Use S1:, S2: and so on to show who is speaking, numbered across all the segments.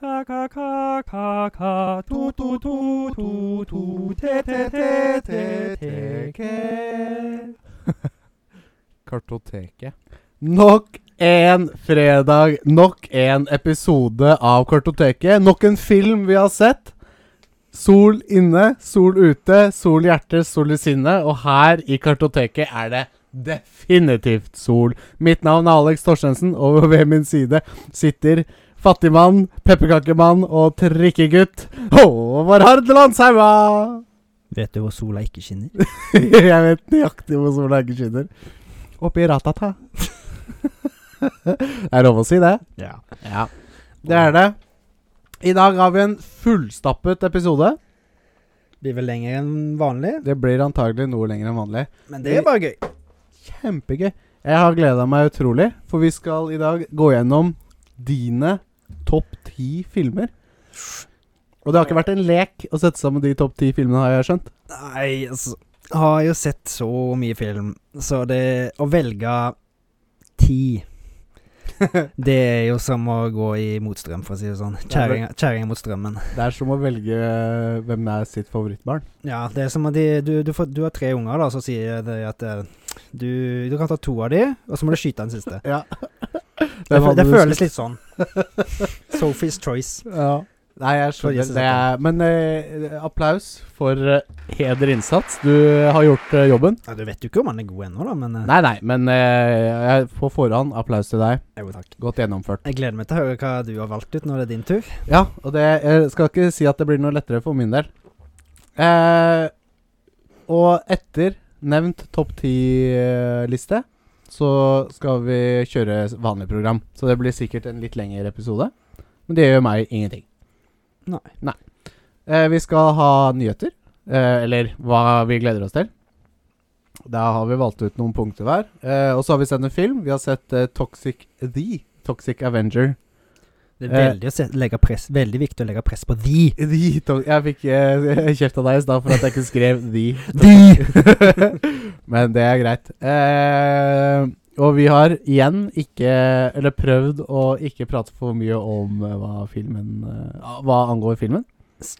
S1: Ka, ka, ka, ka, ka. Tu, tu, tu, tu, tu. Te, te, te, te, teke.
S2: Kartoteket.
S3: Nok en fredag, nok en episode av Kartoteket. Nok en film vi har sett. Sol inne, sol ute, sol i hjertet, sol i sinnet. Og her i Kartoteket er det definitivt sol. Mitt navn er Alex Torstensen, og ved min side sitter fattigmann, pepperkakemann og trikkegutt Håvard Hardeland Saua.
S4: Vet du hvor sola ikke skinner?
S3: Jeg vet nøyaktig hvor sola ikke skinner. Oppi ratata. det er lov å si det.
S4: Ja.
S3: Ja. Det er det. I dag har vi en fullstappet episode.
S4: Blir vel lenger enn vanlig,
S3: Det blir antagelig noe lenger enn vanlig.
S4: men det er bare gøy.
S3: Kjempegøy. Jeg har gleda meg utrolig, for vi skal i dag gå gjennom dine topp ti filmer. Og det har ikke vært en lek å sette sammen de topp ti filmene, har jeg skjønt.
S4: Nei, altså Jeg har jo sett så mye film, så det å velge ti Det er jo som å gå i motstrøm, for å si det sånn. Kjerringa kjerringa mot strømmen.
S3: Det er som å velge eh, hvem er sitt favorittbarn.
S4: Ja, det er som at de, du, du, får, du har tre unger, da, så sier de at eh, du, du kan ta to av de, og så må du skyte den siste.
S3: Ja.
S4: Det, det føles litt sånn. Sophie's Choice.
S3: Ja. Nei, jeg
S4: For
S3: skjønner
S4: Jesus,
S3: det. Er, men eh, applaus for eh, heder innsats. Du har gjort eh, jobben.
S4: Ja, du vet jo ikke om han er god ennå, da, men eh,
S3: Nei, nei, men eh, jeg- på forhånd applaus til deg.
S4: jo, takk.
S3: Godt gjennomført.
S4: Jeg gleder meg til å høre hva du har valgt ut når det er din tur.
S3: Ja, og det jeg skal ikke si at det blir noe lettere for min del. Eh, og etter nevnt topp ti-liste, så skal vi kjøre s- vanlig program. Så det blir sikkert en litt lengre episode. Men det gjør meg ingenting.
S4: Nei.
S3: Eh, vi skal ha nyheter, eh, eller hva vi gleder oss til. Da har vi valgt ut noen punkter hver. Eh, og så har vi sett en film. Vi har sett eh, Toxic The. Toxic Avenger.
S4: Det
S3: Eh.
S4: er veldig, å se, legge press, veldig viktig å legge press på de.
S3: The to jeg fikk eh, kjeft av deg i stad for at jeg ikke skrev The.
S4: De!
S3: Men det er greit. Eh, og vi har igjen ikke Eller prøvd å ikke prate for mye om eh, hva filmen eh, Hva angår filmen.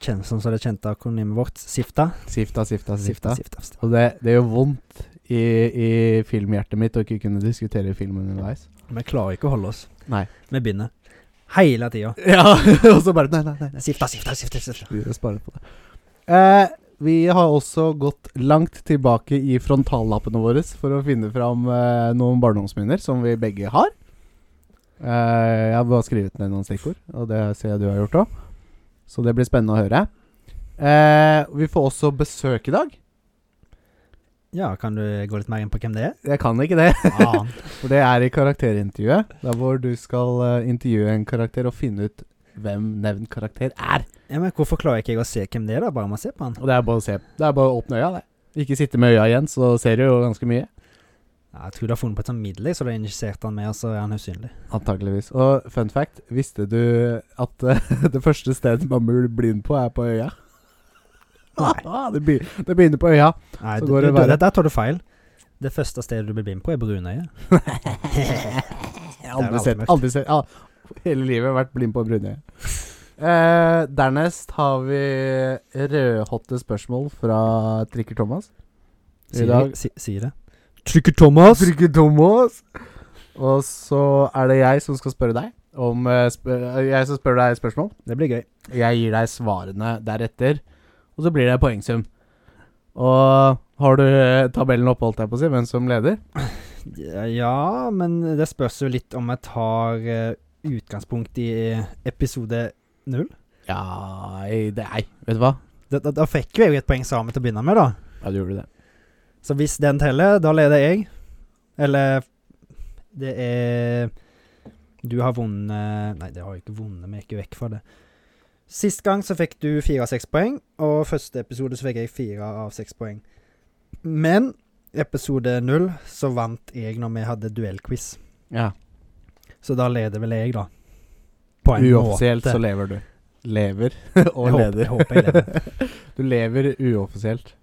S4: Kjenn som så det kjente akronymet vårt, SIFTA.
S3: Sifta, sifta, sifta.
S4: Sifta, sifta, sifta.
S3: Og det, det gjør vondt i, i filmhjertet mitt å ikke kunne diskutere filmen underveis.
S4: Vi klarer ikke å holde oss.
S3: Nei.
S4: Vi begynner. Hele tida.
S3: Ja, og så bare Nei, nei, nei.
S4: SIFTA, SIFTA, SIFTA. sifta.
S3: Vi sparer på det. Eh, vi har også gått langt tilbake i frontallappene våre for å finne fram eh, noen barndomsminner som vi begge har. Eh, jeg har bare skrevet ned noen stikkord, og det ser jeg du har gjort òg. Så det blir spennende å høre. Eh, vi får også besøk i dag.
S4: Ja, kan du gå litt mer inn på hvem det er?
S3: Jeg kan ikke det.
S4: Faen.
S3: For det er i karakterintervjuet. Der hvor du skal eh, intervjue en karakter og finne ut hvem nevnt karakter er.
S4: Ja, men hvorfor klarer ikke jeg å se hvem det er, da? Bare man ser på han.
S3: Og det er bare å se Det er bare å åpne øya, det. Ikke sitte med øya igjen, så ser du jo ganske mye.
S4: Ja, jeg tror du har funnet på et sånt middel, så du har injisert han med, og så er han usynlig.
S3: Antakeligvis. Og fun fact, visste du at eh, det første stedet man blir blind på, er på øya? det, be det begynner på øya.
S4: Nei,
S3: Så
S4: du,
S3: går
S4: du,
S3: det
S4: du,
S3: bare-
S4: der tar du feil. Det første stedet du blir blind på, er brunøyet.
S3: Jeg har
S4: Det er
S3: aldri
S4: alltid
S3: sett,
S4: mørkt.
S3: aldri sett ja, Hele livet vært blind på brunøye. Eh, dernest har vi rødhotte spørsmål fra Trikker Thomas. I dag
S4: Si, si det. Trykker Thomas!
S3: Trikker Thomas! Og så er det jeg som skal spørre deg om eh, sp Jeg som spør deg spørsmål.
S4: Det blir gøy.
S3: Jeg gir deg svarene deretter, og så blir det poengsum. Og har du eh, tabellen oppe, holdt jeg på å si, hvem som leder?
S4: Ja, men det spørs jo litt om jeg tar eh, utgangspunkt i episode null.
S3: Ja Nei, det Nei, vet du hva?
S4: Da, da, da fikk jo jeg jo et poeng sammen til å begynne med, da.
S3: Ja, du gjorde det.
S4: Så hvis den teller, da leder jeg. Eller det er Du har vunnet Nei, det har jeg ikke vunnet, vi gikk jo vekk fra det. Sist gang så fikk du fire av seks poeng, og første episode så fikk jeg fire av seks poeng. Men episode null så vant jeg når vi hadde duellquiz.
S3: Ja.
S4: Så da leder vel jeg, da. På
S3: Uoffisielt så lever du. Lever og
S4: Jeg håper-
S3: leder.
S4: jeg håper jeg
S3: du lever uoffisielt.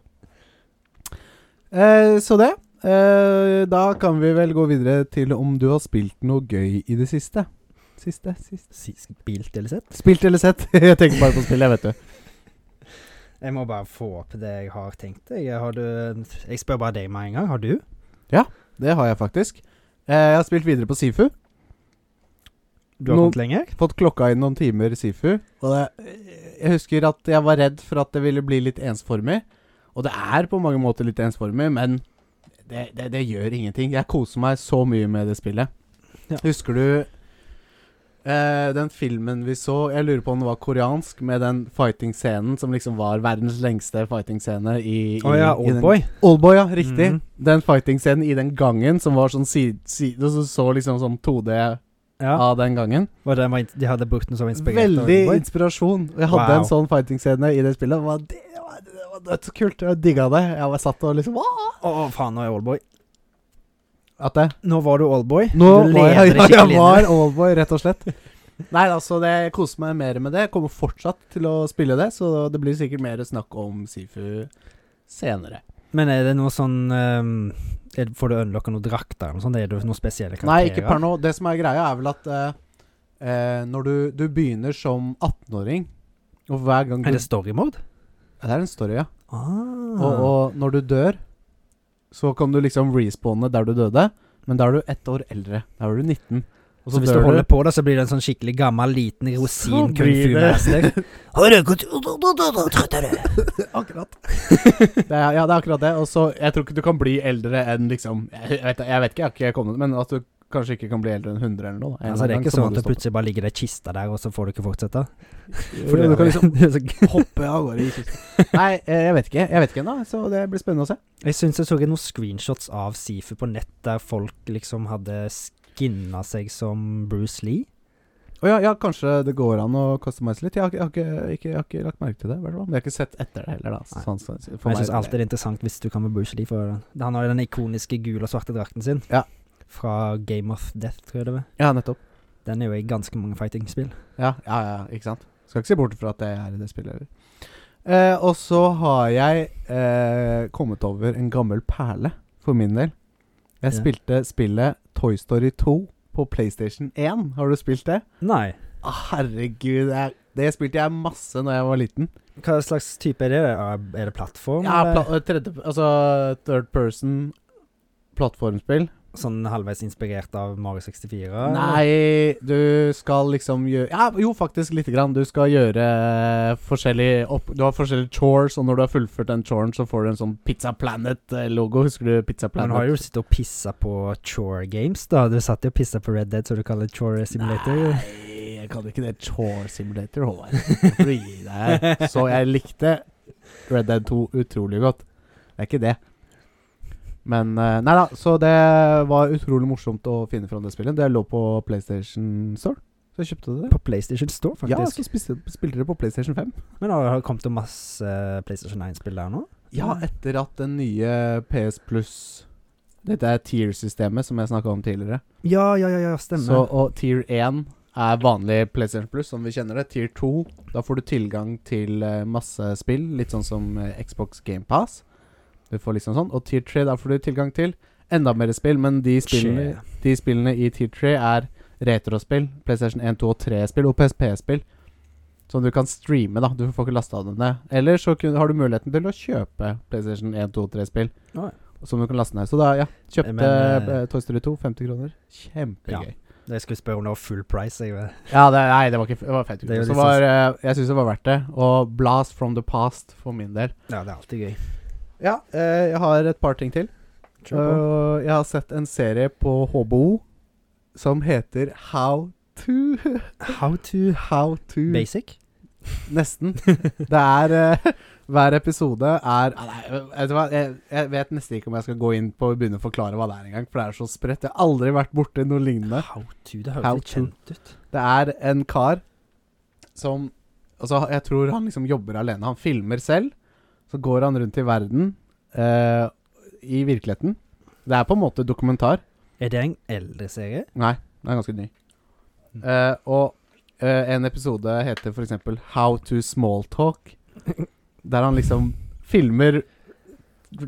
S3: Eh, så det. Eh, da kan vi vel gå videre til om du har spilt noe gøy i det siste. Siste. siste.
S4: Si- Spilt eller sett?
S3: Spilt eller sett? jeg tenker bare på spill, jeg, vet du.
S4: Jeg må bare få opp det jeg har tenkt. Jeg, har du, jeg spør bare deg med en gang. Har du?
S3: Det har jeg faktisk. Eh, jeg har spilt videre på Sifu.
S4: Du har
S3: Nå-
S4: kommet lenger?
S3: Fått klokka inn noen timer i Sifu. Og det, jeg husker at jeg var redd for at det ville bli litt ensformig. Og det er på mange måter litt ensformig, men det, det, det gjør ingenting. Jeg koser meg så mye med det spillet.
S4: Ja.
S3: Husker du eh, den filmen vi så Jeg lurer på om den var koreansk, med den fighting-scenen som liksom var verdens lengste fighting-scene i, i,
S4: Å ja,
S3: i den-
S4: Oldboy.
S3: Oldboy, ja. Riktig.
S4: Mhm.
S3: Den fighting-scenen i den gangen som var sånn side, side, og så, så liksom sånn 2D
S4: Ja.
S3: av den gangen.
S4: Og den var, ins- de hadde brukt den som inspirert av
S3: Ah. Veldig
S4: Oldboy.
S3: inspirasjon. Og Jeg hadde
S4: Wow.
S3: en sånn fighting-scene i det spillet. Det var, det var, det var dødskult. Jeg digga det. Jeg var satt og liksom Åh!
S4: Å, faen, nå er jeg Oldboy.
S3: At det
S4: Nå var du Oldboy.
S3: Nå
S4: du
S3: var
S4: leder
S3: jeg,
S4: det
S3: jeg
S4: skikkelig inn.
S3: var oldboy, rett og slett. Nei, altså, det, jeg koser meg mer med det. Jeg kommer fortsatt til å spille det, så det blir sikkert mer snakk om Sifu senere.
S4: Men er det noe sånn ehm, er, Får du unlocka noen drakter eller noe sånt? Er det noen spesielle karakterer?
S3: Nei, ikke per nå. Det som er greia, er vel at eh, eh, når du, du begynner som 18-åring Og hver gang du
S4: Er det storymode?
S3: Ja, det er en story, ja.
S4: Ah.
S3: Og, og når du dør, så kan du liksom respawne der du døde, men da er du ett år eldre. Da er du 19. Og
S4: så hvis du holder på det, så blir det en sånn skikkelig gammel, liten rosin
S3: Så
S4: kung
S3: blir det-
S4: fu-mester.
S3: Akkurat. det er, ja, det er akkurat det. Og så Jeg tror ikke du kan bli eldre enn liksom Jeg vet, jeg vet ikke, jeg har ikke kommet Men at du kanskje ikke kan bli eldre enn 100 eller noe. da. En
S4: Altså, det er
S3: gang
S4: ikke
S3: så må
S4: sånn at det
S3: du stoppe.
S4: plutselig bare ligger det ei kiste der, og så får du ikke fortsette?
S3: Jo, jo, du kan liksom
S4: det er så-
S3: hoppe av gårde i kisten. Nei, eh, jeg vet ikke. Jeg vet ikke ennå, så det blir spennende å se.
S4: Jeg syns jeg så noen screenshots av Sifu på nett der folk liksom hadde skinna seg som Bruce Lee.
S3: Å ja, ja, kanskje det går an å customize litt. Jeg har, ikke- jeg har, ikke, ikke, jeg har ikke lagt merke til det. i hvert fall. Men jeg har ikke sett etter det heller, da.
S4: Nei.
S3: Sånn, så- for
S4: Men jeg syns
S3: meg-
S4: alltid det er interessant hvis du kan med Bruce Lee, for han har jo den ikoniske gule og svarte drakten sin.
S3: Ja.
S4: Fra Game of Death, tror jeg det var.
S3: Ja, nettopp.
S4: Den er jo i ganske mange fightingspill.
S3: Ja, ja, ja, ikke sant? Skal ikke se bort fra at det er i det spillet heller. Eh, og så har jeg eh, kommet over en gammel perle, for min del. Jeg
S4: Ja.
S3: spilte spillet Toy Story 2 på PlayStation 1. Har du spilt det?
S4: Nei.
S3: Ah, herregud, det, er- det spilte jeg masse når jeg var liten.
S4: Hva slags type er det? Er- Er det plattform?
S3: Ja,
S4: eller?
S3: pla tredje, altså third person plattformspill.
S4: sånn halvveis inspirert av Mario 64? eller?
S3: Nei, du skal liksom gjøre ja, Jo, faktisk lite grann. Du skal gjøre forskjellige opp... Du har forskjellige chores, og når du har fullført den choren, så får du en sånn Pizza Planet-logo. Husker du Pizza
S4: Man
S3: Planet?
S4: har jo sittet og pissa på Chore Games, da. Du satt jo og pissa på Red Dead, så du kaller det Chore Simulator.
S3: Nei, jeg kan ikke det. Chore Simulator, Håvard. Nå får du gi deg. Så jeg likte Red Dead 2 utrolig godt. Det er ikke det. Men eh, Nei da, så det var utrolig morsomt å finne fram det spillet. Det lå på PlayStation Store, så jeg kjøpte det.
S4: På PlayStation Store, faktisk.
S3: Ja, så spiste, spilte det på PlayStation 5.
S4: Men har det kommet jo masse PlayStation 1-spill der nå?
S3: Ja, etter at den nye PS Plus Dette er tier-systemet som jeg snakka om tidligere.
S4: Ja, ja, ja, ja stemmer.
S3: Så, og tier 1 er vanlig PlayStation Plus, som vi kjenner det. Tier 2, da får du tilgang til eh, masse spill, litt sånn som eh, Xbox Game Pass. Du får liksom sånn. Og tier 3, da får du tilgang til enda mer spill, men de spillene,
S4: Tje.
S3: de spillene i tier 3 er retrospill. PlayStation 1, 2 og 3-spill og PSP-spill. Som du kan streame, da. Du får ikke lasta dem ned. Eller så kun, har du muligheten til å kjøpe PlayStation 1, 2 og 3-spill.
S4: Oi.
S3: Som du kan laste ned. Så da, ja. Kjøpte
S4: Men, eh,
S3: eh, Toy Story 2, 50 kroner. Kjempegøy.
S4: Ja. Jeg skulle spørre om det var full price. Jeg. vet.
S3: Ja, det, nei, det var ikke det var fett.
S4: Det er jo
S3: Så
S4: litt sånn
S3: var, eh, jeg syns det var verdt det. Og Blast from the past for min del.
S4: Ja, det er alltid gøy.
S3: Ja, eh, jeg har et par ting til.
S4: Uh,
S3: Eh, jeg har sett en serie på HBO som heter How to
S4: Eh, How to
S3: How to
S4: Basic?
S3: Nesten. Det er eh, Hver episode er ah, Nei, vet du hva? Jeg, jeg vet nesten ikke om jeg skal gå inn på å begynne å forklare hva det er engang, for det er så spredt. Jeg har aldri vært borti noe lignende.
S4: How to, det høres
S3: How
S4: litt
S3: to.
S4: kjent ut.
S3: Det er en kar som Altså, jeg tror han liksom jobber alene. Han filmer selv. Så går han rundt i verden eh, i virkeligheten. Det er på en måte dokumentar.
S4: Er det en eldre serie?
S3: Nei, den er ganske ny. Eh, og eh, en episode heter for eksempel How to Smalltalk. Der han liksom filmer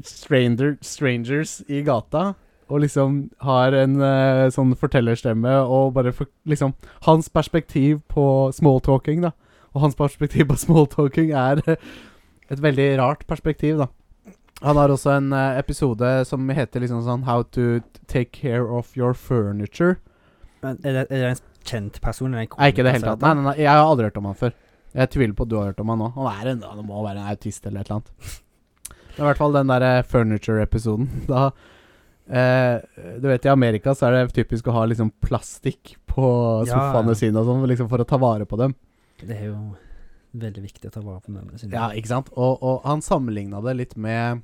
S3: stranger, strangers i gata. og liksom har en eh, sånn fortellerstemme og bare for, liksom Hans perspektiv på smalltalking, da, og hans perspektiv på smalltalking er eh, et veldig rart perspektiv, da. Han har også en eh, episode som heter liksom sånn How to take care of your furniture.
S4: Men er det, er det en kjent person? Er det en
S3: Nei, ikke i det hele
S4: komiker,
S3: tatt. Nei, nei, nei, jeg har aldri hørt om han før. Jeg tviler på at du har hørt om han nå. Han, er en, han må være en autist eller et eller annet. Men i hvert fall den derre furniture-episoden. Da eh, Du vet, i Amerika så er det typisk å ha liksom plastikk på
S4: Ja,
S3: sofaen
S4: ja.
S3: ved siden av sånn, liksom for å ta vare på dem.
S4: Det er jo veldig viktig å ta vare på møblene sine.
S3: Ja, ikke sant? Og, og han sammenligna det litt med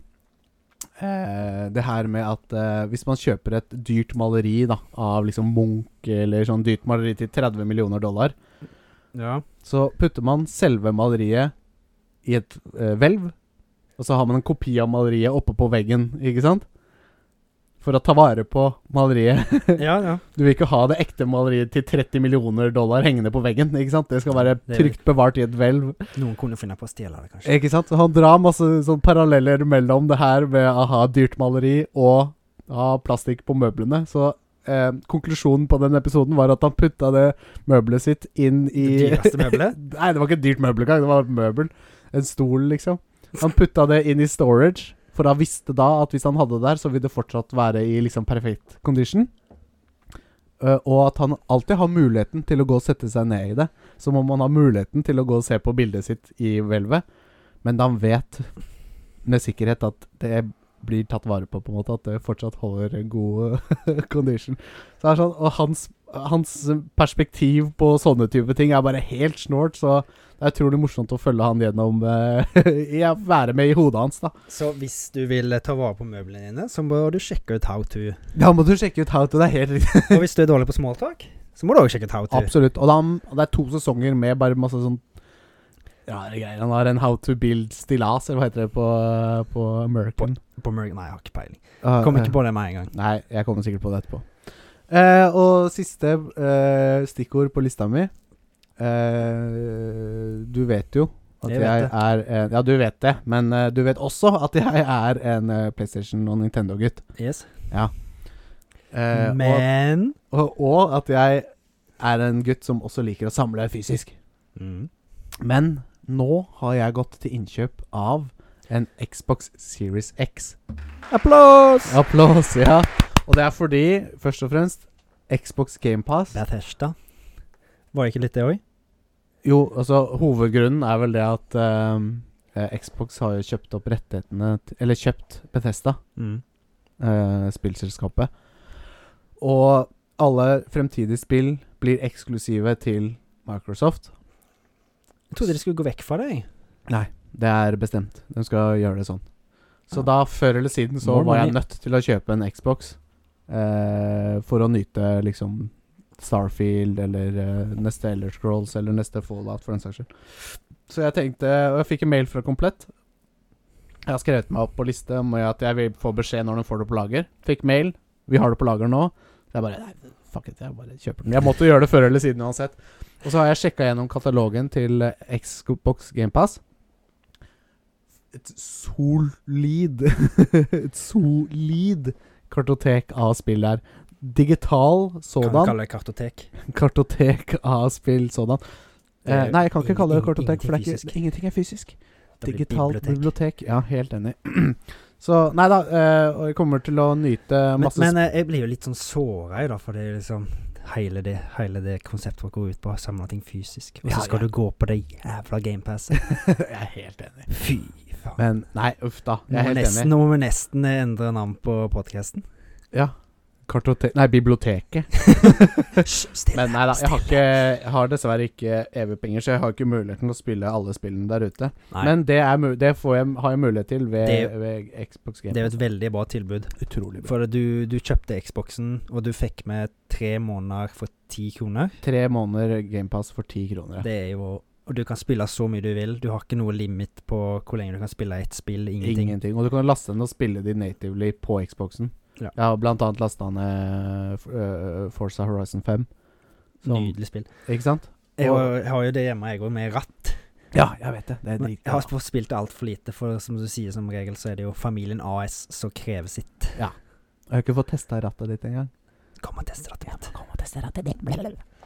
S3: eh, det her med at eh, hvis man kjøper et dyrt maleri da, av liksom Munch eller sånn dyrt maleri til 30 millioner dollar,
S4: Ja.
S3: så putter man selve maleriet i et eh, hvelv, og så har man en kopi av maleriet oppe på veggen, ikke sant? For å ta vare på maleriet.
S4: ja, ja.
S3: Du vil ikke ha det ekte maleriet til 30 millioner dollar hengende på veggen, ikke sant? Det skal være
S4: Det er-
S3: trygt bevart i et hvelv.
S4: Noen kunne finne på å stjele det, kanskje.
S3: Ikke sant? Så Han drar masse sånn paralleller mellom det her med å ha dyrt maleri og ha plastikk på møblene. Så eh, konklusjonen på den episoden var at han putta det møbelet sitt inn i
S4: Det dyreste møbelet?
S3: Nei, det var ikke et dyrt møbel engang. Det var et møbel. En stol, liksom. Han putta det inn i storage, for han visste da at hvis han hadde det der, så ville det fortsatt være i liksom perfekt condition. Eh, og at han alltid har muligheten til å gå og sette seg ned i det. Som om han har muligheten til å gå og se på bildet sitt i hvelvet. Men han vet med sikkerhet at det blir tatt vare på, på en måte. At det fortsatt holder en god condition. Så det er sånn, og hans, hans perspektiv på sånne type ting er bare helt snålt, så det er utrolig morsomt å følge han gjennom eh, ja, Være med i hodet hans, da.
S4: Så hvis du vil ta vare på møblene dine, så må du sjekke ut How to.
S3: Da må du sjekke ut How to. Det er helt riktig.
S4: Og hvis du er dårlig på smalltalk, så må du også sjekke ut How to.
S3: Absolutt. Og da, og det er to sesonger med bare masse sånn rare greier. Han har en How to build stillas, eller hva heter det på, på American.
S4: På Mergen, nei, jeg har ikke peiling.
S3: Ah,
S4: Kom
S3: eh.
S4: ikke på det med en gang.
S3: Nei, jeg kommer sikkert på det etterpå. Eh, og siste eh, stikkord på lista mi eh, Du vet jo at
S4: Jeg
S3: jeg,
S4: vet det.
S3: er en Ja, du vet det, men eh, du vet også at jeg er en eh, PlayStation- og Nintendo-gutt.
S4: Yes.
S3: Eh, og,
S4: Men
S3: og, og at jeg er en gutt som også liker å samle fysisk.
S4: mm.
S3: Men nå har jeg gått til innkjøp av en Xbox Series X.
S4: Applaus!
S3: Applaus, ja. Og det er fordi, først og fremst, Xbox GamePass
S4: Bethesda. Var ikke litt det òg?
S3: Jo, altså hovedgrunnen er vel det at ehm, eh, Xbox har jo kjøpt opp rettighetene til, Eller kjøpt Bethesda,
S4: Mm.
S3: eh, spillselskapet. Og alle fremtidige spill blir eksklusive til Microsoft.
S4: Jeg trodde de skulle gå vekk fra det, jeg.
S3: Nei, det er bestemt. De skal gjøre det sånn. Så
S4: Ja.
S3: da, før eller siden, så
S4: More
S3: var jeg
S4: money.
S3: nødt til å kjøpe en Xbox. Eh, for å nyte liksom Starfield eller eh, neste Elder Scrolls eller neste Fallout, for den saks skyld. Så jeg tenkte Og jeg fikk en mail fra Komplett. Jeg har skrevet meg opp på liste om at jeg vil få beskjed når de får det på lager. Fikk mail. Vi har det på lager nå. Så jeg bare Nei, fuck it, jeg bare kjøper den. Jeg måtte gjøre det før eller siden uansett. Og så har jeg sjekka gjennom katalogen til eh, Xbox GamePass. Et solid Et solid kartotek av spill der. Digital
S4: Kan du
S3: sådan.
S4: kalle det kartotek.
S3: Kartotek av spill sådan.
S4: Det er
S3: Eh,
S4: jo
S3: nei, jeg kan ikke
S4: ingenting-
S3: kalle det kartotek, for det er
S4: ingenting fysisk.
S3: ikke, ingenting er fysisk.
S4: Det blir
S3: Digitalt bibliotek.
S4: bibliotek.
S3: Ja, helt enig. Så nei da, eh, og jeg kommer til å nyte
S4: Men,
S3: masse
S4: men eh, jeg blir jo litt sånn såra, jeg, da, for det er liksom Hele det, hele det konseptet vårt går ut på å samle ting fysisk, og så
S3: Ja,
S4: skal
S3: ja.
S4: du gå på det jævla gamepasset.
S3: Jeg er helt enig.
S4: Fy faen.
S3: Men nei, uff da. Jeg
S4: Nå
S3: er
S4: må
S3: helt
S4: nesten,
S3: enig.
S4: nå må vi nesten eh, endre navn på podkasten.
S3: Ja. Kartotek Nei, biblioteket.
S4: Stille.
S3: Men nei da, jeg har, ikke, jeg har dessverre ikke EV-penger, så jeg har ikke muligheten til å spille alle spillene der ute.
S4: Nei,
S3: Men det, er, mu- det får jeg, har jeg mulighet til ved,
S4: Det-
S3: ved Xbox Game.
S4: det er jo et veldig bra tilbud.
S3: utrolig bra.
S4: For du, du kjøpte Xboxen, og du fikk med tre måneder for ti kroner.
S3: Tre måneder GamePass for ti kroner. ja.
S4: Det er jo Og du kan spille så mye du vil. Du har ikke noe limit på hvor lenge du kan spille ett spill. Ingenting.
S3: Ingenting. Og du kan laste den og spille de natively på Xboxen.
S4: Ja.
S3: Jeg har blant annet lasta ned eh, Forza Horizon 5. Som,
S4: Nydelig spill.
S3: Ikke sant?
S4: Jeg
S3: Og-
S4: har, jeg har jo det hjemme, jeg òg, med ratt.
S3: Ja, jeg vet det. Det
S4: Men jeg har spilt altfor lite, for som du sier, som regel så er det jo familien AS som krever sitt.
S3: Jeg har ikke fått testa rattet ditt engang.
S4: Kom og test rattet mitt.
S3: Kom og teste rattet ditt.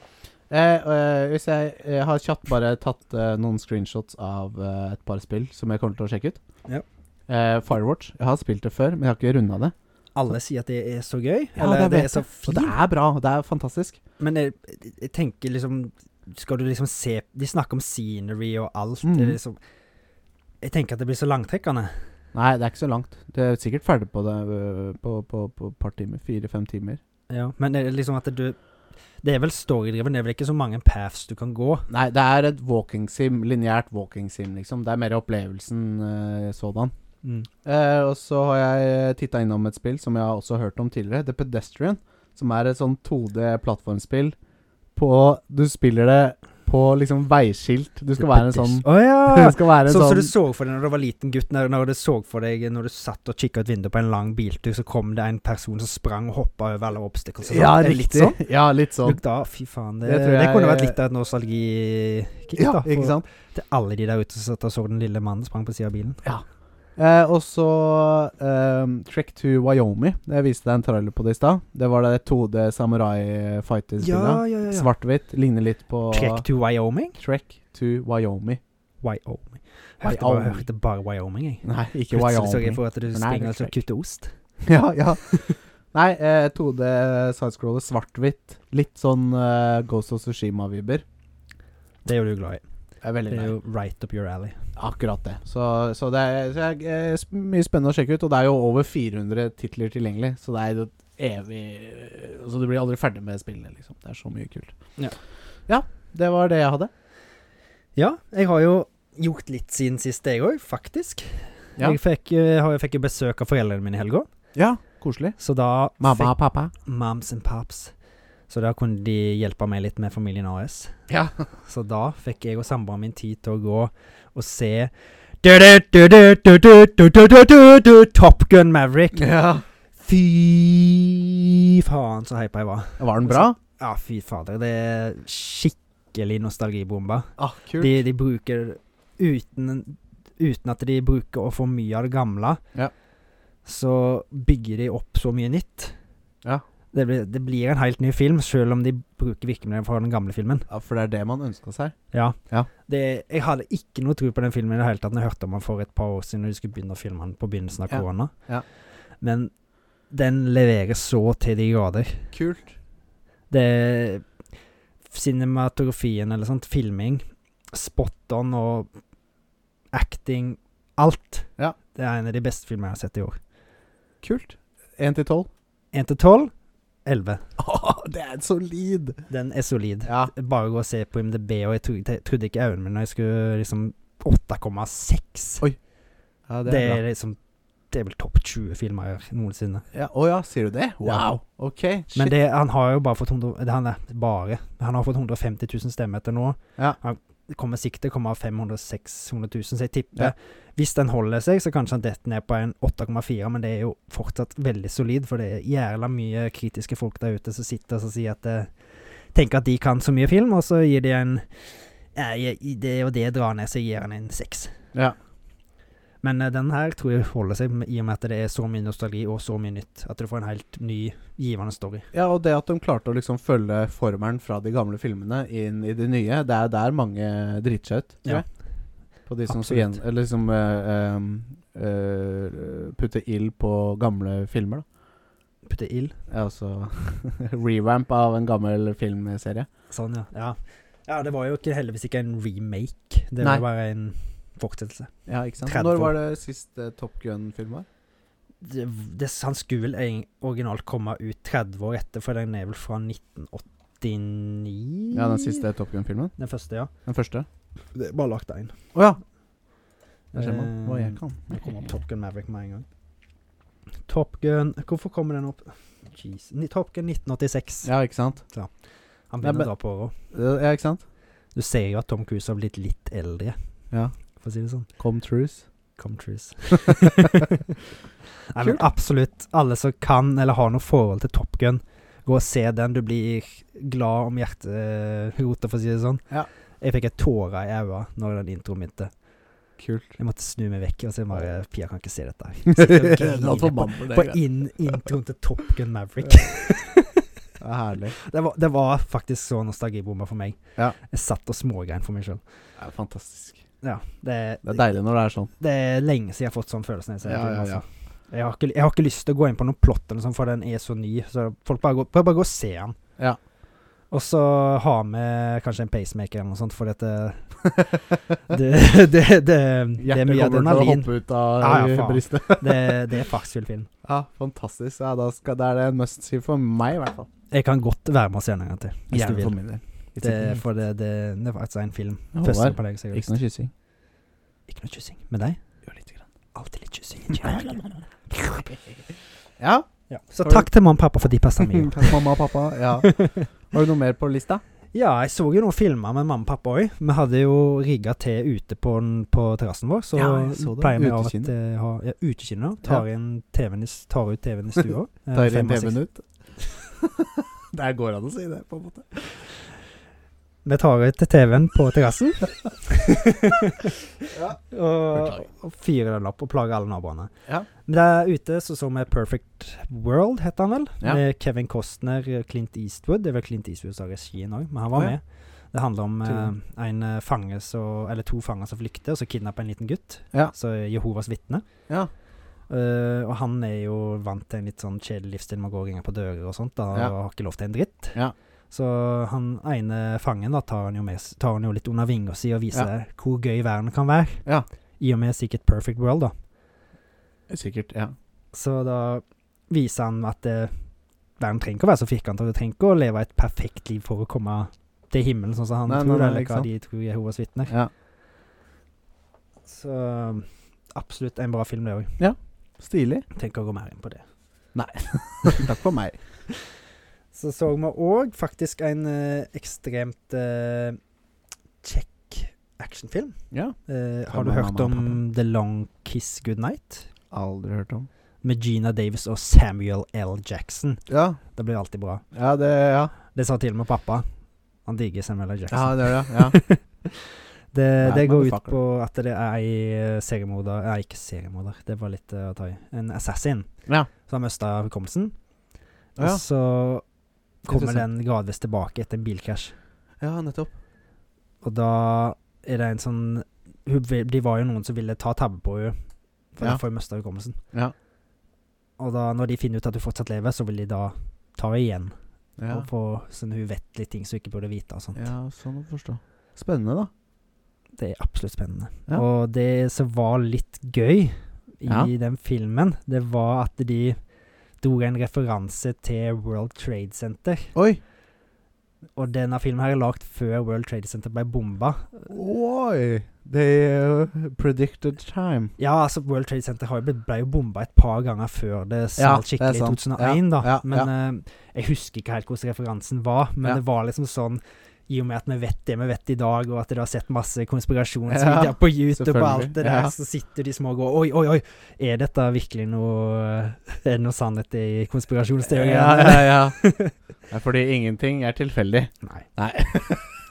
S3: Eh, eh, hvis jeg, jeg har kjapt bare tatt eh, noen screenshots av eh, et par spill som jeg kommer til å sjekke ut.
S4: Ja.
S3: Eh, Firewatch. Jeg har spilt det før, men jeg har ikke runda det.
S4: Alle sier at det er så gøy.
S3: Ja,
S4: eller
S3: det
S4: det,
S3: vet
S4: er så
S3: Og det
S4: fint.
S3: er bra. og Det er fantastisk.
S4: Men jeg, jeg tenker liksom Skal du liksom se De snakker om scenery og alt.
S3: Mhm.
S4: det er Liksom, jeg tenker at det blir så langtrekkende.
S3: Nei, det er ikke så langt. Du er sikkert ferdig på det eh, på, på, på et par timer. Fire-fem timer.
S4: Ja, men det er liksom at du Det er vel storydriven, det er vel ikke så mange paths du kan gå.
S3: Nei, det er et walking sim. Lineært walking sim, liksom. Det er mer opplevelsen eh, sådan. Eh, og så har jeg titta innom et spill som jeg har også hørt om tidligere, The Pedestrian. Som er et sånn 2D-plattformspill på Du spiller det på liksom veiskilt. Du skal være en sånn
S4: Å ja!
S3: Du skal være en
S4: Sånn som
S3: sånn
S4: du så for deg når du var liten gutt, når, når du så for deg Når du satt og kikka ut vinduet på en lang biltur, så kom det en person som sprang og hoppa over alle obstacles. og sånt.
S3: Ja,
S4: Det er litt
S3: riktig.
S4: sånn.
S3: Ja, litt sånn.
S4: Du, da, fy faen, det,
S3: Det
S4: det,
S3: tror jeg-
S4: kunne vært litt av et nostalgikick.
S3: Ja,
S4: da, for-
S3: ikke sant?
S4: Til alle de der ute som satt og så den lille mannen sprang på sida av bilen.
S3: Eh, og så ehm, Trek to Wyoming. Jeg viste deg en trailer på det i stad. Det var det 2D samurai fighter-spillet.
S4: ja,
S3: Svart-hvitt. Ligner litt på
S4: Trek to Wyoming?
S3: Trek to Wyoming.
S4: Wyoming. Hørte bare,
S3: Wyoming.
S4: hørte bare Wyoming, jeg.
S3: Nei, ikke
S4: Plutselig så jeg
S3: Wyoming.
S4: for at du
S3: det er
S4: springer og
S3: Trek.
S4: kutter ost.
S3: Ja, ja. Nei, eh, 2D sidescroller, svart-hvitt. Litt sånn eh, Ghost of Sushima-vibber.
S4: Det er jo du glad i.
S3: Jeg er veldig
S4: Det er
S3: glad i
S4: jo right up your alley.
S3: akkurat det. Så, så det er, så jeg- eh, sp- mye spennende å sjekke ut. Og det er jo over 400 titler tilgjengelig, så det er jo et evig eh, Så du blir aldri ferdig med spillene, liksom. Det er så mye kult.
S4: Ja.
S3: Ja, det var det jeg hadde.
S4: Ja, jeg har jo gjort litt siden sist, jeg òg, faktisk.
S3: Ja.
S4: Jeg, fikk, eh, har- jeg fikk jo besøk av foreldrene mine i helga,
S3: Ja, koselig.
S4: så da
S3: Mamma og pappa.
S4: fikk moms and pops. Så da kunne de hjelpe meg litt med familien AS.
S3: Ja.
S4: Så da fikk jeg og samboeren min tid til å gå og se Top Gun Maverick.
S3: ja.
S4: Fy faen, så hypa jeg var.
S3: Var den bra?
S4: Ja, fy fader. Det er skikkelig nostalgibombe.
S3: Ah, kult.
S4: De, de bruker uten, uten at de bruker for mye av det gamle,
S3: Ja.
S4: så bygger de opp så mye nytt.
S3: Ja.
S4: Det blir, det blir en helt ny film, selv om de bruker virkemidlene fra den gamle filmen.
S3: ja, for det er det man ønska seg.
S4: Ja.
S3: Ja.
S4: Det, jeg hadde ikke noe tro på den filmen i det hele tatt når jeg hørte om den for et par år siden, når de skulle begynne å filme den på begynnelsen av
S3: Ja.
S4: korona.
S3: Ja.
S4: Men den leverer så til de grader.
S3: Kult.
S4: Det Cinematografien eller sånt, filming, spot on og acting Alt.
S3: Ja.
S4: Det er en av de beste filmene jeg har sett i år.
S3: Kult. Én til tolv.
S4: 1 til 12 11.
S3: Åh, det er solid!
S4: Den er solid.
S3: Ja.
S4: Bare gå og se på IMDb, og jeg trodde, jeg trodde ikke øynene mine når jeg skulle liksom 8,6.
S3: Oi,
S4: det, er liksom Det er vel topp 20 filmer noensinne.
S3: Å ja, å ja, sier du det? Wow. Ok, shit.
S4: Men det, han har jo bare fått 100, det, han, er bare, han har fått 150 000 stemmer til nå.
S3: Ja.
S4: Han kommer sikkert til å komme av 500 600 000, så
S3: Ja.
S4: jeg tipper Hvis den holder seg, så kanskje han detter ned på en 8,4, men det er jo fortsatt veldig solid, for det er jævla mye kritiske folk der ute som sitter og så sier at eh, Tenker at de kan så mye film, og så gir de en eh, jeg- i Det og det drar ned, så gir han en seks.
S3: ja.
S4: Men eh, den her tror jeg holder seg, i og med at det er så mye nostalgi og så mye nytt. At du får en helt ny, givende story.
S3: ja, og det at de klarte å liksom følge formelen fra de gamle filmene inn i de nye, det er der mange driter seg ut, tror
S4: Ja.
S3: jeg. På de som så
S4: Absolutt.
S3: gjen- eller liksom eh, em, eh, putter ild på gamle filmer, da.
S4: Putte ild.
S3: Ja, Altså revamp av en gammel filmserie.
S4: Sånn, ja. ja. Ja, det var jo ikke, heldigvis ikke en remake. Det
S3: Nei.
S4: var bare en fortsettelse.
S3: Ja, ikke sant?
S4: 30.
S3: Når var det sist eh, Top Gun-film var?
S4: Det, det, han skulle vel egen- originalt komme ut 30 år etter, for den er vel fra 1989?
S3: Ja, den siste Top Gun-filmen?
S4: Den første, ja.
S3: Den første?
S4: Det er bare lagt én.
S3: Å ja. Der ser man hva jeg kan.
S4: Det kommer opp Eh, Top Gun Maverick med en gang. Top Gun Hvorfor kommer den opp? Jeez. Ni- Top Gun 1986.
S3: Ja, ikke sant?
S4: Han
S3: Nei,
S4: begynner
S3: men-
S4: å dra på åra.
S3: Ja, ikke sant?
S4: Du ser jo at Tom Cruise har blitt litt eldre,
S3: Ja.
S4: for å si det sånn.
S3: Come truce.
S4: Come trues. Nei, men absolutt alle som kan eller har noe forhold til Top Gun, gå og se den. Du blir glad om hjerterota, for å si det sånn.
S3: Ja.
S4: Jeg fikk et tåre i øynene når den introen begynte.
S3: Kult.
S4: Jeg måtte snu meg vekk og så bare Pia kan ikke se dette. her. Sitter og griner
S3: Latt for mann for
S4: På
S3: det. greit.
S4: in introen til Top Gun Maverick.
S3: Det er herlig.
S4: Det var, det var faktisk så nostalgibomba for meg.
S3: Ja.
S4: Jeg satt og smågrein for meg sjøl.
S3: Det er fantastisk.
S4: Ja, det,
S3: Det er
S4: det,
S3: deilig når det er sånn.
S4: er lenge siden jeg har fått sånn følelse. Når jeg, ser
S3: Ja,
S4: den filmen,
S3: ja, ja.
S4: altså. Jeg, har ikke, jeg har ikke lyst til å gå inn på noen plott, eller sånn, for den er så ny. Så folk bare går, bør bare gå og se den.
S3: Ja.
S4: Og så ha med kanskje en pacemaker eller noe sånt, for dette Det, det, det, det, det er
S3: Hjertet kommer til
S4: mye
S3: å
S4: adrenalin.
S3: hoppe ut av
S4: Ja, ja, faen.
S3: brystet.
S4: Det, det er fartsfull film.
S3: Ja, fantastisk. Ja, da skal, det er det en must see for meg, i hvert fall.
S4: Jeg kan godt være med og se den en gang til, hvis
S3: Gjerne
S4: du
S3: for
S4: vil.
S3: min del.
S4: Det, for det, det, det var altså en film.
S3: Ja,
S4: Første
S3: Håvard,
S4: på deg, så jeg har lyst.
S3: Ikke noe kyssing.
S4: Ikke noe kyssing. Med deg?
S3: Jo, lite grann.
S4: Alltid litt kyssing.
S3: Ja.
S4: ja. Så
S3: Har du-
S4: takk til mamma og pappa for de passa mye.
S3: Takk, mamma og pappa. Ja. Har du noe mer på lista?
S4: Ja, jeg så jo noen filmer med mamma og pappa òg. Vi hadde jo rigga til ute på, den- på terrassen vår, så,
S3: Ja, jeg så det.
S4: pleier vi av
S3: Utekino.
S4: at eh, ha ja, utekino. Tar, inn TV-en i s- tar ut TV-en i stua. eh,
S3: Tar
S4: fem
S3: inn
S4: og seks.
S3: TV-en ut? Der går an å si det, på en måte.
S4: Vi tar ut TV-en på terrassen. og,
S3: Beklager.
S4: og fyrer den opp og plager alle naboene.
S3: Ja.
S4: Men der ute så så vi Perfect World, heter han vel.
S3: Ja.
S4: Med Kevin Costner, Clint Eastwood. Det er vel Clint Eastwood som har regien òg, men han var
S3: Å, ja.
S4: med. Det handler om
S3: Tydelig.
S4: eh, en eh, fange som Eller to fanger som flykter, og så kidnapper en liten gutt.
S3: Ja.
S4: Så er Jehovas vitne.
S3: Ja.
S4: Eh, og han er jo vant til en litt sånn kjedelig livsstil med å gå og ringe på dører og sånt. Da,
S3: Ja.
S4: Og har ikke lov til en dritt.
S3: Ja.
S4: Så han ene fangen da tar han jo, med, s- tar han jo litt under vinga si og viser hvor gøy verden kan være.
S3: Ja.
S4: I og med sikkert Perfect World, da.
S3: Sikkert. Ja.
S4: Så da viser han at eh, verden trenger ikke å være så firkanta. Du trenger ikke å leve et perfekt liv for å komme til himmelen, sånn som han
S3: Nei, nei,
S4: tror,
S3: nei,
S4: eller
S3: ikke
S4: hva
S3: sant.
S4: de tror Jehovas vitner.
S3: ja.
S4: Så um, absolutt en bra film, det òg.
S3: Stilig.
S4: Tenker å gå mer inn på det.
S3: Takk for meg.
S4: Så så vi òg faktisk en eh, ekstremt eh, kjekk actionfilm.
S3: Ja.
S4: Eh,
S3: Fra
S4: har du
S3: mamma,
S4: hørt
S3: mamma,
S4: om The Long Kiss Goodnight?
S3: Aldri hørt om.
S4: Med Gina Davis og Samuel L. Jackson.
S3: Ja.
S4: Det blir alltid bra.
S3: Ja, det Ja,
S4: Det sa til og med pappa. Han digger Samuel
S3: ja
S4: L. Jackson.
S3: det gjør det. Ja.
S4: det det
S3: Nei,
S4: går ut
S3: motherfucker.
S4: på at det er ei eh, seriemorder Nei, ikke seriemorder, det var litt eh, å ta i. En assassin
S3: Ja.
S4: som har mista hukommelsen.
S3: Ja.
S4: Og så kommer
S3: Interessant.
S4: den gradvis tilbake etter en bilkrasj.
S3: ja, nettopp.
S4: Og da er det en sånn hun, vil- De var jo noen som ville ta tabbe på henne, for
S3: Ja.
S4: derfor mista hukommelsen.
S3: Ja.
S4: Og da, når de finner ut at hun fortsatt lever, så vil de da ta henne igjen.
S3: Ja,
S4: Og få, sånn hun vet litt ting som hun ikke burde vite. Og sånt.
S3: ja sånn å forstå. Spennende, da.
S4: Det er absolutt spennende.
S3: Ja.
S4: Og det som var litt gøy i
S3: Ja.
S4: den filmen, det var at de dro en referanse til World Trade Center.
S3: Oi!
S4: Og denne filmen her er lagd før World Trade Center ble bomba.
S3: Oi! They uh, predicted time.
S4: Ja, altså World Trade Center har jo blitt, ble jo bomba et par ganger før det
S3: Ja,
S4: smalt
S3: det er
S4: skikkelig i
S3: sant.
S4: 2001, da.
S3: Ja, ja,
S4: men eh, jeg husker ikke helt hvordan referansen var. Men
S3: Ja.
S4: det var liksom sånn i og med at vi vet det vi vet i dag, og at du har sett masse
S3: Ja,
S4: konspirasjonsvideoer på YouTube og alt det
S3: selvfølgelig,
S4: der,
S3: ja.
S4: så sitter de små og går Oi, oi, oi! Er dette virkelig noe Er det noe sannhet i konspirasjonsteorien?
S3: ja, ja. Nei, fordi ingenting er tilfeldig.
S4: Nei.
S3: Nei.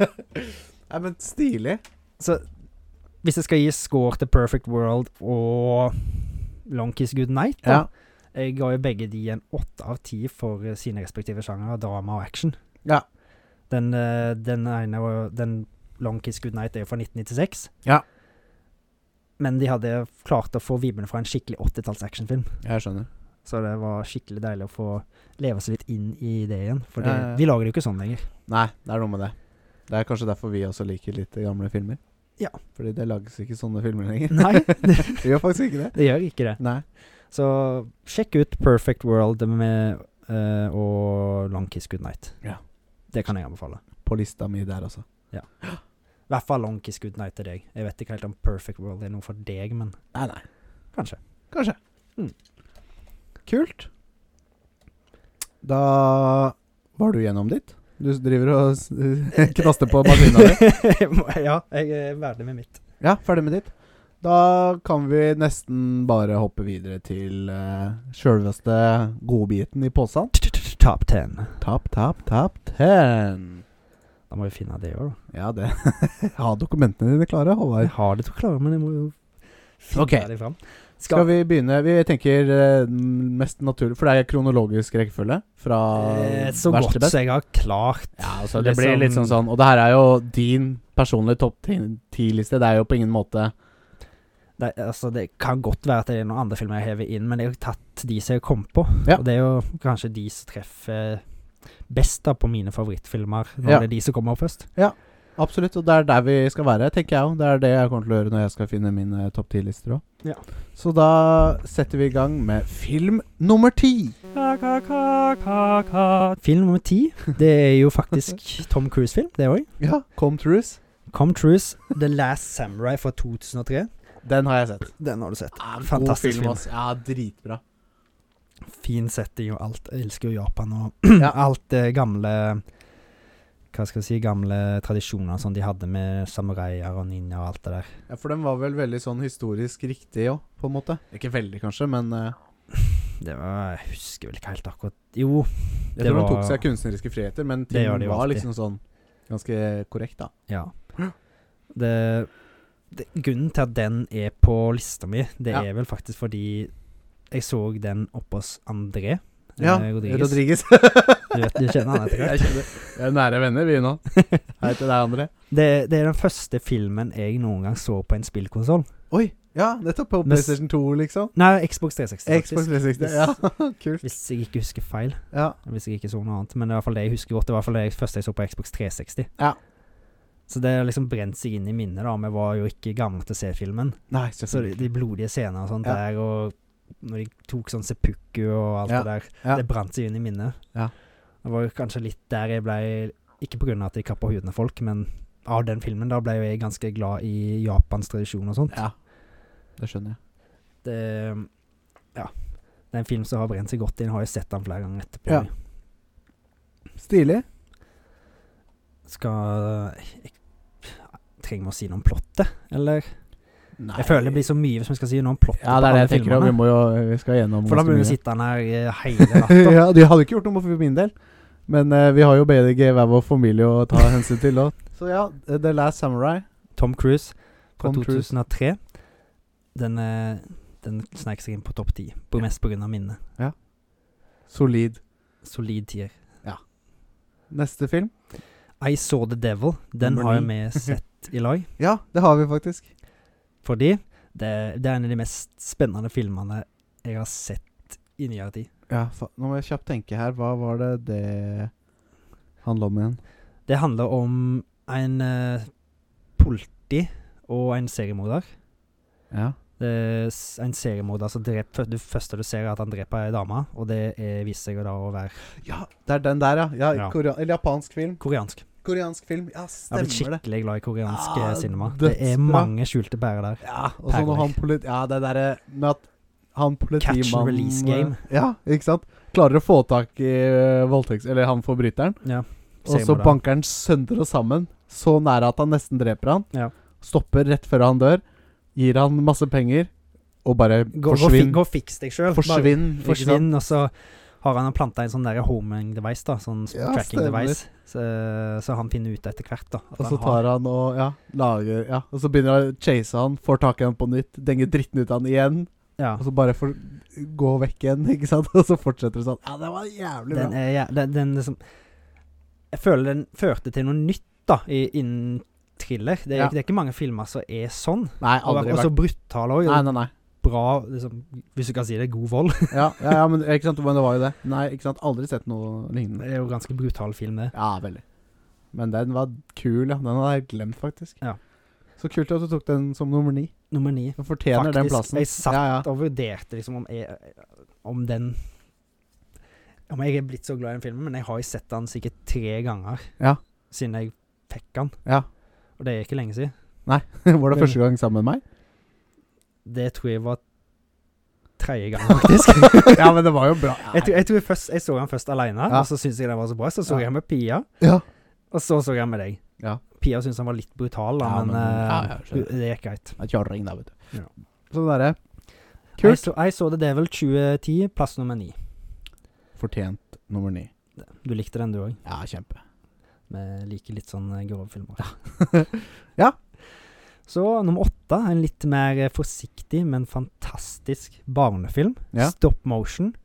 S3: Nei, men stilig.
S4: Så hvis jeg skal gi score til Perfect World og Long Kiss Good Night, da, Jeg ga jo begge de en åtte av ti for eh, sine respektive sjangere, drama og action.
S3: Ja.
S4: Den, eh, den ene var jo Den Long Kiss Good Night er jo fra 1996.
S3: Ja.
S4: Men de hadde klart å få vibbene fra en skikkelig 80-talls actionfilm.
S3: Jeg skjønner.
S4: Så det var skikkelig deilig å få leve seg litt inn i det igjen. For det,
S3: Ja, ja, ja.
S4: de lager det jo ikke sånn lenger.
S3: Nei, det er noe med det. Det er kanskje derfor vi også liker litt gamle filmer.
S4: Ja.
S3: Fordi det lages ikke sånne filmer lenger.
S4: Nei, det,
S3: Vi gjør faktisk ikke det.
S4: det gjør ikke det.
S3: Nei.
S4: Så sjekk ut Perfect World med, eh, og Long Kiss Good Night.
S3: Ja.
S4: Det kan jeg anbefale.
S3: På lista mi der, altså.
S4: I hvert fall Long Kiss Good Night til deg. Jeg vet ikke helt om Perfect World er noe for deg, men
S3: Nei, nei.
S4: kanskje.
S3: Kanskje.
S4: Mm.
S3: Kult. Da var du gjennom ditt. Du driver og s- knaster på maskina di.
S4: ja, jeg er ferdig med mitt.
S3: Ja, ferdig med ditt. Da kan vi nesten bare hoppe videre til uh, sjølveste godbiten i posen.
S4: Top ten.
S3: Tap, tap, tap, ten.
S4: Da Da må vi finne det òg, da.
S3: Ja, det Ha dokumentene dine klare, Håvard.
S4: Jeg har det til å klare, men jeg må jo finne
S3: Ok.
S4: det fram.
S3: Skal vi begynne Vi tenker eh, mest naturlig For det er kronologisk rekkefølge fra
S4: Eh, Så
S3: verst
S4: godt
S3: til Ah, best.
S4: som jeg har klart.
S3: Ja, altså, det
S4: Liksom-
S3: blir litt sånn sånn Og det her er jo din personlige topp ti-liste. Det er jo på ingen måte
S4: Det, altså, det kan godt være at det er noen andre filmer jeg hever inn, men jeg har tatt de som jeg kom på.
S3: Ja.
S4: Og det er jo kanskje de som treffer best da på mine favorittfilmer, når
S3: Ja.
S4: det er de som kommer først.
S3: Absolutt, og det er der vi skal være, tenker jeg òg. Det er det jeg kommer til å gjøre når jeg skal finne mine eh, topp ti-lister òg.
S4: Ja.
S3: Så da setter vi i gang med film nummer ti.
S1: Ka-ka-ka-ka-ka.
S4: Film nummer ti, det er jo faktisk Tom Cruise-film, det òg.
S3: Ja, Come Trues.
S4: Come Cruise, The Last Samurai fra 2003.
S3: Den har jeg sett.
S4: Den har du sett.
S3: Ja,
S4: Fantastisk film.
S3: ass. Ja, dritbra.
S4: Fin setting og alt. Jeg elsker jo Japan og
S3: Ja.
S4: alt det gamle Hva skal jeg si Gamle tradisjoner som de hadde med samuraier og ninja og alt det der.
S3: Ja, For den var vel veldig sånn historisk riktig òg, på en måte. Ikke veldig, kanskje, men eh,
S4: Det var, Jeg husker vel ikke helt akkurat Jo,
S3: jeg
S4: Det
S3: tror den
S4: var-
S3: tok seg kunstneriske friheter, men
S4: Det
S3: ting
S4: gjør de jo
S3: var
S4: alltid.
S3: liksom sånn ganske korrekt, da.
S4: Ja. Det, det, grunnen til at den er på lista mi, det
S3: Ja.
S4: er vel faktisk fordi jeg så den oppe hos André. eh, Rodriguez.
S3: Rodriguez.
S4: Du, vet, du kjenner han etter hvert.
S3: Jeg kjenner Vi er nære venner, vi nå. Hei til deg, André.
S4: Det, det er den første filmen jeg noen gang så på en spillkonsoll.
S3: Oi! Ja, nettopp. På
S4: Mens-
S3: PlayStation 2, liksom.
S4: Nei, Xbox 360. faktisk.
S3: Xbox 360. Ja, kult.
S4: Hvis jeg ikke husker feil.
S3: Ja.
S4: Hvis jeg ikke så noe annet. Men det er i hvert fall det jeg husker godt. Det var i hvert fall det jeg- første jeg så på Xbox 360.
S3: Ja.
S4: Så det har liksom brent seg inn i minnet, da. Vi var jo ikke gamle til å se filmen.
S3: Nei,
S4: Så de, de blodige scenene og sånt
S3: Ja.
S4: der, og når de tok sånn seppuku og alt
S3: Ja,
S4: det der,
S3: ja.
S4: det brant seg inn i minnet.
S3: Ja.
S4: Det var jo kanskje litt der jeg ble Ikke pga. at de kappa huden av folk, men av den filmen da ble jo jeg ganske glad i Japans tradisjon og sånt.
S3: Ja. Det skjønner jeg.
S4: Det, eh, ja. det er en film som har brent seg godt inn, har jeg sett den flere ganger etterpå.
S3: Ja. Stilig.
S4: Skal jeg, Trenger vi å si noe om plottet, eller?
S3: Nei.
S4: Jeg føler det blir så mye hvis vi skal si noe om plottet.
S3: Ja, det er det jeg tenker. og Vi må jo Vi skal gjennom
S4: For da
S3: ganske
S4: burde
S3: mye.
S4: vi sitte her eh, hele natta.
S3: ja, de hadde ikke gjort noe for min del. Men eh, vi har jo BDG hver vår familie å ta hensyn til da. Så ja,
S4: eh,
S3: The Last Samurai.
S4: Tom Cruise fra
S3: Tom Cruise.
S4: 2003. Den, eh, den snek seg inn på topp ti, på mest pga. minnet.
S3: Solid.
S4: Solid tier.
S3: Neste film?
S4: I Saw The Devil. Den
S3: Nummer
S4: har
S3: ni.
S4: vi sett i lag,
S3: Ja, det har vi faktisk.
S4: fordi det, det er en av de mest spennende filmene jeg har sett i nyere tid.
S3: Ja, fa Nå må jeg kjapt tenke her. Hva var det det handla om igjen?
S4: Det handler om en eh, politi og en seriemorder.
S3: Ja.
S4: Det er s- En seriemorder som dreper Det første du ser, er at han dreper ei dame, og det er, viser seg jo da å være
S3: ja, det er den der, ja. ja,
S4: Ja.
S3: korea- eller japansk film.
S4: koreansk.
S3: Koreansk film. Ja,
S4: Jeg har blitt
S3: stemmer det.
S4: skikkelig glad i koreansk
S3: Ah,
S4: eh, cinema. Det er
S3: dødsbra.
S4: mange skjulte bærer der.
S3: Ja, og så når
S4: Perler.
S3: han politi... Ja, det derre med at han politimannen
S4: Catch and release game.
S3: Ja, ikke sant? Klarer å få tak i uh, voldtekts... Eller han forbryteren.
S4: Ja.
S3: Og så banker han sønder og sammen, så nære at han nesten dreper han.
S4: Ja.
S3: Stopper rett før han dør. Gir han masse penger, og bare
S4: gå, gå, fi,
S3: forsvinn.
S4: gå og fiks deg sjøl.
S3: forsvinn. ikke sant?
S4: forsvinn. Og så har han planta en sånn der homing device, da. Sånn s-
S3: Ja,
S4: tracking
S3: stemmer.
S4: device. Så, så han finner ut etter hvert, da. at
S3: Og
S4: han
S3: så
S4: har-
S3: tar han og ja, lager Ja, og så begynner han å chase han, får tak i han på nytt, denger dritten ut av han igjen,
S4: ja.
S3: og så bare for, gå vekk igjen, ikke sant? Og så fortsetter det sånn. Ja, det var jævlig
S4: Den
S3: bra.
S4: er jæ- den, den liksom Jeg føler den førte til noe nytt, da, i, innen thriller. Det er,
S3: Ja.
S4: det er ikke mange filmer som er sånn.
S3: Nei,
S4: Og,
S3: aldri
S4: og så
S3: vært
S4: brutale òg.
S3: Nei, nei, nei.
S4: Bra, liksom, hvis du kan si det, god vold.
S3: Ja, ja, ja men ikke sant, men det var jo det. Nei, ikke sant. Aldri sett noe lignende.
S4: Det er jo ganske brutal film, det.
S3: Ja, veldig. Men den var kul, ja. Den hadde jeg glemt, faktisk.
S4: Ja.
S3: Så kult at du tok den som nummer ni.
S4: Nummer ni.
S3: Den fortjener den
S4: Faktisk,
S3: plassen.
S4: jeg satt
S3: ja, ja.
S4: og vurderte liksom om jeg Om den Om jeg er blitt så glad i den filmen, men jeg har jo sett den sikkert tre ganger
S3: Ja.
S4: siden jeg fikk den.
S3: ja.
S4: Og det er ikke lenge siden.
S3: Var det
S4: Men-
S3: første gang sammen med meg?
S4: Det tror jeg var tredje gang, faktisk.
S3: ja, men det var jo bra.
S4: jeg, tror, jeg tror først Jeg så den først alene,
S3: Ja.
S4: og så syntes jeg den var så bra. Så så
S3: Ja.
S4: jeg den med Pia,
S3: Ja.
S4: og så så jeg den med deg.
S3: Ja.
S4: Pia syntes den var litt brutal, da,
S3: Ja,
S4: men,
S3: men- ja,
S4: eh,
S3: ja, skjønner.
S4: det gikk greit.
S3: Det er Kjøring, da, vet du.
S4: Ja.
S3: Sånn derre.
S4: Jeg
S3: Kult.
S4: så, jeg så The Devil 2010, plass nummer ni.
S3: Fortjent nummer ni.
S4: Du likte den, du òg.
S3: Ja, kjempe.
S4: Vi liker litt sånn eh, grove filmer.
S3: Ja.
S4: Så nummer åtte, en litt mer eh, forsiktig, men fantastisk barnefilm.
S3: Ja.
S4: Stop motion.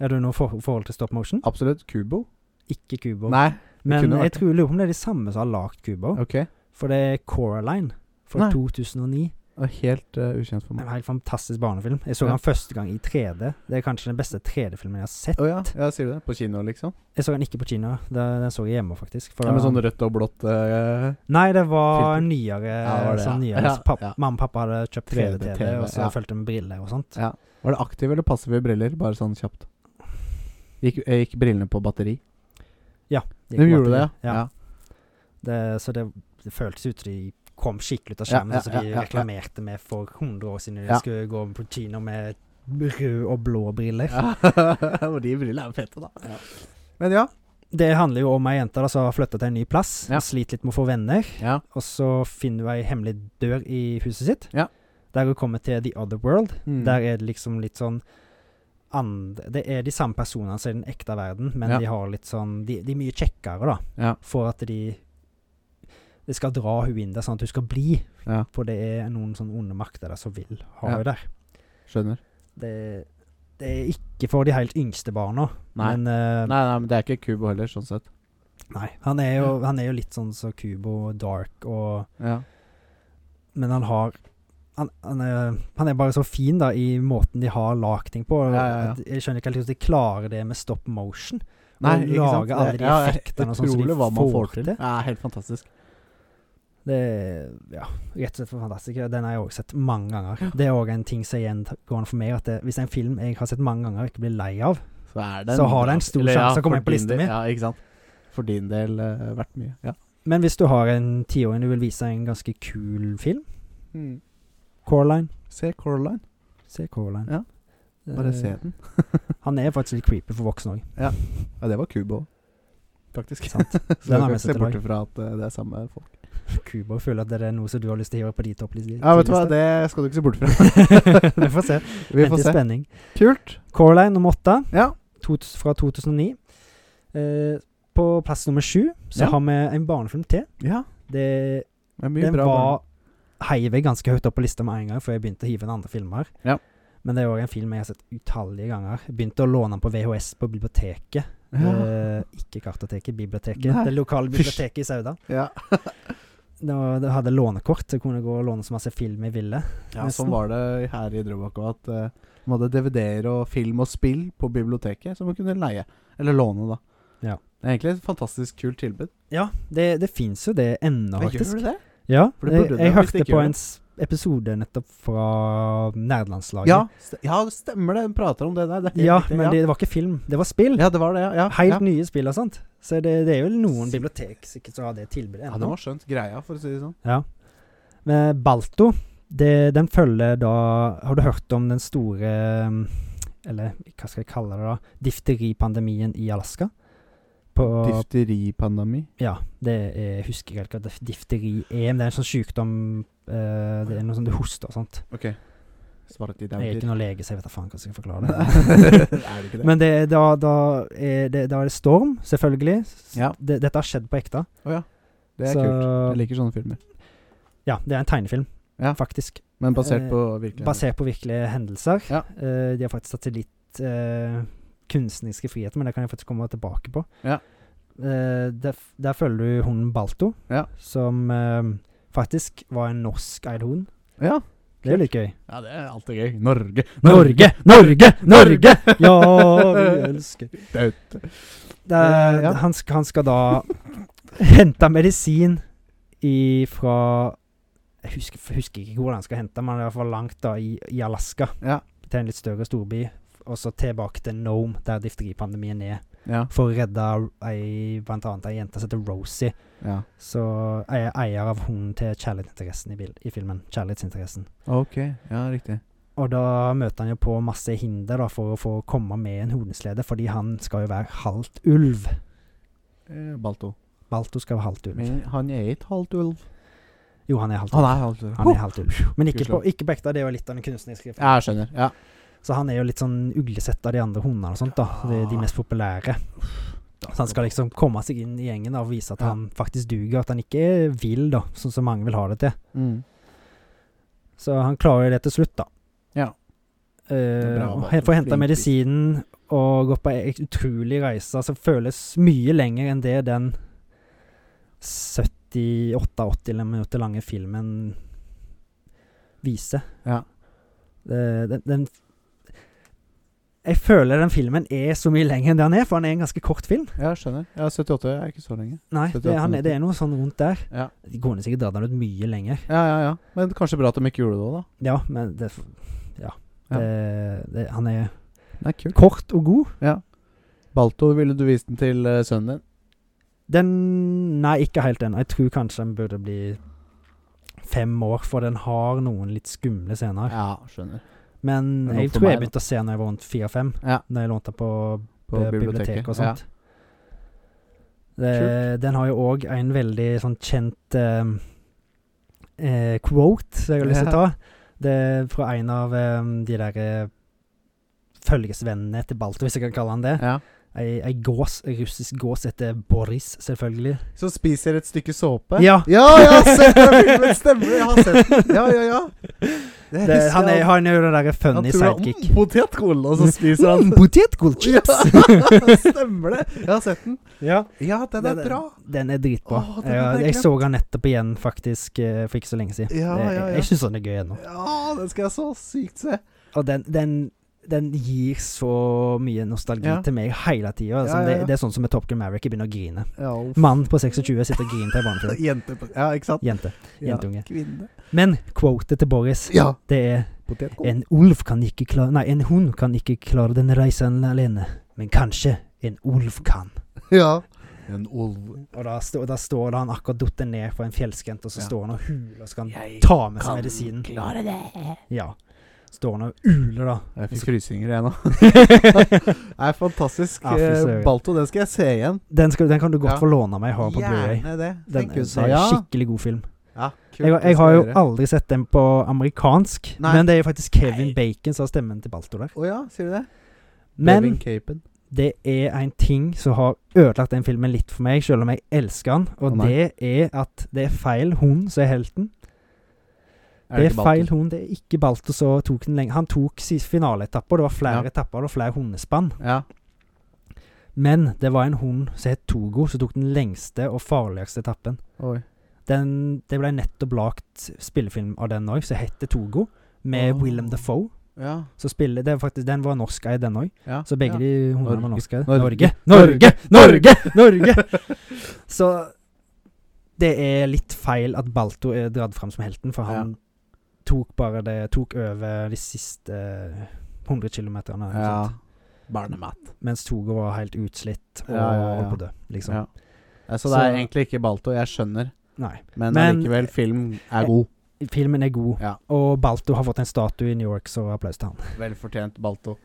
S4: Er du noe for forhold til stop motion?
S3: Absolutt. Kubo?
S4: Ikke Kubo.
S3: Nei.
S4: men
S3: kunne vært
S4: jeg
S3: det.
S4: tror jeg lurer på om det er de samme som har lagd Kubo.
S3: Ok.
S4: For det er Coraline fra
S3: Nei.
S4: 2009.
S3: Det er Helt eh, ukjent for
S4: En
S3: meg.
S4: helt fantastisk barnefilm. Jeg så
S3: Ja.
S4: den første gang i 3D. Det er kanskje den beste 3D-filmen jeg har sett.
S3: Å ja. ja, sier du det? På kino, liksom?
S4: Jeg så den ikke på kino. Det, den så jeg hjemme, faktisk. For
S3: Ja, med
S4: da-
S3: sånn rødt og blått eh,
S4: nei, det var
S3: filter.
S4: nyere.
S3: Ja, det var det, ja.
S4: sånn nyere
S3: Ja,
S4: så papp,
S3: ja.
S4: Mamma og pappa hadde kjøpt
S3: 3D
S4: 3D-TV,
S3: TV,
S4: og så
S3: ja.
S4: fulgte de med briller og sånt.
S3: Ja. Var det aktive eller passive briller? Bare sånn kjapt. Gikk, eh, gikk brillene på batteri?
S4: gikk
S3: De
S4: på
S3: gjorde det,
S4: batteri.
S3: ja.
S4: ja.
S3: ja.
S4: Det, så det, det føltes ut som de kom skikkelig ut av skjermen,
S3: Ja, ja,
S4: så de
S3: ja, ja, ja.
S4: reklamerte med for 100 år siden de
S3: Ja.
S4: skulle gå på kino med rød og blå briller.
S3: Ja. og de brillene er jo fete, da. Men ja.
S4: Det handler jo om ei jente da, som har flytta til en ny plass.
S3: Ja.
S4: Sliter litt med å få venner.
S3: ja.
S4: Og så finner hun ei hemmelig dør i huset sitt.
S3: Ja.
S4: Der hun kommer til The Other World.
S3: Mm.
S4: Der er det liksom litt sånn andre, Det er de samme personene som er i den ekte verden, men
S3: Ja.
S4: de har litt sånn de, de er mye kjekkere, da.
S3: Ja.
S4: For at de Det skal dra hun inn der, sånn at hun skal bli.
S3: Ja.
S4: For det er noen sånne onde makter der som vil ha
S3: Ja.
S4: henne der.
S3: Skjønner.
S4: Det, det er ikke for de helt yngste barna,
S3: Nei.
S4: men
S3: Nei,
S4: eh,
S3: nei, men det er ikke Kubo heller, sånn sett.
S4: Nei. Han er jo,
S3: Mm.
S4: han er jo litt sånn som Kubo, Dark og
S3: Ja.
S4: Men han har han, han, er, han er bare så fin da i måten de har lagd ting på.
S3: Ja, ja, ja.
S4: At Jeg skjønner ikke helt hvordan de klarer det med stop motion.
S3: Nei,
S4: Og
S3: ikke sant?
S4: lage alle
S3: Det-
S4: de
S3: ja,
S4: effektene og sånn som de
S3: Utrolig hva man
S4: får
S3: får til.
S4: til.
S3: Ja, helt fantastisk.
S4: Det er ja, rett og slett for fantastisk. Den har jeg òg sett mange ganger. Det er òg en ting som er gjengående for meg, at det, hvis en film jeg har sett mange ganger og ikke blir lei av,
S3: Så, er det
S4: Så har det en stor sjanse å komme
S3: for
S4: inn på
S3: din
S4: listen
S3: del-
S4: min.
S3: Ja, ikke sant. For din del eh, verdt mye. Ja.
S4: Men hvis du har en tiåring du vil vise en ganske kul film, Coraline
S3: Hmm. Se Coraline.
S4: Se Coraline.
S3: Ja. Bare
S4: Eh,
S3: se den.
S4: Han er faktisk litt creepy for voksne òg.
S3: Ja, det var Kubo. Faktisk.
S4: Sant.
S3: Så du
S4: har
S3: kan
S4: vi
S3: ikke se
S4: sett i dag.
S3: bort ifra at eh, det er samme folk.
S4: Kubo føler at det er noe som du har lyst til å hive på de topplistene.
S3: Ja, vet du hva, det skal du ikke se bort fra.
S4: Vi får se.
S3: Vi
S4: Vent i
S3: får se.
S4: spenning.
S3: Kult.
S4: Coraline nummer åtte,
S3: Ja.
S4: to- fra 2009. Eh, på plass nummer sju så
S3: Ja.
S4: har vi en barnefilm til.
S3: ja.
S4: Det,
S3: Det er mye
S4: den
S3: bra. barn.
S4: var heiv jeg ganske høyt opp på lista med en gang før jeg begynte å hive inn andre filmer.
S3: Ja.
S4: Men det er òg en film jeg har sett utallige ganger. Jeg Begynte å låne den på VHS på biblioteket.
S3: Ja.
S4: Eh, ikke Kartoteket, biblioteket.
S3: Nei.
S4: Det lokale
S3: Fysj.
S4: biblioteket i Sauda.
S3: Ja.
S4: Det var, det hadde lånekort, så jeg kunne gå og låne så masse film jeg ville.
S3: ja,
S4: Nesten.
S3: sånn var det her i Drøbak òg, at eh, man hadde DVD-er og film og spill på biblioteket som man kunne leie. Eller låne, da.
S4: Ja.
S3: Det er egentlig et fantastisk kult tilbud.
S4: Ja, det, det fins jo det ennå,
S3: Men
S4: faktisk.
S3: det?
S4: Ja,
S3: For det
S4: jeg,
S3: burde det,
S4: jeg
S3: hvis det
S4: hørte
S3: ikke
S4: på
S3: gjør
S4: en s- episode nettopp fra Nerdelandslaget.
S3: Ja, st ja, stemmer det. Hun prater om det der. Det er helt
S4: Ja,
S3: riktig,
S4: men det, det var ikke film, det var spill.
S3: ja. ja, det var det. Ja, ja,
S4: Helt
S3: ja.
S4: nye spill og sånt. Så det, det er jo noen
S3: Sykt.
S4: bibliotek sikkert som har det tilbudet
S3: ja, det
S4: ennå.
S3: var skjønt greia, for å si det sånn.
S4: Men Balto, det, den følger da Har du hørt om den store mm, Eller hva skal jeg kalle det, da? Difteripandemien i Alaska? På,
S3: Difteripandemi.
S4: Ja, det er, jeg husker ikke helt hva dif- difteri er, men det er en sånn sykdom eh, Det er noe sånn du hoster og sånt.
S3: Ok. Svarte i
S4: Jeg er
S3: dauder.
S4: ikke noen lege, så jeg vet da faen hvordan jeg skal
S3: er
S4: forklare det.
S3: det ikke det?
S4: Men det, er da, da, er det, da er det storm, selvfølgelig. S-
S3: Ja.
S4: Det, dette har skjedd på ekte.
S3: Å ja. Det er
S4: så,
S3: kult. Jeg liker sånne filmer.
S4: Ja, det er en tegnefilm,
S3: Ja.
S4: faktisk.
S3: Men basert
S4: Eh,
S3: på virkelig
S4: Basert på virkelige hendelser.
S3: Ja.
S4: Eh, de har faktisk tatt til litt eh, kunstneriske friheter, men det kan jeg faktisk komme tilbake på.
S3: Ja.
S4: Eh, der, f- der følger du hunden Balto,
S3: Ja.
S4: som eh, faktisk var en norskeid hund.
S3: Ja.
S4: Det er jo litt gøy.
S3: ja, det er alltid gøy. Norge.
S4: Norge, Norge, Norge! Ja, vi elsker
S3: Daut.
S4: det er,
S3: Eh, ja.
S4: han, sk- han skal da hente medisin ifra Jeg husker, f- husker ikke hvor han skal hente, men det er iallfall langt da i, i Alaska.
S3: Ja.
S4: Til en litt større storby. Og så tilbake til Nome, der difteripandemien er.
S3: Ja.
S4: For å redde ei, blant annet ei jente som heter Rosie.
S3: ja.
S4: Så er jeg eier av hunden til kjærlighetsinteressen i, bil, i filmen. Kjærlighetsinteressen.
S3: Ok. Ja, riktig.
S4: Og da møter han jo på masse hinder da for å få komme med en hodeslede, fordi han skal jo være halvt ulv.
S3: Eh, Balto.
S4: Balto skal være halvt ulv.
S3: Men han er ikke halvt ulv.
S4: Jo, han er halvt
S3: Han er halvt ulv.
S4: Han er halvt ulv. Men ikke
S3: Gudskjelov.
S4: på, ikke på ekte, det er jo litt av den kunstneriske.
S3: Ja, jeg skjønner. Ja.
S4: Så han er jo litt sånn uglesett av de andre hundene og sånt, da. De, de mest populære.
S3: Da
S4: Så han skal liksom komme seg inn i gjengen da, og vise at
S3: Ja.
S4: han faktisk duger, at han ikke er vill, da, sånn som mange vil ha det til.
S3: Mm.
S4: Så han klarer jo det til slutt, da.
S3: Ja. er bra,
S4: Uh,
S3: da.
S4: Få
S3: Flink
S4: henta
S3: gutt.
S4: medisinen og gått på ei utrolig reise som føles mye lenger enn det den 78-80 minutter lange filmen viser.
S3: Ja.
S4: Det, den, den Jeg føler den filmen er så mye lenger enn det han er, for han er en ganske kort film.
S3: Ja, skjønner. Ja, 78 er ikke så lenge.
S4: Nei, det,
S3: 78
S4: han, er- det er noe sånn rundt der.
S3: Ja.
S4: De kunne sikkert dratt den ut mye lenger.
S3: Ja, ja, ja. Men kanskje bra at de ikke gjorde det òg, da.
S4: Ja, men det Ja.
S3: Ja.
S4: Det, det, han er
S3: Det er kult.
S4: kort og god.
S3: Balto, ville du vist den til eh, sønnen din?
S4: Den Nei, ikke helt ennå. Jeg tror kanskje den burde bli fem år, for den har noen litt skumle scener.
S3: Ja, skjønner.
S4: Men
S3: Det er noe
S4: jeg
S3: for
S4: tror jeg
S3: meg,
S4: begynte å se den da jeg var rundt fire-fem,
S3: Ja.
S4: da jeg lånte den på,
S3: På
S4: eh, biblioteket.
S3: biblioteket.
S4: og sånt. Det, den har jo òg en veldig sånn kjent eh, eh, quote som jeg har lyst til å ta. Det er fra en av eh, de der eh, følgesvennene til Balto, hvis jeg kan kalle han det.
S3: Ja.
S4: Ei, ei gås, ei russisk gås, heter Boris, selvfølgelig.
S3: Så spiser et stykke såpe?
S4: Ja.
S3: ja jeg har sett den filmen! Stemmer, jeg har sett den. Ja, ja, ja. Det
S4: Det, han er,
S3: jeg.
S4: han er jo den derre funny
S3: tror han-
S4: sidekick.
S3: mm, Potetgull, og så spiser han
S4: Mm, potetgull chips!
S3: Ja, Stemmer det. Jeg har sett den.
S4: Ja.
S3: Ja, den er
S4: Den-
S3: bra.
S4: Den er dritbra.
S3: Åh, den hadde
S4: ja,
S3: jeg
S4: jeg
S3: glemt.
S4: så han nettopp igjen, faktisk, eh, for ikke så lenge siden.
S3: Ja, ja,
S4: Det-
S3: ja.
S4: Jeg, jeg syns han er gøy ennå.
S3: Ja, den skal jeg så sykt se.
S4: Og den, den, den gir så mye nostalgi
S3: Ja.
S4: til meg hele tida. Altså,
S3: Ja, ja, ja.
S4: det, det er sånn som med Top Gun Maverick, jeg begynner å grine.
S3: Ja, uff.
S4: Mann på 26 sitter og griner til en barnefilm.
S3: Jente på Ja, ikke sant?
S4: Jente.
S3: Ja,
S4: Jentunge.
S3: Kvinne.
S4: Men quotet til Boris,
S3: Ja.
S4: det er
S3: Potetgull.
S4: En ulv kan ikke klare Nei, en hund kan ikke klare den reisen alene. Men kanskje en ulv kan.
S3: Ja. En ulv.
S4: Og da, stå, da står det han akkurat datt ned på en fjellskrent, og så
S3: Ja.
S4: står han og huler, og så skal han
S3: Jeg
S4: ta med seg medisinen.
S3: klare det.
S4: Ja. Står han og uler, da.
S3: Jeg fikk frysninger igjen nå. Det er fantastisk.
S4: Ja, fy søren.
S3: Eh, Balto, den skal jeg se igjen.
S4: Den, skal, den kan du godt
S3: Ja.
S4: få låne av meg. Jeg har den på Blu-ray.
S3: Gjerne det.
S4: Den
S3: Tenk
S4: det
S3: hun sa
S4: er
S3: ja.
S4: en skikkelig god film.
S3: Ja, kult,
S4: Jeg,
S3: det
S4: jeg
S3: skal
S4: har jo
S3: gjøre.
S4: aldri sett den på amerikansk,
S3: Nei.
S4: men det er jo faktisk Kevin Bacon som har stemmen til Balto der.
S3: Å ja, sier du det?
S4: Men
S3: Kevin Capen.
S4: det er en ting som har ødelagt den filmen litt for meg, selv om jeg elsker den, og
S3: Å nei.
S4: det er at det er feil hund som er helten. Det er
S3: ikke
S4: feil
S3: Balto?
S4: hund, det er ikke Balto som tok den lenge. Han tok sist finaleetapper, det var flere
S3: Ja.
S4: etapper, det var flere hundespann.
S3: Ja.
S4: Men det var en hund som het Togo, som tok den lengste og farligste etappen.
S3: Oi.
S4: Den, det ble nettopp lagt spillefilm av den òg, som heter Togo, med
S3: Åh.
S4: Willem Dafoe.
S3: Ja.
S4: Så spiller, det er faktisk, den var norskeid, den òg.
S3: ja.
S4: Så begge
S3: ja.
S4: de hundene
S3: Norge.
S4: var norske.
S3: Norge.
S4: Norge! Norge! Norge! Så det er litt feil at Balto er dratt fram som helten, for han tok bare det Tok over de siste 100 kilometerne. ikke
S3: Ja.
S4: sant?
S3: Barnemat.
S4: Mens Togo var helt utslitt og
S3: Ja, ja, ja.
S4: holdt på å dø, liksom.
S3: Ja. Ja, så det er
S4: Så-
S3: egentlig ikke Balto, jeg skjønner.
S4: Nei.
S3: Men,
S4: Men-
S3: allikevel, film er god.
S4: Filmen er god,
S3: Ja.
S4: og Balto har fått en statue i New York, så applaus til han.
S3: Velfortjent Balto.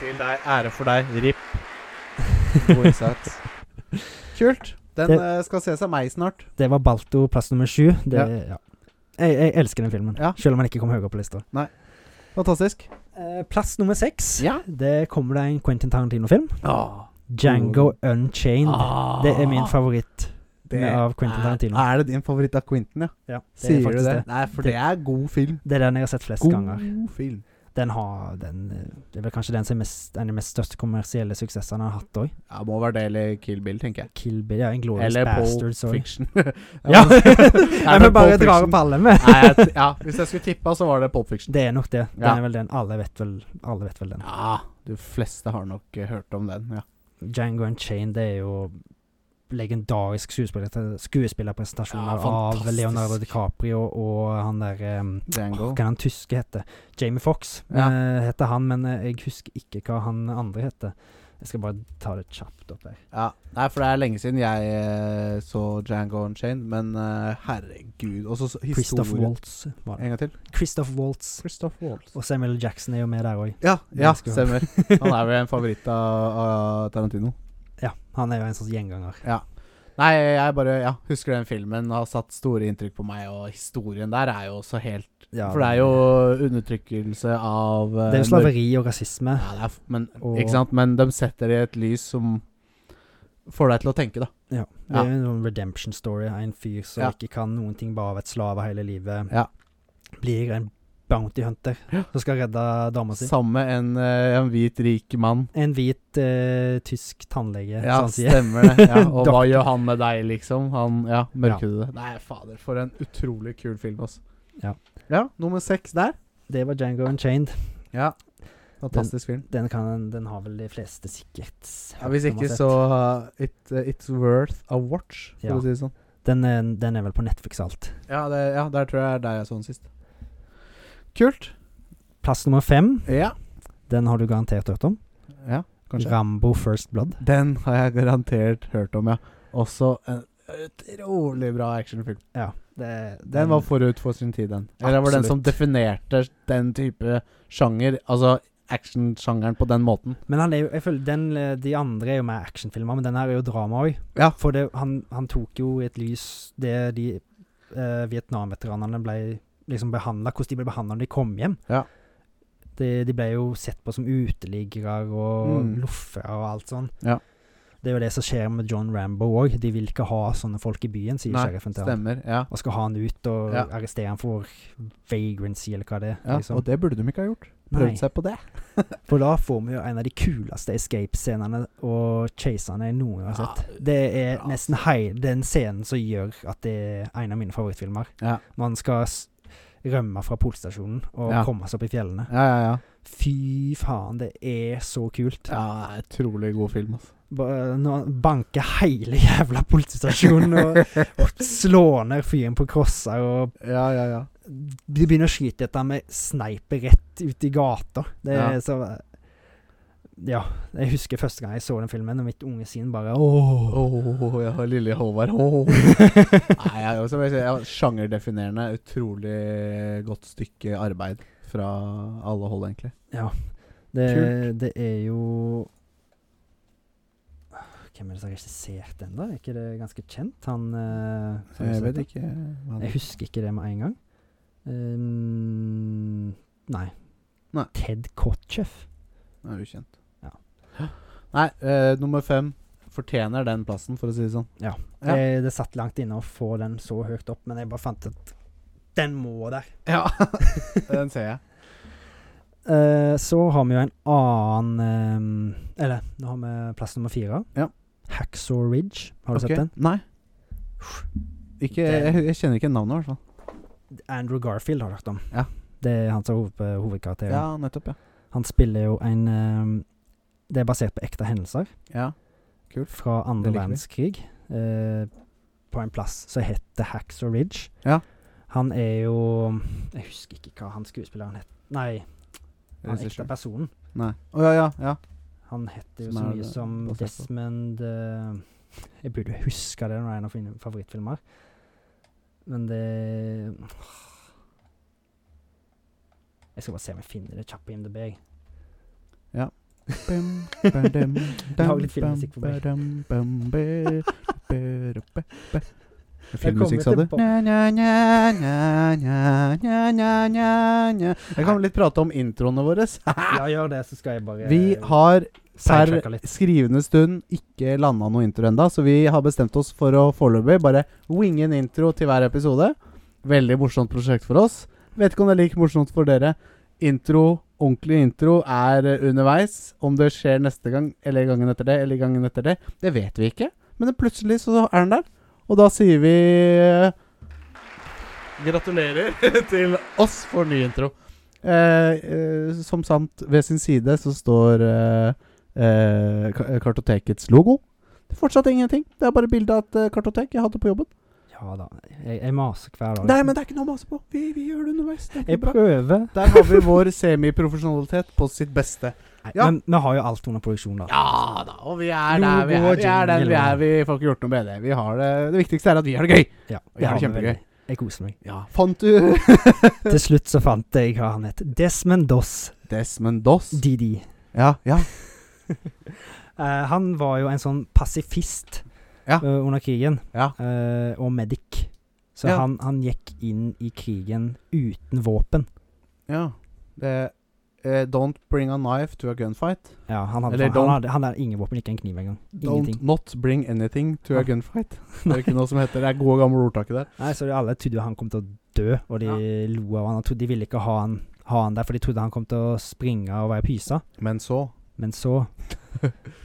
S3: Til deg, ære for deg. RIP. God innsats. Kult. Den
S4: Det-
S3: eh, skal ses av meg snart.
S4: Det var Balto plass nummer sju. Det, ja. Jeg, jeg elsker den filmen,
S3: Ja.
S4: selv om den ikke kom høyere på lista.
S3: Fantastisk.
S4: Eh, plass nummer seks.
S3: Ja.
S4: Det kommer det en Quentin Tarantino-film. Django Unchained.
S3: Ah.
S4: Det er min favoritt
S3: Det
S4: med- av Quentin
S3: er-
S4: Tarantino.
S3: Er det din favoritt av Quentin, ja?
S4: Ja, det er
S3: Sier du
S4: faktisk
S3: det? Nei, for det er god film.
S4: Det er den jeg har sett flest
S3: God
S4: ganger.
S3: film.
S4: Den har den, eh, Det er vel kanskje den som er mest, en av de mest største kommersielle suksessene han har hatt òg.
S3: Ja, må være det eller Kill Bill, tenker jeg.
S4: Kill Bill, ja, en Glorious
S3: Eller Pole
S4: Bastards òg.
S3: Fiction.
S4: Ja!
S3: men-
S4: Nei,
S3: det
S4: men bare
S3: Pulp
S4: drar
S3: Fiction?
S4: opp alle med.
S3: Nei, jeg t- ja, hvis jeg skulle tippa, så var det Pole Fiction.
S4: Det er nok det. Den
S3: Ja.
S4: er vel den. Alle vet vel, alle vet vel den.
S3: Ja, de fleste har nok eh, hørt om den, ja.
S4: Django Unchained det er jo legendarisk skuespiller, skuespillerpresentasjoner
S3: Ja,
S4: av
S3: fantastisk.
S4: Leonardo DiCaprio og han der eh,
S3: Django.
S4: Hva kan han tyske hete? Jamie Fox
S3: Ja.
S4: eh, heter han, men eh, jeg husker ikke hva han andre heter. Jeg skal bare ta det kjapt opp der.
S3: Ja, Nei, for det er lenge siden jeg eh, så Django Unchained, men eh, herregud Og så så
S4: Christoph
S3: historien.
S4: Waltz var det.
S3: En gang til.
S4: Christoph Waltz.
S3: Christoph Waltz.
S4: Og Samuel Jackson er jo med der òg.
S3: Ja, ja
S4: Den skal-
S3: stemmer. Han er vel en favoritt av, av Tarantino.
S4: Ja, han er jo en sånn gjenganger.
S3: Nei, jeg bare ja, husker den filmen har satt store inntrykk på meg, og historien der er jo også helt
S4: Ja,
S3: For det er jo undertrykkelse av eh,
S4: Det er jo slaveri og rasisme.
S3: Ja, det er, f- men,
S4: Og-
S3: ikke sant? men de setter det i et lys som får deg til å tenke, da.
S4: Ja. Det
S3: Ja.
S4: er jo en sånn redemption story av en fyr som
S3: Ja.
S4: ikke kan noen ting, bare har vært slave hele livet.
S3: Ja.
S4: Blir en bounty hunter
S3: Ja.
S4: som skal redde dama si.
S3: Samme en, eh, en hvit, rik mann.
S4: En hvit eh, tysk tannlege,
S3: Ja,
S4: som han sier.
S3: stemmer det. Ja, og hva
S4: sånn Doktor.
S3: gjør han med deg, liksom? Han, ja, mørkhudede. Nei, fader, for en utrolig kul film, altså.
S4: Ja.
S3: ja, nummer seks der.
S4: Det var Django Unchained.
S3: Ja. Fantastisk film.
S4: Den, kan, den har vel de fleste sikkert.
S3: Ja, hvis
S4: hørt om
S3: ikke,
S4: og sett.
S3: så uh, it, uh, It's worth a watch, for
S4: Ja.
S3: å si det sånn.
S4: den er, den er vel på Netflix alt.
S3: Ja, det, ja, der tror jeg det er der jeg så den sist. Kult.
S4: Plass nummer fem,
S3: Ja.
S4: den har du garantert hørt om.
S3: ja kanskje.
S4: Rambo First Blood.
S3: Den har jeg garantert hørt om, ja. Også en utrolig bra actionfilm.
S4: Ja. Det,
S3: Den var forut for sin tid, den. Eller det var den som
S4: Absolutt.
S3: definerte den type sjanger. Altså actionsjangeren på den måten.
S4: Men han er jo, jeg føler den, eh, de andre er jo mer actionfilmer, men den her er jo drama òg.
S3: Ja.
S4: For det, han, han tok jo i et lys det de eh, Vietnam-veteranene ble liksom behandla, hvordan de ble behandla når de kom hjem.
S3: Ja.
S4: De, de ble jo sett på som uteliggere og
S3: Mm.
S4: loffere og alt sånn.
S3: Ja.
S4: Det er jo det som skjer med John Rambo òg. De vil ikke ha sånne folk i byen, sier
S3: Nei,
S4: sheriffen til han.
S3: Stemmer. Ja.
S4: Og skal ha han ut og
S3: Ja.
S4: arrestere han for vagrancy eller hva det er.
S3: ja.
S4: liksom.
S3: Og det burde de ikke ha gjort.
S4: Nei.
S3: Prøvd seg på det.
S4: For da får vi jo en av de kuleste escape-scenene og chasene jeg noen gang har sett.
S3: Ja, altså.
S4: Det er
S3: bra.
S4: nesten hei, den scenen som gjør at det er en av mine favorittfilmer.
S3: Ja.
S4: Man skal s rømme fra politistasjonen og
S3: Ja.
S4: komme seg opp i fjellene.
S3: Ja, ja, ja.
S4: Fy faen, det er så kult.
S3: ja det er utrolig god film, altså.
S4: Ba- Når han banker hele jævla politistasjonen og, og slår ned fyren på krosser og
S3: Ja, ja, ja.
S4: de begynner å skyte etter med sniper rett ut i gata. Det er
S3: Ja.
S4: så eh, Ja. Jeg husker første gang jeg så den filmen, og mitt unge sinn bare Åh.
S3: Åh, jeg har lille Håvard. Åh. Nei, jeg, er også, jeg, jeg, har Sjangerdefinerende, utrolig godt stykke arbeid fra alle hold, egentlig.
S4: Det,
S3: Kult.
S4: det er jo Hvem er det som har regissert den, da? Er ikke det ganske kjent? Han eh, som har
S3: Jeg
S4: regissert
S3: vet
S4: den?
S3: ikke hva
S4: Jeg
S3: det
S4: husker ikke det med en gang. Ehm, nei.
S3: Nei.
S4: Ted Kotcheff.
S3: er ukjent.
S4: Ja.
S3: Nei, eh, nummer fem fortjener den plassen, for å si det sånn. Ja.
S4: Det, det satt langt inne å få den så høyt opp, men jeg bare fant ut Den må der.
S3: Ja, den ser jeg.
S4: Eh, så har vi jo en annen ehm, Eller, nå har vi plass nummer fire.
S3: Ja.
S4: Hacksaw Ridge. Har du
S3: Ok.
S4: sett den?
S3: Nei. Ikke,
S4: Den-
S3: jeg, jeg kjenner ikke navnet, i hvert fall.
S4: Andrew Garfield har du hørt om.
S3: Ja.
S4: Det er han som er hoved, hovedkarakteren.
S3: Ja, nettopp, ja.
S4: Han spiller jo en ehm, Det er basert på ekte hendelser
S3: Ja,
S4: fra andre
S3: Det liker vi.
S4: verdenskrig. eh, på en plass som heter Hacksaw Ridge.
S3: Ja.
S4: Han er jo Jeg husker ikke hva han skuespilleren het. Nei, han ekte
S3: Regissør.
S4: personen.
S3: Nei. Å ja, ja, ja.
S4: Han heter jo
S3: Som
S4: så
S3: er
S4: mye
S3: det
S4: som
S3: basert på.
S4: Desmond eh, Jeg burde huske det, det er en av mine favorittfilmer. Men det Jeg skal bare se om jeg finner det kjapt på IMDb. jeg.
S3: Bum, ba-dum,
S4: Lag
S3: dum,
S4: litt filmmusikk for meg.
S3: bum, ba-dum, bum, be, be, be, be.
S4: kommer
S3: Filmmusikk, sa du?
S4: tilbake.
S3: Nja, nja, nja, nja, nja, nja, nja, nja, nja. Jeg kan vel litt prate om introene våre.
S4: Ja, gjør det, så skal jeg bare
S3: Vi har
S4: sidetracka
S3: per
S4: litt.
S3: skrivende stund ikke landa noe intro enda, så vi har bestemt oss for å foreløpig bare winge en intro til hver episode. Veldig morsomt prosjekt for oss. Vet ikke om det er like morsomt for dere. Intro, ordentlig intro, er eh, underveis. Om det skjer neste gang, eller gangen etter det, eller gangen etter det, det vet vi ikke. Men det plutselig så er den der. Og da sier vi eh, Gratulerer til oss for ny intro. Eh, eh, som sant, ved sin side så står eh, eh, ka- kartotekets logo. Det er fortsatt ingenting. Det er bare bilde av et eh, kartotek jeg hadde på jobben.
S4: Ja da. Jeg, jeg maser hver dag.
S3: Nei, men det er ikke noe å mase på. Vi, vi gjør det underveis. Det er
S4: jeg
S3: ikke bra.
S4: prøver.
S3: Der har vi vår semiprofesjonalitet på sitt beste.
S4: Nei,
S3: Ja.
S4: Men vi har jo alt under produksjon, da.
S3: Ja da, og vi er der
S4: Logo
S3: vi er.
S4: og
S3: Vi er der vi er.
S4: jingle.
S3: Vi får ikke gjort noe med det. Vi har det. Det viktigste er at vi har det gøy.
S4: Ja,
S3: Vi har det
S4: vi
S3: kjempegøy.
S4: veldig. Jeg koser meg.
S3: Ja, fant du
S4: Til slutt så fant jeg hva han het. Desmond Doss
S3: Desmond Doss?
S4: DD.
S3: Ja, ja.
S4: Eh, han var jo en sånn pasifist
S3: Ja.
S4: eh, under krigen,
S3: Ja.
S4: eh, og medic. Så
S3: Ja.
S4: han, han gikk inn i krigen uten våpen.
S3: Ja. Det eh, Don't bring a knife to a gunfight.
S4: Ja, han hadde, sånn-
S3: Eller
S4: han,
S3: don't-
S4: hadde, han hadde ingen våpen, ikke en kniv engang.
S3: Don't
S4: Ingenting.
S3: not bring anything to
S4: Ja.
S3: a gunfight. Det er ikke noe som heter Det er gode, gamle ordtaket der.
S4: Nei, så de alle trodde jo han kom til å dø, og de lo av han. Og trodde de ville ikke ha han, ha han der, for de trodde han kom til å springe og være pysa.
S3: Men så
S4: Men så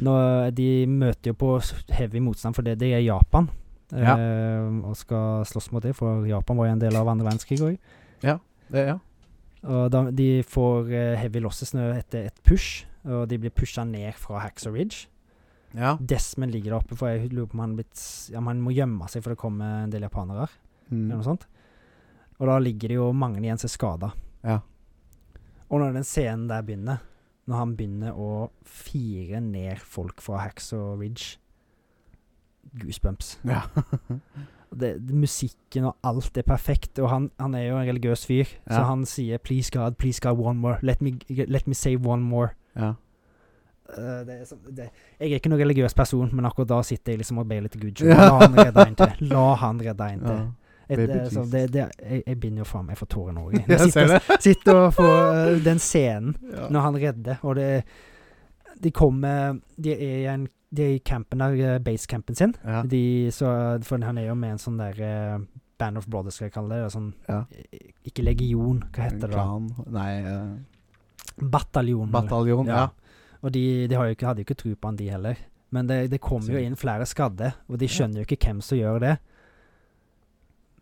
S4: når De møter jo på s- heavy motstand, for det, det er Japan.
S3: Ja.
S4: Eh, og skal slåss mot det, for Japan var jo en del av andre verdenskrig òg.
S3: det, Ja.
S4: Og da, de får eh, heavy losses nå etter et push, og de blir pusha ned fra Haxor Ridge.
S3: ja.
S4: Desmond ligger der oppe, for jeg lurer på om han, blitt, s- om han må gjemme seg, for det kommer en del japanere. eller
S3: Mm.
S4: noe sånt. Og da ligger det jo mange igjen som er skada.
S3: Ja.
S4: Og når den scenen der begynner, når han begynner å fire ned folk fra Hacks og Ridge Goosebumps.
S3: Ja.
S4: Og Det, det, musikken og alt er perfekt, og han, han er jo en religiøs fyr, så
S3: Ja.
S4: han sier 'please God, please God, one more', 'let me, let me say one more'.
S3: ja.
S4: Eh, det er sånn- det, jeg er ikke noen religiøs person, men akkurat da sitter jeg liksom og ber litt til Gud.
S3: Ja.
S4: La han redde en til. La han redde en til.
S3: ja.
S4: Et,
S3: Baby
S4: eh, så
S3: Jesus.
S4: det, det, jeg, jeg binder jo faen meg for tårer nå. jeg.
S3: Jeg ser det.
S4: Sitter og får eh, den scenen
S3: Ja.
S4: når han redder, og det De kommer De er i, en, de er i campen der, eh, basecampen sin.
S3: Ja.
S4: De, så, for han er jo med en sånn der eh, Band of Brothers, skal jeg kalle det. eller Sånn,
S3: Ja.
S4: eh, Ikke legion, hva heter det? da?
S3: Klan Nei, eh,
S4: Bataljon. eller?
S3: bataljon. Ja.
S4: Og de, de har jo ikke, hadde jo ikke tro på han, de heller. Men det, det kommer jo inn flere skadde, og de skjønner jo ikke hvem som gjør det.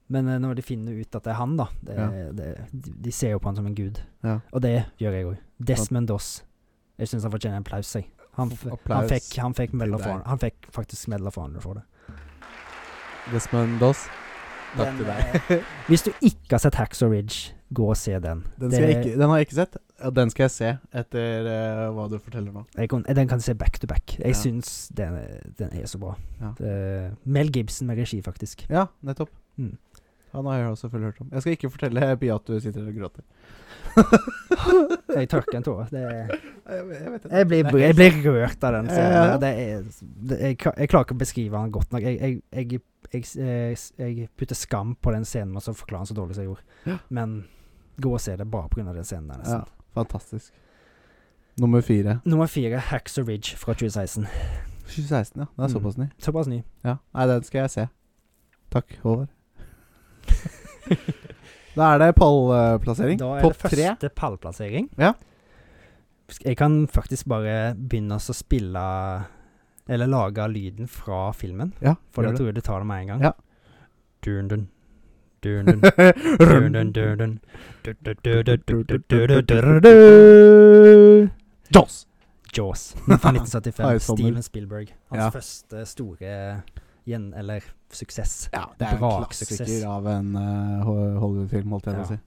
S4: Men eh, når de finner ut at det er han, da det,
S3: Ja.
S4: det, de, de ser jo på han som en gud.
S3: Ja.
S4: Og det gjør jeg òg. Desmond Doss. Jeg syns han fortjener en applaus, jeg. Han, f- han
S3: Applaus
S4: fikk, han fikk, medal
S3: til
S4: for,
S3: deg.
S4: han fikk faktisk medal for andre for det.
S3: Desmond Doss. Takk
S4: Den,
S3: til deg.
S4: eh, Hvis du ikke har sett Haxor Ridge, gå og se den.
S3: Den,
S4: det-
S3: skal jeg ikke, den har jeg ikke sett. Ja, Den skal jeg se etter eh, hva du forteller nå.
S4: Jeg kan, den kan jeg se back to back. Jeg
S3: Ja.
S4: syns den, er- den er så bra.
S3: Ja.
S4: Det- Mel Gibson med regi, faktisk.
S3: Ja, nettopp.
S4: Mm.
S3: Han har jeg også selvfølgelig hørt om. Jeg skal ikke fortelle Pia at du sitter og gråter.
S4: Jeg tørker en tåre. Det er-
S3: Jeg, jeg vet det.
S4: Jeg blir, jeg blir rørt av den scenen.
S3: Ja, ja.
S4: der. Det er, det, jeg, kla- jeg klarer ikke å beskrive den godt nok. Jeg, jeg, jeg, jeg, jeg, jeg putter skam på den scenen med å forklare den så dårlig som jeg
S3: Ja.
S4: gjorde. Men gå og se det bare pga. den scenen der.
S3: Ja,
S4: nesten.
S3: fantastisk. Nummer fire.
S4: Nummer fire, Haxor Ridge fra 2016.
S3: 2016, ja. Den er
S4: Mm.
S3: såpass ny.
S4: Såpass ny.
S3: Ja. Nei, den skal jeg se. Takk, Håvard. da er det pallplassering.
S4: Da er
S3: Topp
S4: det
S3: tre.
S4: første pallplassering.
S3: Ja.
S4: Sk- Jeg kan faktisk bare begynne å spille Eller lage lyden fra filmen.
S3: Ja,
S4: For da
S3: gjør det.
S4: tror jeg du tar det med en gang.
S3: Ja.
S4: Dun, dun. Dun, dun. Dun, dun, dun, dun. Du, du, du, du, du, du, du, du, du, du.
S3: Jaws!
S4: Jaws fra
S3: Hei,
S4: 1975.
S3: Sommer.
S4: Steven Spielberg. Hans
S3: Ja.
S4: første store gjen... Eller suksess.
S3: Ja, det er en
S4: Braksuksess.
S3: klassiker av en eh, Ho- Hollywood-film, holdt jeg på
S4: Ja.
S3: å si.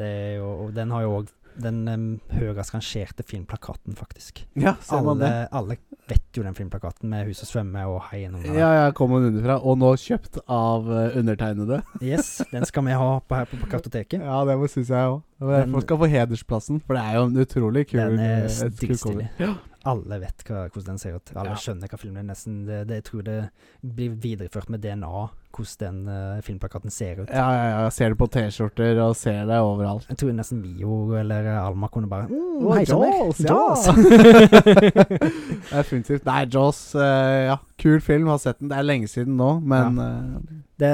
S4: Det er jo, og den har jo òg den um, høyest rangerte filmplakaten, faktisk.
S3: Ja, ser man det.
S4: Alle, alle vet jo den filmplakaten med 'Huset svømmer' og 'Hei gjennom
S3: Ja, ja, kom hun underfra. Og nå kjøpt av eh, undertegnede.
S4: Yes, den skal vi ha på, her på, på kartoteket.
S3: Ja, det syns jeg òg.
S4: Den-
S3: Folk skal få hedersplassen, for det er jo en utrolig kul
S4: Den er
S3: eh, et kult cover.
S4: stilig. Alle vet hva, hvordan den ser ut. Alle
S3: Ja.
S4: skjønner hva filmen er. nesten det, det, Jeg tror det blir videreført med DNA, hvordan den eh, filmplakaten ser ut.
S3: Ja, ja, ja. Ser det på T-skjorter og ser det overalt.
S4: Jeg tror nesten Mio eller eh, Alma kunne bare mm,
S3: Åh,
S4: hei, Sonny!»
S3: Jaws, ja.
S4: Jaws.
S3: Definitivt. Nei, Jaws eh, Ja, kul film. Har sett den. Det er lenge siden nå, men eh,
S4: det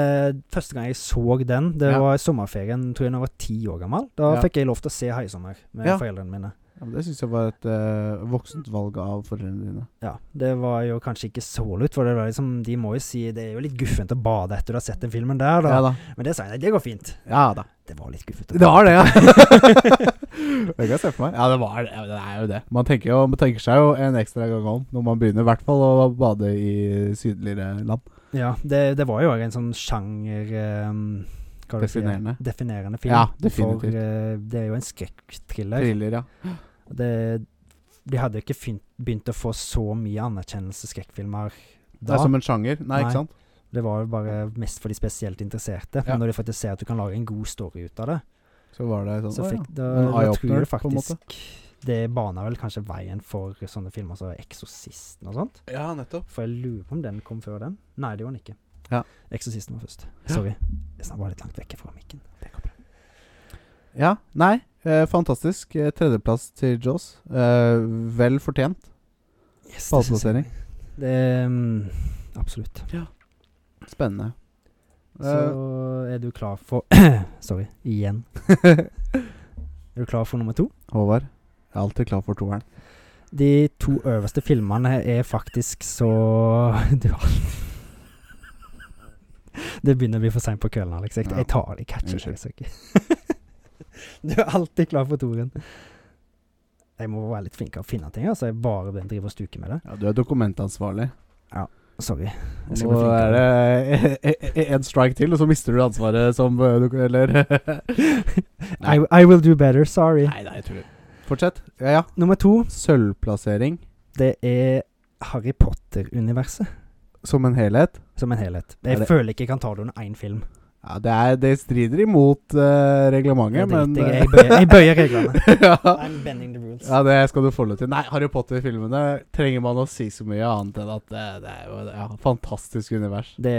S4: Første gang jeg så den, det
S3: Ja.
S4: var i sommerferien, tror jeg da jeg var ti år gammel. Da
S3: Ja.
S4: fikk jeg lov til å se 'Heisommer' med
S3: Ja.
S4: foreldrene mine.
S3: ja, men det syns jeg var et eh, voksent valg av foreldrene dine.
S4: Ja, Det var jo kanskje ikke så lurt, for det var liksom, de må jo si det er jo litt guffent å bade etter du har sett den filmen der, da.
S3: Ja da.
S4: Men det sa jeg, nei, det går fint.
S3: Ja da.
S4: Det var litt guffent. å
S3: Det var det, ja.
S4: bade.
S3: Det kan jeg se for meg. Ja, det, var, ja, det er jo det. Man tenker, jo, man tenker seg jo en ekstra gang om når man begynner, i hvert fall å bade i sydligere land.
S4: Ja, det, det var jo også en sånn sjanger ehm, hva er det du sier?
S3: Definerende.
S4: Definerende film.
S3: Ja, definitivt.
S4: For eh, det er jo en skrekkthriller.
S3: Thriller, ja.
S4: Det- De hadde jo ikke fin- begynt å få så mye anerkjennelse skrekkfilmer
S3: Det
S4: da.
S3: er som en sjanger. Nei,
S4: Nei.
S3: ikke sant?
S4: Det var jo bare mest for de spesielt
S3: Ja.
S4: interesserte. Men når de faktisk ser at du kan lage en god story ut av det,
S3: Så var det sånn.
S4: så
S3: å,
S4: fikk
S3: ja.
S4: da,
S3: En
S4: da tror
S3: eye-opener,
S4: jeg
S3: på en måte.
S4: faktisk det bana vel kanskje veien for sånne filmer som 'Eksorsisten' og sånt.
S3: Ja, nettopp.
S4: For jeg lurer på om den kom før den. Nei, det gjorde den ikke.
S3: Ja.
S4: 'Eksorsisten' var først. Sorry. Jeg snakket bare litt langt vekk fra mikken. Det går bra.
S3: Ja, nei. Eh, fantastisk. Eh, Tredjeplass til Jaws. Eh, vel fortjent.
S4: Yes, det synes jeg.
S3: Ballplassering.
S4: Det, mm, absolutt.
S3: Spennende. Eh,
S4: Så er du klar for Sorry, igjen. Er du klar for nummer to?
S3: Håvard, jeg er alltid klar for toeren.
S4: De to øverste filmene er faktisk så Du har Det begynner å bli for seint på kvelden, Alex. Jeg,
S3: Ja.
S4: jeg tar det. Jeg catcher det.
S3: Unnskyld.
S4: altså ikke. du er alltid klar for toren. Jeg må være litt flinkere å finne ting. Altså, jeg bare driver og stuker med det.
S3: Ja, du er dokumentansvarlig.
S4: Sorry. Jeg skal
S3: Nå
S4: bli
S3: er
S4: flinkere.
S3: det e, én strike til, og så mister du ansvaret som eh, dok- Eller
S4: I, I will do better. Sorry.
S3: Nei, nei, jeg tuller. Fortsett. Ja, ja.
S4: Nummer to,
S3: Sølvplassering
S4: det er Harry Potter-universet
S3: som en helhet.
S4: som en helhet.
S3: Er
S4: Jeg
S3: det-
S4: føler ikke jeg kan ta det under én film.
S3: Ja, det, er, det strider imot eh,
S4: Det
S3: reglementet, men eh,
S4: driter Jeg, i. jeg, bøyer, jeg bøyer reglene.
S3: ja.
S4: I'm bending the rules.
S3: Ja, det skal du få lov til. Nei, Harry Potter-filmene trenger man å si så mye annet enn at det, det er jo et ja, fantastisk univers.
S4: det,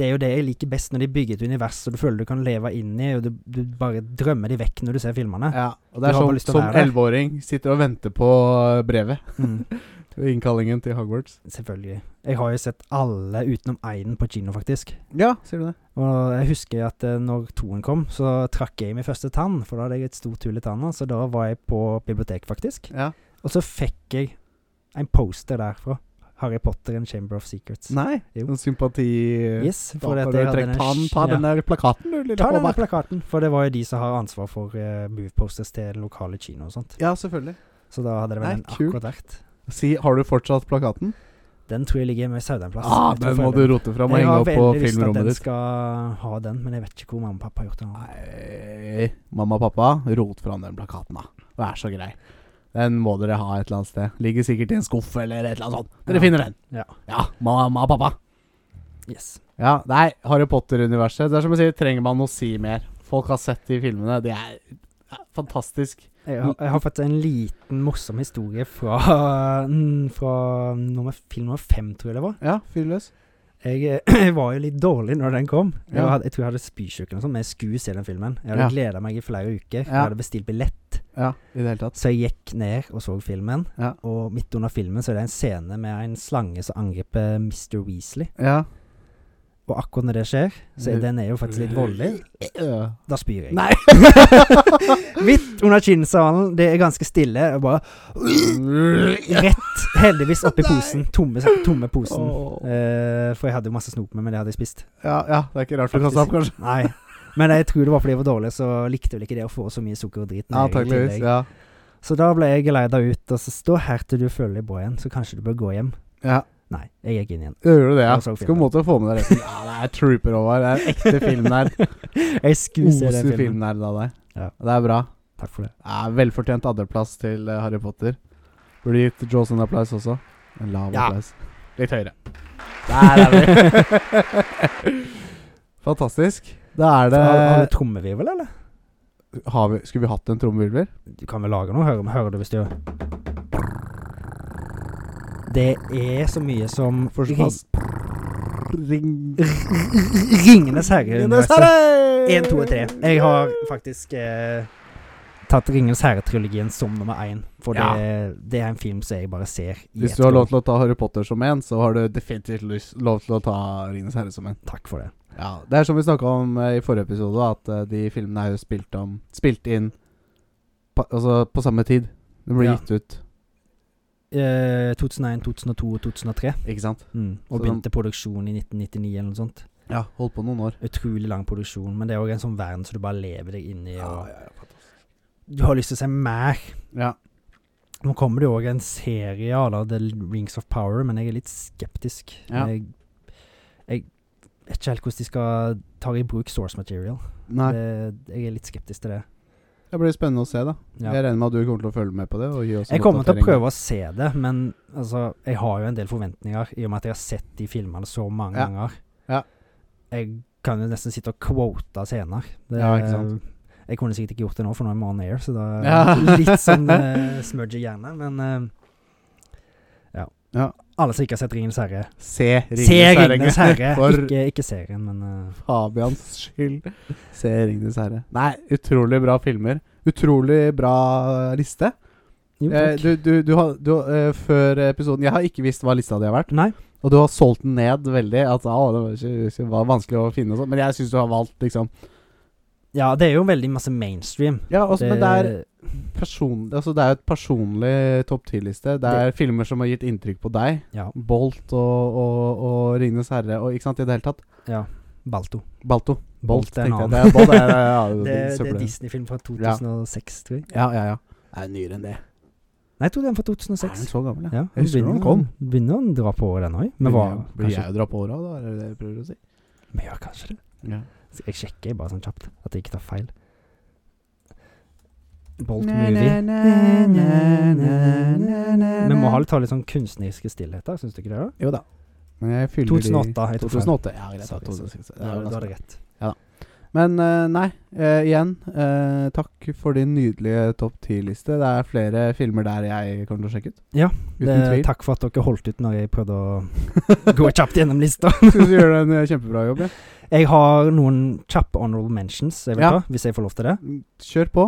S4: det er jo det jeg liker best når de bygger et univers og du føler du kan leve inn i, og du, du bare drømmer de vekk når du ser filmene.
S3: Ja, og
S4: Du
S3: det er
S4: har bare
S3: sånn
S4: lyst til å
S3: som
S4: være der.
S3: elleveåring sitter og venter på eh, brevet.
S4: Mm,
S3: Innkallingen til Hogwarts.
S4: selvfølgelig. Jeg har jo sett alle utenom Einen på kino, faktisk.
S3: Ja, sier du det?
S4: Og jeg husker at eh, når toen kom, så trakk jeg min første tann, for da hadde jeg et stort hull i tanna, så da var jeg på bibliotek, faktisk.
S3: Ja.
S4: Og så fikk jeg en poster derfra. Harry Potter and Chamber of Secrets.
S3: Nei,
S4: Jo.
S3: noen sympati
S4: Yes,
S3: Da
S4: for at
S3: har
S4: jeg
S3: du
S4: hadde
S3: trekt
S4: den-
S3: tann, ta
S4: ja.
S3: den der plakaten, du, lille
S4: Ta denne
S3: Håvard.
S4: plakaten, for det var jo de som har ansvar for eh, movieposters til lokale kino og sånt.
S3: Ja, selvfølgelig.
S4: Så da hadde det
S3: Nei,
S4: vel den
S3: kult.
S4: akkurat vært.
S3: Si, har du fortsatt plakaten?
S4: Den tror jeg ligger med Saudanplass.
S3: ah, den må du rote fram og
S4: Jeg
S3: henge
S4: har
S3: opp på
S4: veldig lyst til at
S3: filmrommet
S4: den
S3: ditt.
S4: skal ha den, men jeg vet ikke hvor mamma og pappa har gjort den.
S3: Nei, mamma og pappa, rot fram den plakaten, da. Vær så grei. Den må dere ha et eller annet sted. Ligger sikkert i en skuff eller et eller annet sånt. Dere
S4: Ja.
S3: finner den.
S4: Ja.
S3: mamma og pappa.
S4: Yes.
S3: Ja, nei, Harry Potter-universet. Det er som jeg sier, trenger man å si mer. Folk har sett de filmene. Det er ja, fantastisk.
S4: Jeg har, jeg har faktisk en liten morsom historie fra, mm, fra nummer, film nummer fem, tror jeg det var.
S3: Ja, fyrløs.
S4: Jeg, eh, jeg var jo litt dårlig når den kom. Jeg,
S3: Ja.
S4: hadde, jeg tror jeg hadde spysjuken og sånn, men jeg skulle se den filmen. Jeg hadde
S3: Ja.
S4: gleda meg i flere uker. Jeg
S3: Ja.
S4: hadde bestilt billett.
S3: Ja, i det hele tatt.
S4: Så jeg gikk ned og så filmen,
S3: Ja.
S4: og midt under filmen så er det en scene med en slange som angriper Mr. Weasley.
S3: Ja.
S4: Og akkurat når det skjer, så er den er jo faktisk litt voldelig.
S3: Øh.
S4: Da spyr jeg.
S3: Nei.
S4: Midt under kinnsalen, det er ganske stille, og bare rett, heldigvis, oppi
S3: Nei.
S4: posen. Tomme, tomme posen.
S3: Åh.
S4: Eh, for jeg hadde jo masse snop med, men det hadde jeg spist.
S3: Ja, ja, det er ikke rart du kasta opp, kanskje.
S4: Nei. Men jeg tror det var fordi jeg var dårlig, så likte vel ikke det å få så mye sukker og drit. ned i
S3: Antakeligvis.
S4: tillegg.
S3: Ja.
S4: Så da ble jeg geleida ut, og så stå her til du føler deg bra igjen, så kanskje du bør gå hjem.
S3: ja.
S4: Nei, jeg gikk inn igjen.
S3: Gjør du det, ja?
S4: Jeg så
S3: Skal
S4: filmen.
S3: måtte få med deg resten. Ja, det er trooper, Håvard. Det er en ekte filmnerd.
S4: Jeg skulle se den
S3: Oser
S4: filmen.
S3: filmnerd av deg.
S4: Ja.
S3: Det er bra.
S4: Takk for det.
S3: Ja, velfortjent andreplass til eh, Harry Potter. Burde gitt Jaws en applaus også. En lav
S4: Ja.
S3: applaus. Litt høyere. Der er vi! Fantastisk. Da er det
S4: Har, har du trommevirvel, eller?
S3: har vi, Skulle vi hatt en trommevirvel?
S4: Du kan vel lage noe? Hører, hører du hvis du gjør Det er så mye som ring,
S3: Forstås. Ring...
S4: Ringenes herre-universet. Én,
S3: Én,
S4: to og tre. Jeg har faktisk eh, tatt Ringenes herre-trilogien som nummer én. For det, det er en film som jeg bare ser i
S3: Hvis
S4: ett
S3: du har
S4: gå.
S3: lov til å ta Harry Potter som en, så har du definitivt lyst, lov til å ta Ringenes herre som en.
S4: Takk for det.
S3: Ja, Det er som vi snakka om eh, i forrige episode, at eh, de filmene er jo spilt om Spilt inn pa, altså på samme tid. Det blir
S4: Ja.
S3: gitt ut,
S4: Eh, 2001, 2002 og 2003.
S3: ikke sant?
S4: Mm.
S3: Så
S4: Og begynte produksjon i 1999 eller noe sånt.
S3: Ja, holdt på noen år.
S4: Utrolig lang produksjon, men det er òg en sånn verden som du bare lever deg inn i.
S3: Ja,
S4: Og du har lyst til å se mer.
S3: Ja,
S4: Nå kommer det jo òg en serie à la The Rings of Power, men jeg er litt skeptisk.
S3: Ja.
S4: Jeg, jeg vet ikke helt hvordan de skal ta i bruk source material.
S3: Nei.
S4: Det, jeg er litt skeptisk til det.
S3: Det blir spennende å se, da.
S4: Ja.
S3: Jeg regner med at du kommer til å følge med på det. Og gi oss
S4: Jeg kommer til å prøve å se det, men altså, jeg har jo en del forventninger i og med at jeg har sett de filmene så mange
S3: Ja.
S4: ganger.
S3: Ja.
S4: Jeg kan jo nesten sitte og quote scener. Det,
S3: Ja, ikke sant.
S4: Jeg kunne sikkert ikke gjort det nå, for nå er vi on air, så da
S3: Ja.
S4: Litt sånn uh, smudge i hjernen, men eh, ja.
S3: Ja.
S4: Alle som ikke har sett Ringenes herre
S3: Se
S4: Se Ringenes
S3: Herre.
S4: herre!
S3: For
S4: Ikke, ikke serien, men eh,
S3: Fabians skyld. Se Ringenes herre. Nei, utrolig bra filmer. Utrolig bra liste.
S4: Jo,
S3: Eh,
S4: takk.
S3: du, du, du, har- du, eh, før episoden Jeg har ikke visst hva lista di har vært,
S4: Nei?
S3: og du har solgt den ned veldig. At ah, det var, ikke, det var vanskelig å finne og sånn, men jeg syns du har valgt, liksom.
S4: Ja, det er jo veldig masse mainstream.
S3: Ja, også, men det er,
S4: Det-
S3: person, altså, det er jo et personlig topp ti-liste. Det er filmer som har gitt inntrykk på deg.
S4: Ja.
S3: Bolt og, og, og Ringenes herre og ikke sant, i det hele tatt.
S4: ja. Balto.
S3: Balto.
S4: Bolt er en
S3: tenkte jeg.
S4: annen.
S3: Det er, Bolt er, ja, ja,
S4: Det,
S3: det,
S4: det er
S3: søppelet.
S4: Disney-film fra 2006, tror jeg.
S3: ja, ja, ja. Det er nyere enn det.
S4: Nei, jeg tror den er fra
S3: Er den
S4: 2006.
S3: så gammel,
S4: Ja,
S3: Jeg husker
S4: begynner-
S3: når den kom.
S4: Begynner den å dra på året, den òg? Men hva
S3: Blir
S4: kanskje-
S3: jeg å dra på åra, da? Er det det jeg prøver å si?
S4: Vi gjør kanskje det. Så Jeg sjekker bare sånn kjapt, at jeg ikke tar feil. Bolt Movie. Vi må ha, ta litt sånn kunstneriske stillheter, syns du ikke det? da?
S3: Jo da. Men jeg fyller
S4: 2008. Jeg
S3: de
S4: tok
S3: 2008. Ja, greit. da,
S4: Sorry, sorry.
S3: 2006.
S4: feil. Ja, Du hadde rett.
S3: Men eh, nei, eh, igjen, eh, takk for din nydelige topp ti-liste. Det er flere filmer der jeg kommer til å sjekke ut.
S4: Ja,
S3: Uten
S4: Det,
S3: tvil.
S4: Eh, takk for at dere holdt ut når jeg prøvde å gå kjapt gjennom lista.
S3: Synes du gjør en eh, kjempebra jobb. Ja.
S4: Jeg har noen kjappe honorable mentions, jeg vil
S3: Ja.
S4: ta, hvis jeg får lov til det.
S3: Kjør på.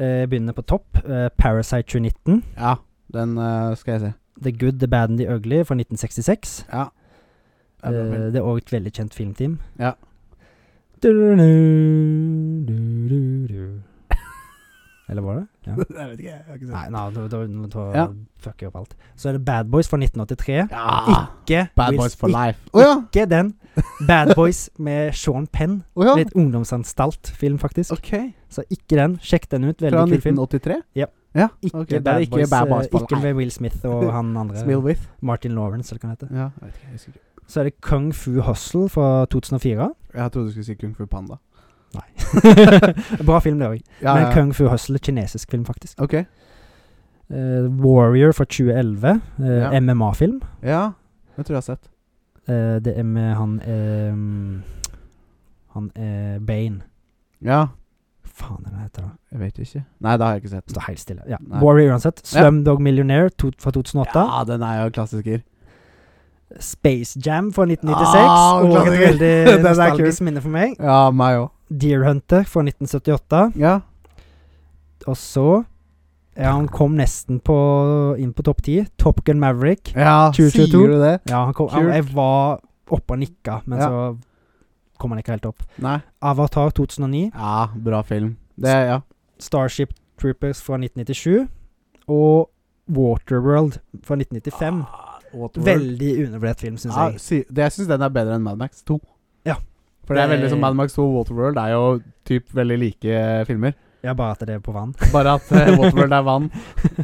S4: Eh, Jeg begynner på topp. Eh, Parasite 2019.
S3: Ja, den eh, skal jeg se.
S4: The Good, The Bad and The Ugly fra 1966.
S3: Ja. Det er bra film.
S4: Eh, det er òg et veldig kjent filmteam.
S3: Ja.
S4: Du-du-du, du-du-du. Eller var det? Ja.
S3: Jeg vet ikke, jeg har ikke sett
S4: Nei, nei da, da, da, da
S3: Ja.
S4: fucker jeg opp alt. Så er det Bad Boys fra 1983.
S3: Ja.
S4: Ikke,
S3: Bad
S4: Will-
S3: Boys for life. Å ja!
S4: ikke den. Bad Boys med Sean Penn.
S3: Å ja.
S4: Litt ungdomsanstalt-film, faktisk.
S3: Ok.
S4: Så ikke den. Sjekk den ut.
S3: Fra
S4: Veldig kul film.
S3: 1983?
S4: Ja.
S3: ja.
S4: Ikke,
S3: ok, det er
S4: Bad,
S3: ikke
S4: Boys,
S3: Bad
S4: eh,
S3: Boys for
S4: ikke
S3: life.
S4: med Will Smith og han andre.
S3: Smil with.
S4: Martin Lawrence, eller hva han heter.
S3: Ja, jeg vet ikke, jeg er sikker.
S4: Så er det Kung Fu Hustle fra 2004.
S3: Jeg trodde du skulle si Kung Fu Panda.
S4: Bra film, det òg.
S3: Ja,
S4: Men
S3: ja.
S4: Kung Fu Hustle er kinesisk film, faktisk.
S3: Ok.
S4: Eh, Warrior fra 2011. eh,
S3: Ja.
S4: MMA-film.
S3: Ja, det tror jeg jeg har sett.
S4: Eh, det er med han ehm, Han er Bane.
S3: Ja,
S4: Hva Faen, er det han heter da?
S3: jeg vet ikke. Nei, det har jeg ikke sett.
S4: Står helt stille. Ja.
S3: Nei.
S4: Warrior uansett. Slumdog Millionaire to, fra 2008.
S3: Ja, den er jo klassiker.
S4: Space Jam fra 1996.
S3: Ah,
S4: og et
S3: klassiker. Den
S4: veldig
S3: er
S4: nostalgisk minne for meg.
S3: Ja, meg òg.
S4: Deer Hunter fra 1978.
S3: Ja.
S4: Og så Ja, han kom nesten på, inn på topp ti. Top Gun Maverick.
S3: ja,
S4: 2022.
S3: sier du det?
S4: Ja, han kom, han,
S3: Kult.
S4: jeg var oppe og nikka, men
S3: Ja.
S4: så kom han ikke helt opp.
S3: Nei.
S4: Avatar 2009,
S3: Ja, bra film. Det, ja.
S4: Starship Troopers fra 1997 og Waterworld fra 1995.
S3: Ah, Waterworld. Ah.
S4: Veldig undervurdert film, syns
S3: Ja,
S4: jeg.
S3: si, det, jeg syns den er bedre enn Mad Max 2.
S4: Ja.
S3: For det er
S4: Det-
S3: veldig som Mad Max 2 og Waterworld er jo typ veldig like eh, filmer.
S4: Ja, bare at det er på vann.
S3: Bare at eh, Waterworld er vann,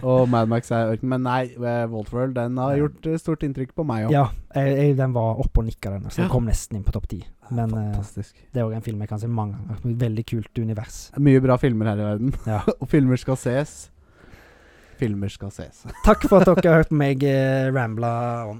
S3: og Mad Max er ørken. Men nei, eh, Waterworld den har
S4: Ja.
S3: gjort eh, stort inntrykk på meg òg.
S4: Ja, jeg, jeg, den var oppe og nikka, den. Så den
S3: Ja.
S4: kom nesten inn på topp ti. Men eh,
S3: Fantastisk.
S4: det er òg en film jeg kan se mange ganger. Veldig kult univers.
S3: Mye bra filmer her i verden.
S4: Ja.
S3: og filmer skal ses. Filmer skal ses.
S4: Takk for at dere har hørt meg eh, rambla om.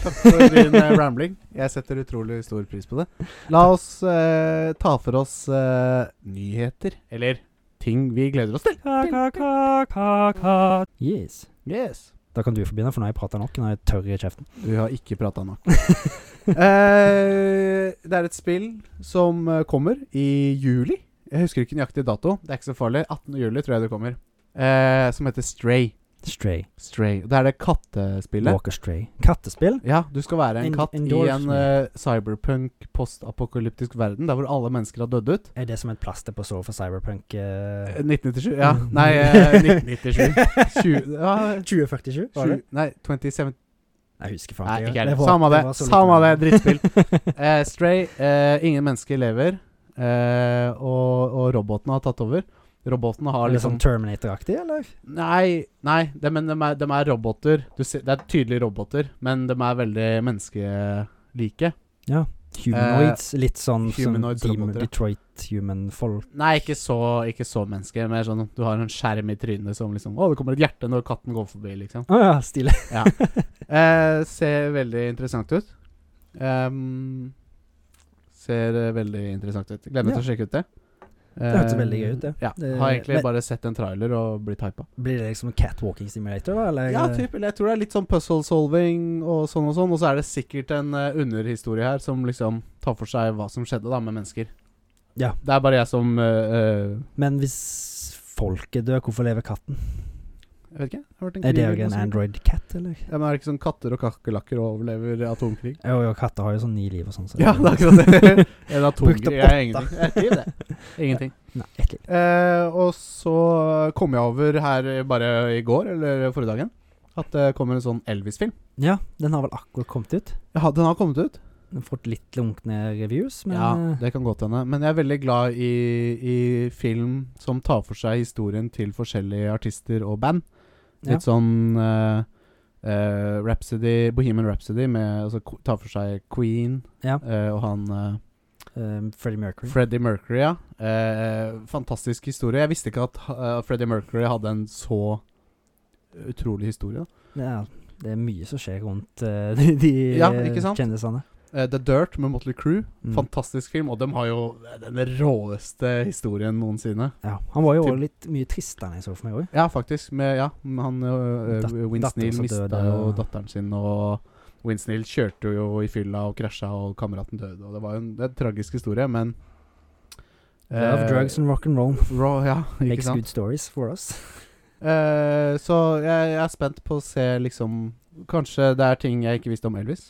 S3: Takk for din eh, rambling. Jeg setter utrolig stor pris på det. La oss eh, ta for oss eh, nyheter, eller ting vi gleder oss til.
S1: 카카카카카
S4: Yes.
S3: Yes.
S4: Da kan du få begynne, for nå har jeg prata nok. Nå er jeg tørr i kjeften.
S3: Du har ikke prata nok. Eh, det er et spill som eh, kommer i juli. Jeg husker ikke nøyaktig dato. Det er ikke så farlig. 18. juli tror jeg det kommer. Eh, som heter Stray.
S4: Stray.
S3: Stray. Det er det kattespillet.
S4: Walker Stray. Kattespill?
S3: Ja, du skal være en
S4: En-
S3: katt i
S4: endorse
S3: en
S4: me.
S3: eh, cyberpunk postapokalyptisk verden der hvor alle mennesker har dødd ut.
S4: Er det som et plaster på såret for cyberpunk
S3: Eh,
S4: eh,
S3: 1997 Ja, nei eh, 1997. 20, ja,
S4: 2047, Ah, var det?
S3: 20, nei, 2017
S4: Jeg husker faen
S3: Nei,
S4: ikke.
S3: ikke
S4: Det
S3: heller.
S4: var-
S3: Samme det.
S4: var så lite
S3: Samme det,
S4: med
S3: drittspill. Eh, Stray. eh, ingen mennesker lever. eh, og, og robotene har tatt over. Robotene har
S4: Er det sånn
S3: liksom
S4: Terminator-aktig, eller?
S3: Nei, nei de, men de er, dem er roboter. Du ser, det er tydelige roboter, men de er veldig menneskelike. Eh,
S4: Humanoids? litt sånn som
S3: humanoids
S4: Demon
S3: roboter, ja.
S4: Detroit Human Folk
S3: Nei, ikke så, ikke så menneske. Mer sånn du har en skjerm i trynet som liksom Å, det kommer et hjerte når katten går forbi, liksom.
S4: Å ja, stilig.
S3: Eh, ser veldig interessant ut. Ehm, ser eh, veldig interessant ut. Gleder meg til å sjekke ut det. Det
S4: hørtes veldig gøy ut, det.
S3: Ja.
S4: Det-
S3: Har egentlig
S4: men-
S3: bare sett en trailer og blitt hypa.
S4: Blir det liksom catwalking simulator, da? Eller?
S3: Ja, typ, eller jeg tror det er litt sånn puzzle solving og sånn og sånn. Og så er det sikkert en eh, underhistorie her som liksom tar for seg hva som skjedde da med mennesker.
S4: Ja.
S3: Det er bare jeg som eh, eh,
S4: Men hvis folket dør, hvorfor lever katten?
S3: Jeg vet ikke. jeg har hørt en
S4: Er Eh, det
S3: krig
S4: òg
S3: eller
S4: en
S3: noe sånt.
S4: Android Cat, eller?
S3: Ja, men er det ikke sånn katter og kakerlakker overlever atomkrig?
S4: Jo, jo, katter har jo sånn ni liv og sånn. så-
S3: Ja, det er akkurat det. En
S4: Brukt opp
S3: atomkrig er
S4: åtte.
S3: ingenting. Jeg skriver det. Ingenting.
S4: Nei, ett liv.
S3: Eh, og så kom jeg over her bare i går, eller forrige dagen, at det kommer en sånn Elvis-film.
S4: Ja, den har vel akkurat kommet ut.
S3: Ja, den har kommet ut.
S4: Den har fått litt lunkne reviews, men
S3: ja,
S4: eh,
S3: det kan godt hende. Men jeg er veldig glad i, i film som tar for seg historien til forskjellige artister og band.
S4: Ja.
S3: Litt sånn eh, eh, Rhapsody, Bohemian Rhapsody, med, altså, ko- tar for seg Queen
S4: Ja.
S3: eh, og han eh,
S4: eh, Freddie Mercury.
S3: Freddie Mercury, ja. Eh, fantastisk historie. Jeg visste ikke at eh, Freddie Mercury hadde en så utrolig historie. Da.
S4: ja, det er mye som skjer rundt eh, de, de
S3: Ja, ikke sant?
S4: kjendisene.
S3: Eh, The Dirt med Motley Crew,
S4: Mm.
S3: fantastisk film. Og de har jo den råeste historien noensinne.
S4: Ja, han var jo
S3: Til-
S4: også litt mye tristere enn jeg så for meg òg.
S3: Ja, faktisk. Med, ja, med han øh, øh,
S4: Dat-
S3: Vince
S4: datteren
S3: Neil
S4: som
S3: mista
S4: døde,
S3: jo
S4: og-
S3: datteren sin, og Vince Neil kjørte jo i fylla og krasja, og kameraten døde. Og det var jo en, det er en tragisk historie, men
S4: Love,
S3: eh,
S4: drugs and rock and roll
S3: raw, Ja, ikke
S4: makes
S3: sant?
S4: good stories for us.
S3: Eh, så jeg, jeg er spent på å se liksom Kanskje det er ting jeg ikke visste om Elvis.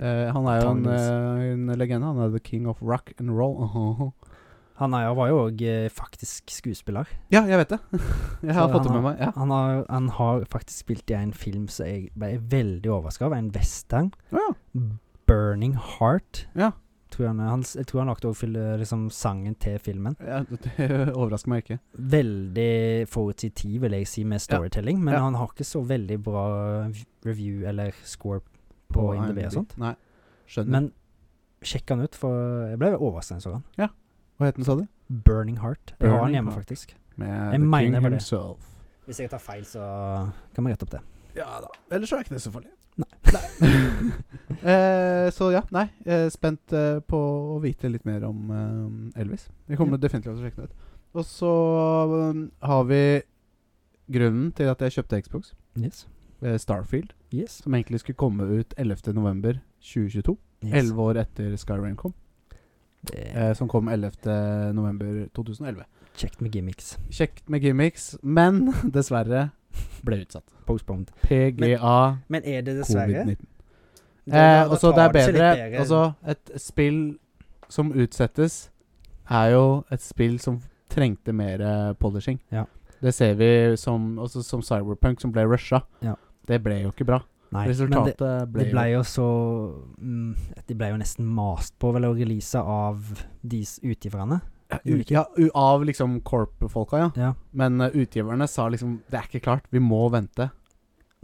S3: Eh, han er jo en, eh, en legende. Han er the king of rock and roll.
S4: Han er, jo- var jo òg eh, faktisk skuespiller.
S3: Ja, jeg vet det. jeg har
S4: Så
S3: fått det
S4: han
S3: med meg. Ja.
S4: Han har, han har faktisk spilt i en film som jeg ble veldig overraska av. En western.
S3: Å ja.
S4: 'Burning Heart'.
S3: Ja.
S4: Tror han, han, jeg tror han lagde også fil- liksom, sangen til filmen.
S3: Ja, Det overrasker meg ikke.
S4: Veldig forutsigbar, vil jeg si, med storytelling. Men
S3: Ja.
S4: han har ikke så veldig bra v- review eller score på IMDb og sånt.
S3: Nei, skjønner.
S4: Men sjekk han ut, for jeg ble overraska da jeg så han.
S3: Hva het den, sa du?
S4: 'Burning Heart'. Jeg har
S3: Burning
S4: han hjemme,
S3: Heart.
S4: faktisk.
S3: Med
S4: Jeg mener det var det.
S3: himself.
S4: Hvis jeg tar feil, så kan vi rette opp det.
S3: Ja da. Ellers er ikke det så farlig.
S4: Nei.
S3: eh, så ja, nei. Eh, spent eh, på å vite litt mer om eh, Elvis. Vi kommer definitivt til å sjekke det ut. Og så um, har vi grunnen til at jeg kjøpte Xbox.
S4: Yes.
S3: eh, Starfield,
S4: Yes.
S3: som egentlig skulle komme ut 11.11.2022.
S4: yes.
S3: Elleve år etter Skyrim kom.
S4: Det er
S3: Eh, som kom 11.11.2011.
S4: kjekt med gimmicks.
S3: Kjekt med gimmicks, men dessverre ble utsatt.
S4: Postponed.
S3: PGA
S4: Men er det
S3: covid-19.
S4: dessverre?
S3: Eh, og så det er bedre Altså, et spill som utsettes, er jo et spill som trengte mer eh, polishing.
S4: Ja.
S3: Det ser vi som, også som Cyberpunk, som ble rusha.
S4: Ja.
S3: Det ble jo ikke bra.
S4: Nei, men det,
S3: Resultatet ble,
S4: det ble jo så mm, De ble jo nesten mast på vel å release av de s- utgiverne.
S3: jo ja, u- Av liksom corp-folka, ja.
S4: Ja.
S3: Men eh, utgiverne sa liksom Det er ikke klart, vi må vente.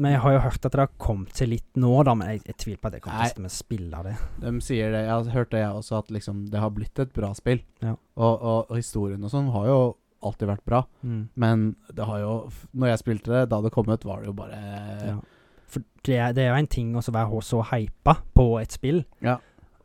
S4: Men jeg har jo hørt at det har kommet til litt nå, da. Men jeg, jeg tviler på at jeg
S3: Nei.
S4: kommer til å sitte med og spille det.
S3: De sier det, Jeg har hørt det, jeg også, at liksom det har blitt et bra spill.
S4: Ja.
S3: Og, og, og historien og sånn har jo alltid vært bra. Men det har jo f- Når jeg spilte det, da det kom ut, var det jo bare
S4: Ja. For det er, det er jo en ting å så være så hypa på et spill,
S3: Ja.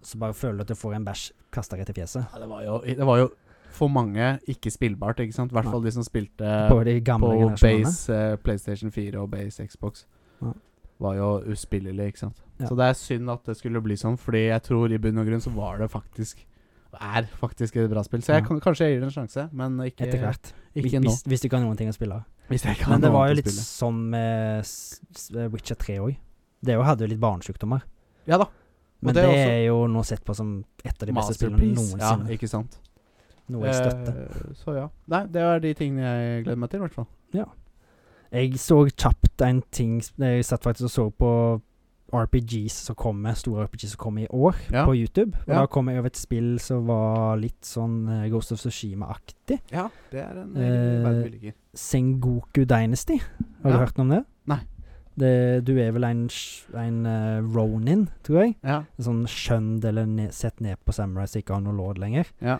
S4: så bare føler du at du får en bæsj kasta rett i fjeset.
S3: Ja, det, var jo, det var jo for mange ikke spillbart, ikke sant? I hvert fall de som spilte
S4: På
S3: på,
S4: de gamle generasjonene.
S3: base eh, PlayStation 4 og base Xbox.
S4: Ja.
S3: Var jo uspillelig, ikke sant.
S4: Ja.
S3: Så det er synd at det skulle bli sånn, fordi jeg tror i bunn og grunn så var det faktisk er faktisk et bra spill. Så jeg
S4: Ja.
S3: kan, kanskje jeg gir det en sjanse, men ikke,
S4: Etter hvert.
S3: ikke nå.
S4: Hvis, hvis du ikke har noen ting å spille.
S3: Hvis jeg ikke har
S4: Men det
S3: noe
S4: var jo
S3: annet å
S4: litt
S3: spille.
S4: sånn med s- s- Witcher 3 òg. Det jo hadde jo litt barnesjukdommer.
S3: Ja da.
S4: Men
S3: det
S4: det,
S3: er
S4: er jo nå sett på som et av de beste spillene
S3: Masterpiece. Ja,
S4: noensinne.
S3: ikke sant.
S4: noe jeg støtter.
S3: Eh, så ja. Nei, det er de tingene jeg gleder meg til, i hvert fall.
S4: Jeg så kjapt en ting s- Jeg satt faktisk og så på RPGs som kommer, store RPGs som kommer i år,
S3: Ja.
S4: på YouTube. Og
S3: Ja.
S4: da kom jeg over et spill som var litt sånn eh, Ghost of Sushima-aktig.
S3: Ja, det er en
S4: Eh,
S3: verden vi liker.
S4: Sengoku Dynasty. Har
S3: Ja.
S4: du hørt noe om det?
S3: Nei.
S4: Det, du er vel en, sj- en eh, ronin, tror jeg.
S3: Ja.
S4: en sånn skjønt eller ne sett ned på samurai som ikke har noe lord lenger.
S3: Ja.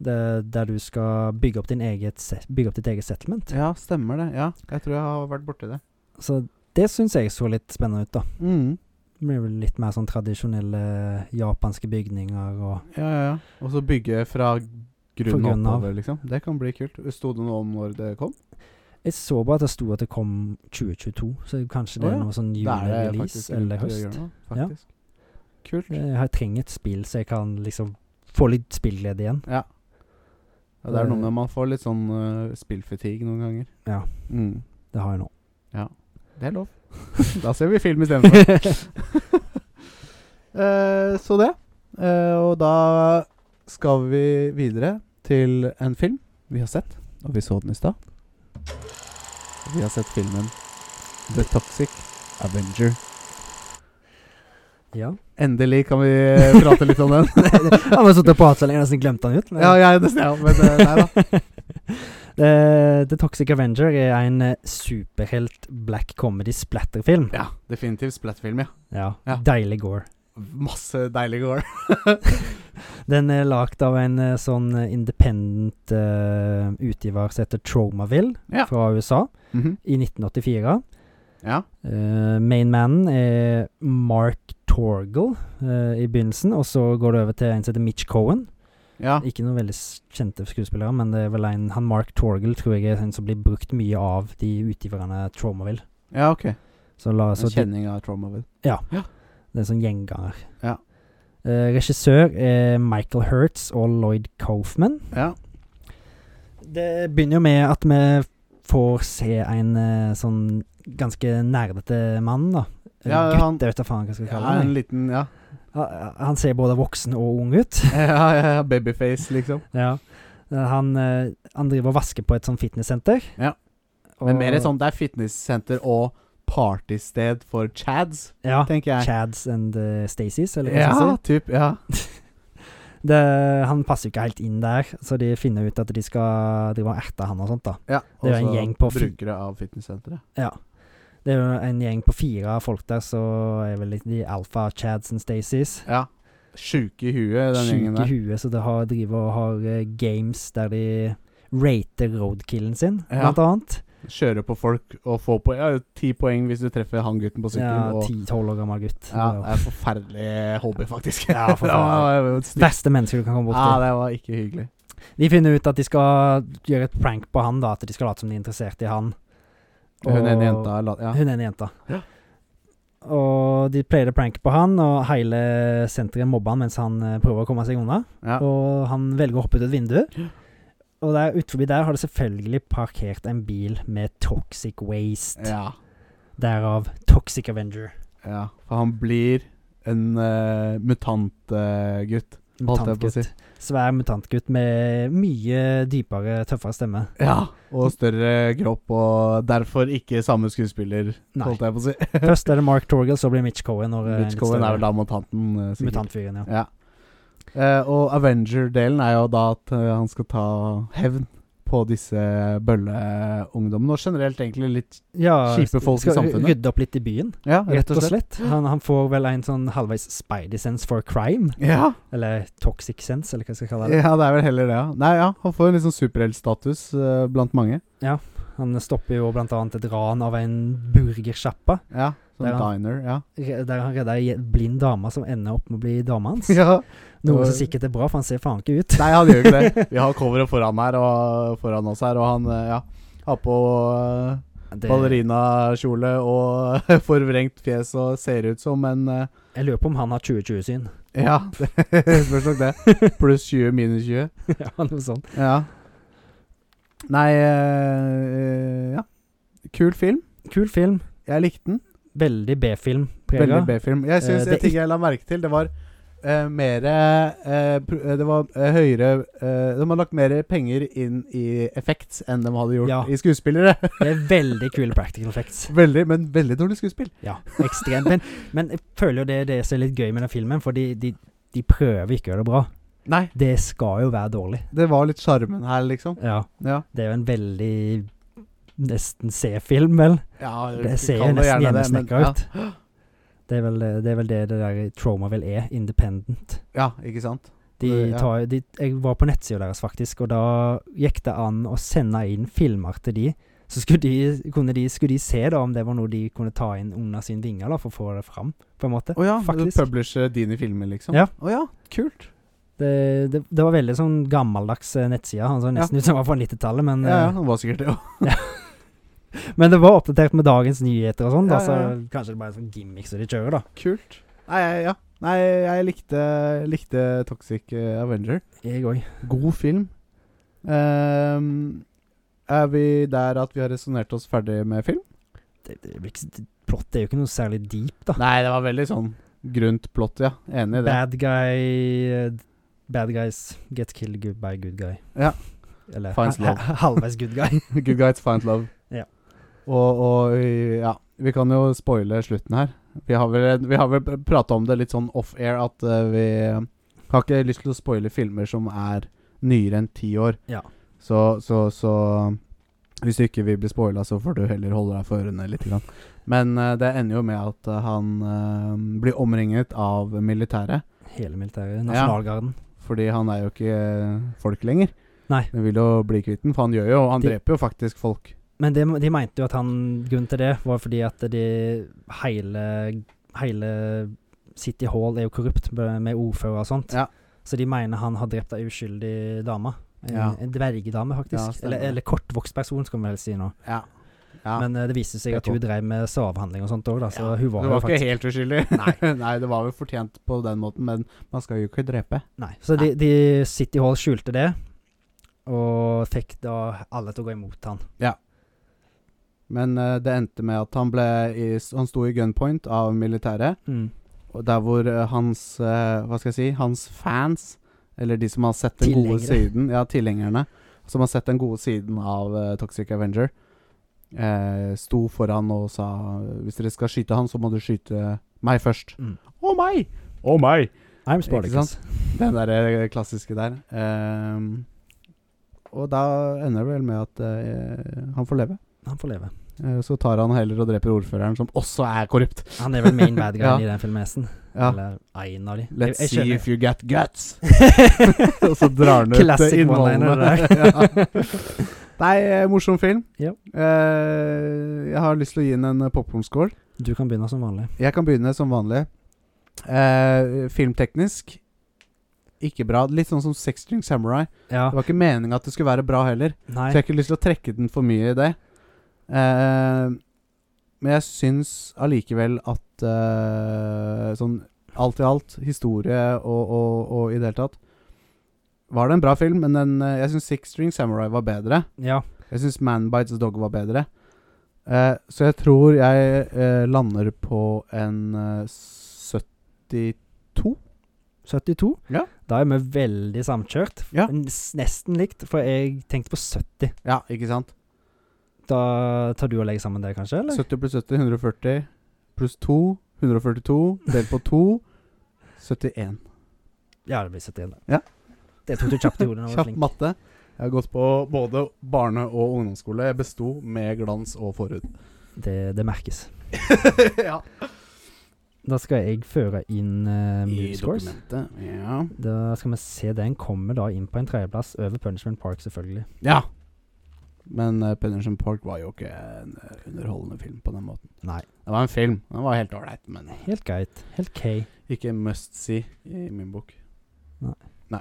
S4: Det, der du skal bygge opp, din eget, se- bygge opp ditt eget settlement.
S3: ja, stemmer det. Ja, jeg tror jeg har vært borti det.
S4: Så det syns jeg så litt spennende ut, da.
S3: Mm.
S4: Det blir vel litt mer sånn tradisjonelle japanske bygninger og
S3: Ja, ja, ja. Og så bygge fra skru
S4: På
S3: den
S4: grunn av.
S3: oppover, liksom. Det kan bli kult. Sto det noe om når det kom?
S4: Jeg så bare at det sto at det kom 2022, så kanskje det
S3: Å,
S4: er
S3: ja.
S4: noe sånn
S3: Da er det
S4: julerelease
S3: faktisk
S4: eller
S3: rundt det
S4: høst.
S3: hjørnet,
S4: Ja. Eh,
S3: Faktisk. Kult.
S4: Jeg trenger et spill så jeg kan liksom få litt spillglede igjen.
S3: Ja. ja. Det er noe med man får litt sånn uh, spillfatigue noen ganger.
S4: eh, Ja.
S3: Mm.
S4: Det har jeg nå.
S3: Det er lov. da ser vi film istedenfor. uh, så det. Eh, og da skal vi videre til en film vi har sett. Og vi så den i stad. Og Vi har sett filmen The Toxic Avenger.
S4: Ja.
S3: Endelig kan vi Eh, prate litt om den.
S4: Han har sittet og pratet så lenge, jeg nesten glemte han ut. men-
S3: ja, jeg er nesten ja, men eh, nei da.
S4: Eh, The Toxic Avenger er en eh, superhelt black comedy splatterfilm.
S3: Ja, definitivt splatfilm, ja.
S4: Ja.
S3: Ja.
S4: Deilig gore.
S3: Masse deilige gore.
S4: Den er lagd av en eh, sånn eh, independent eh, utgiver som heter Tromaville
S3: Ja.
S4: fra USA
S3: Mhm.
S4: i 1984.
S3: Ja.
S4: Uh, Mainmannen er Mark Torgel eh, i begynnelsen, og så går det over til en som heter Mitch Cohen.
S3: ja.
S4: Ikke noen veldig s- kjente skuespillere, men det er vel en han Mark Torgel tror jeg er en som blir brukt mye av de utgiverne Tromaville.
S3: Ja, ok.
S4: Så la oss
S3: En kjenning av Tromaville.
S4: Det er en sånn gjenganger.
S3: Ja.
S4: Eh, regissør er Michael Hertz og Lloyd Coffman.
S3: Ja.
S4: Det begynner jo med at vi får se en eh, sånn ganske nerdete mann, da.
S3: Ja,
S4: Eller
S3: han-
S4: gutt, jeg vet da faen hva jeg skal kalle
S3: ja, en
S4: han.
S3: liten Ja,
S4: Han, han ser både voksen og ung ut.
S3: ja, ja, ja babyface, liksom.
S4: ja. Eh, Han, eh, han driver og vasker på et sånn fitnesssenter.
S3: Ja. Men mer sånn det er fitnesssenter og partysted for chads,
S4: Ja.
S3: tenker jeg.
S4: Ah, Chads and eh, Stacys, eller hva skal
S3: Ja,
S4: jeg
S3: typ, ja.
S4: si. Det, han passer jo ikke helt inn der, så de finner ut at de skal drive og erte han og sånt, da.
S3: ja.
S4: Det er jo en
S3: også
S4: gjeng på fi-
S3: Brukere av fitnesssenteret.
S4: Ja. Det er jo en gjeng på fire folk der, så er vel litt de alfa Chads and Stacys.
S3: Ja. Sjuke i huet, den
S4: Sjuke
S3: gjengen
S4: i
S3: der.
S4: huet, så de har, driver og har eh, games der de rater roadkillen sin,
S3: Ja.
S4: blant annet.
S3: Kjøre på folk og få på ja, ti poeng hvis du treffer han gutten på
S4: Ja,
S3: sykkelen. og-
S4: Ti-tolv år gammel gutt.
S3: ja, det
S4: Det var
S3: er en forferdelig hobby, faktisk.
S4: Ja, forferdelig.
S3: det var, jo
S4: jo
S3: stygt.
S4: Verste mennesker du kan
S3: ja,
S4: komme bort til.
S3: det var ikke hyggelig.
S4: De finner ut at de skal gjøre et prank på han, da. At de skal late som de er interessert i han.
S3: Hun ene
S4: Og-
S3: jenta la- ja.
S4: Hun ene jenta.
S3: Ja.
S4: Og de pleier å pranke på han, og hele senteret mobber han mens han eh, prøver å komme seg unna.
S3: Ja.
S4: Og han velger å hoppe ut et vindu.
S3: Ja.
S4: Og der utenfor der har det selvfølgelig parkert en bil med toxic waste.
S3: ja.
S4: Derav Toxic Avenger.
S3: Ja, for han blir en eh, mutantgutt.
S4: Mutantgutt. Svær mutantgutt med mye dypere, tøffere stemme.
S3: Ja. Og større kropp, og derfor ikke samme skuespiller,
S4: Nei.
S3: holdt jeg på å si.
S4: Først er det Mark Torgel, så blir Mitch Cohen. Når, eh,
S3: Mitch
S4: litt
S3: Cohen er
S4: større
S3: vel da mutanten. eh, sikkert.
S4: Mutantfyren, ja.
S3: Ja. Eh, og Avenger-delen er jo da at eh, han skal ta hevn på disse bølleungdommene, og generelt egentlig litt
S4: ja.
S3: Kjipe folk i
S4: skal
S3: samfunnet.
S4: Rydde opp litt i byen,
S3: Ja,
S4: rett og slett. Han, han får vel en sånn halvveis spidey-sense for crime.
S3: Ja,
S4: Eller toxic sense, eller hva jeg skal kalle det.
S3: ja, det er vel heller det, ja. Nei, ja, han får en litt sånn superheltstatus eh, blant mange.
S4: Han stopper jo blant annet et ran av en burgersjappa.
S3: Ja,
S4: Det
S3: sånn
S4: er han.
S3: diner, ja.
S4: re- Der han redder ei je- blind dame som ender opp med å bli dama hans.
S3: ja.
S4: Noe
S3: det-
S4: som sikkert er bra, for han ser faen ikke ut.
S3: Nei, han gjør ikke det. Vi har coveret foran her og foran oss her, og han eh, ja, har på eh,
S4: Det,
S3: ballerinakjole og forvrengt fjes og ser ut som en eh,
S4: jeg lurer på om han har 2020-syn.
S3: Ja, det spørs nok det. Pluss 20, minus 20.
S4: ja, noe sånt.
S3: Ja. Nei eh, Ja. Kul film.
S4: Kul film.
S3: Jeg likte den.
S4: Veldig B-film.
S3: Veldig
S4: prega.
S3: B-film. Jeg synes
S4: Eh,
S3: En
S4: det er
S3: ting jeg la merke til, det var eh, mer eh, pr- eh, Det var eh, høyere eh, De har lagt mer penger inn i effekts enn de hadde gjort
S4: Ja.
S3: i skuespillere.
S4: Det er veldig kule practical effects.
S3: Veldig, men veldig dårlig skuespill.
S4: Ja, ekstremt. Men, men jeg føler jo det er det som er litt gøy med den filmen, for de, de, de prøver ikke å gjøre det bra.
S3: Nei,
S4: Det skal jo være dårlig.
S3: det var litt sjarmen her, liksom.
S4: Ja.
S3: Ja,
S4: Det er jo en veldig nesten C-film, vel.
S3: ja
S4: Det ser
S3: kall
S4: jo nesten
S3: gjerne det, men-
S4: hjemmesnekra ut. Det er, vel, det er vel det det der Troma vel er, independent.
S3: Ja, ja, ikke sant? Det-
S4: De
S3: ja.
S4: tar, de, jeg var på nettsida deres, faktisk, og da gikk det an å sende inn filmer til de. Så skulle de, kunne de, skulle de se da om det var noe de kunne ta inn under sine vinger da, for å få det fram, på en måte.
S3: Å ja,
S4: faktisk.
S3: du publisher dine filmer, liksom?
S4: Ja.
S3: Å ja, kult.
S4: Det, det, det var veldig sånn gammeldags eh, nettside. Han så nesten ut som han var fra 90-tallet, men,
S3: Ja, ja,
S4: eh,
S3: det var sikkert det òg.
S4: men det var oppdatert med dagens nyheter og sånn,
S3: Ja,
S4: da, så
S3: ja, ja.
S4: kanskje det bare er sånn gimmick som de kjører, da.
S3: Kult. Nei, jeg- ja. Nei, jeg likte, likte Toxic eh, Avenger.
S4: Jeg òg.
S3: God film. Ehm, er vi der at vi har resonnert oss ferdig med film?
S4: Det, det, blir ikke s- plott er jo ikke noe særlig deep, da.
S3: Nei, det var veldig sånn grunt plott, ja. Enig i det.
S4: Bad guy eh, Bad guys get killed good by good guy.
S3: Ja.
S4: Eller
S3: Finds
S4: ha- ha- halvveis good guy.
S3: Good guys find love.
S4: Ja.
S3: Og, og eh, ja, vi kan jo spoile slutten her. Vi har vel, vi har vel prata om det litt sånn off-air at eh, vi har ikke lyst til å spoile filmer som er nyere enn ti år.
S4: Ja.
S3: Så, så, så hvis du ikke vil bli spoila, så får du heller holde deg for ørene litt. Grann. Men eh, det ender jo med at eh, han eh, blir omringet av militæret.
S4: Hele militæret. Nasjonalgarden.
S3: Fordi han er jo ikke eh, folk lenger.
S4: Nei.
S3: Han vil jo bli kvitt den, for han gjør jo Han
S4: De-
S3: dreper jo faktisk folk.
S4: Men de, de mente jo at han grunnen til det var fordi at de hele, hele City Hall er jo korrupt med med ordfører og sånt.
S3: Ja.
S4: Så de mener han har drept ei uskyldig dame. En,
S3: Ja.
S4: en dvergedame,
S3: Ja,
S4: faktisk.
S3: stemmer
S4: eller,
S3: det.
S4: eller kortvokst person, skal vi vel si nå.
S3: Ja. ja.
S4: Men eh, det viste seg
S3: Det
S4: at
S3: er
S4: hun drev med slavehandling og sånt òg, da. Så
S3: Ja,
S4: hun var,
S3: det var
S4: jo
S3: ikke
S4: faktisk
S3: helt uskyldig. Nei. det var vel fortjent på den måten, men man skal jo ikke drepe.
S4: Nei. Så de, de City Hall skjulte det, og fikk da alle til å gå imot han.
S3: Men eh, det endte med at han ble i, Han sto i gunpoint av militæret, og der hvor eh, hans eh, Hva skal jeg si Hans fans, eller de som har sett den gode
S4: Tilhengere.
S3: siden Ja, tilhengerne, som har sett den gode siden av eh, Toxic Avenger, eh, sto foran og sa Hvis dere skal skyte han, så må du skyte meg først.
S4: Mm.
S3: Å, meg! Å, meg!
S4: I'm
S3: Ikke
S4: Spartacus.
S3: Den derre klassiske der. Ehm, og da ender det vel med at eh, han får leve.
S4: Han får leve.
S3: Eh, så tar han heller og dreper ordføreren, som også er korrupt.
S4: Han er vel main bad guy
S3: Ja.
S4: i den filmesen.
S3: Ja.
S4: Eller en av de.
S3: Let's
S4: Jeg- jeg
S3: see
S4: skjønner-
S3: if you get guts. og så drar han ut
S4: Classic
S3: innholdene.
S4: one-liner
S3: Ja. Nei, eh, morsom film.
S4: Ja.
S3: Eh, jeg har lyst til å gi den en popkornskål.
S4: Du kan begynne som vanlig.
S3: Jeg kan begynne som vanlig. Eh, filmteknisk ikke bra. Litt sånn som Sex String Samurai.
S4: Ja.
S3: Det var ikke meninga at det skulle være bra heller. Så jeg
S4: Nei.
S3: har ikke lyst til å trekke den for mye i det. Eh, men jeg syns allikevel at eh, sånn alt i alt, historie og, og, og i det hele tatt Var det en bra film, men den, eh, jeg syns Six String Samurai var bedre.
S4: Ja.
S3: Jeg syns Man Bites Dog var bedre. Eh, så jeg tror jeg eh, lander på en eh, 70
S4: 72.
S3: Ja.
S4: Da er vi veldig samkjørt.
S3: Ja.
S4: N- s- Nesten likt, for jeg tenkte på 70.
S3: Ja, ikke sant?
S4: Da tar du og legger sammen det, kanskje? Eller?
S3: 70 pluss 70, 140 pluss 2, 142 delt på 2, 71.
S4: Ja, det blir 71. da.
S3: Ja.
S4: Det tok du kjapt i hodet.
S3: Kjapp matte. Jeg har gått på både barne- og ungdomsskole. Jeg besto med glans og forhud.
S4: Det, det merkes.
S3: ja.
S4: Da skal jeg føre inn
S3: I
S4: uh, Moonscores.
S3: dokumentet. Ja.
S4: Da skal vi se. Den kommer da inn på en tredjeplass over Punishment Park, selvfølgelig.
S3: ja. Men uh, Penderson Park var jo ikke en eh, underholdende film på den måten.
S4: Nei.
S3: Det var en film. Den var helt ålreit, men
S4: Helt greit. Helt K.
S3: ikke en must see i min bok.
S4: Nei.
S3: Nei.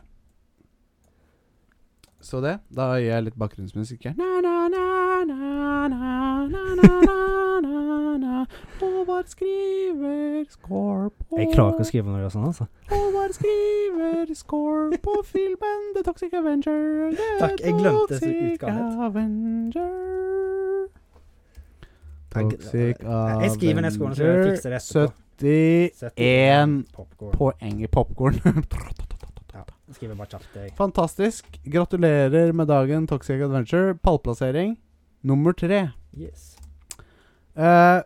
S3: Så det. Da gir jeg litt bakgrunnsmusikk her. Na, na, na, na, na, na, na, na, na, na. Håvard skriver score på
S4: Jeg klarer ikke å skrive noe sånn, altså.
S3: Håvard skriver score på filmen The Toxic Avenger. The
S4: Takk, jeg glemte så
S3: Toxic
S4: utgaven.
S3: Avenger.
S4: Jeg-
S3: Toxic Avenger
S4: Jeg skriver ned skolen, så jeg fikser det etterpå.
S3: 70 71
S4: popkorn.
S3: poeng i popkorn.
S4: Skriver bare kjapt, jeg.
S3: Fantastisk. Gratulerer med dagen, Toxic Adventure. Pallplassering nummer tre.
S4: Yes.
S3: Eh,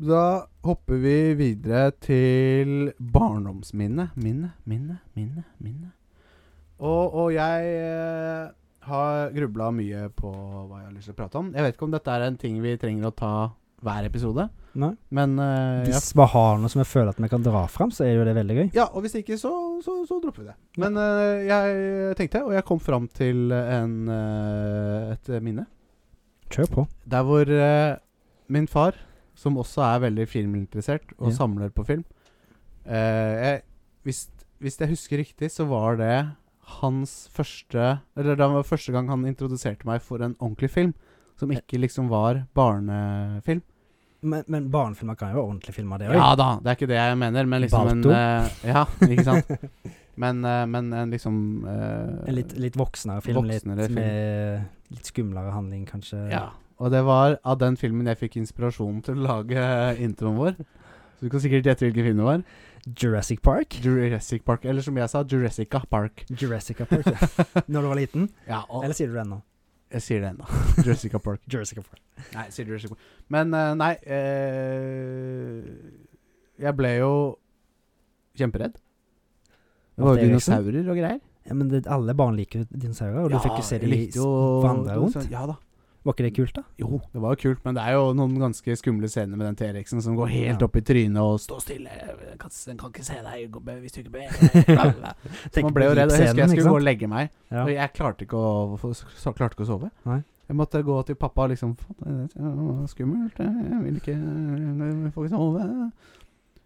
S3: da hopper vi videre til barndomsminnet. Minne, minne, minne, minne. Og, og jeg eh, har grubla mye på hva jeg har lyst til å prate om. Jeg vet ikke om dette er en ting vi trenger å ta hver episode,
S4: Nei.
S3: men eh, jeg
S4: Hvis vi har noe som jeg føler at vi kan dra fram, så er jo det veldig gøy.
S3: Ja, og hvis ikke, så, så, så dropper vi det. Men eh, jeg tenkte, og jeg kom fram til en, eh, et minne.
S4: Kjør på.
S3: Der hvor eh, min far, som også er veldig filminteressert og
S4: Ja.
S3: samler på film eh, jeg, Hvis Hvis jeg husker riktig, så var det hans første Eller det var første gang han introduserte meg for en ordentlig film. Som ikke liksom var barnefilm.
S4: Men, men barnefilmer kan jo være ordentlige filmer, det òg.
S3: Ja da, det er ikke det jeg mener, men liksom en
S4: Balto.
S3: eh, Ja, ikke sant. Men, eh, men en liksom eh,
S4: En litt, litt voksnere film,
S3: Voksnere
S4: litt
S3: film.
S4: med litt skumlere handling, kanskje.
S3: Ja. Og det var av den filmen jeg fikk inspirasjonen til å lage eh, introen vår. Så du kan sikkert gjette hvilken film det var.
S4: Jurassic Park?
S3: Jurassic Park. Eller som jeg sa, Jurassica Park.
S4: Jurassic Park, ja. Når du var liten?
S3: Ja, og
S4: Eller sier du det ennå?
S3: jeg sier det ennå. Jurassica Park.
S4: Jurassic Park.
S3: Nei, jeg sier Jurassic Park. Men eh, nei eh, Jeg ble jo kjemperedd. Det var jo
S4: At det, liksom?
S3: dinosaurer og greier.
S4: Ja, men det, alle barn liker jo dinosaurer, og du fikk jo se
S3: jeg
S4: dem
S3: likte jo-
S4: vandre rundt.
S3: Ja da.
S4: Var ikke det kult, da?
S3: Jo, det var jo kult, men det er jo noen ganske skumle scener med den T-rexen som går helt
S4: Ja.
S3: opp i trynet og 'Stå stille, den kan, den kan ikke se deg gå- hvis du ikke beveger deg'. Bla, bla, bla. Så
S4: Tenk
S3: Man ble
S4: på
S3: jo redd. og Jeg husker jeg
S4: jeepscenen, ikke
S3: skulle gå og legge meg,
S4: Ja.
S3: og jeg klarte ikke å, få- så, klarte ikke å sove.
S4: Nei.
S3: Jeg måtte gå til pappa og liksom «Faen, det er Skummelt, jeg vil ikke Jeg får ikke sove.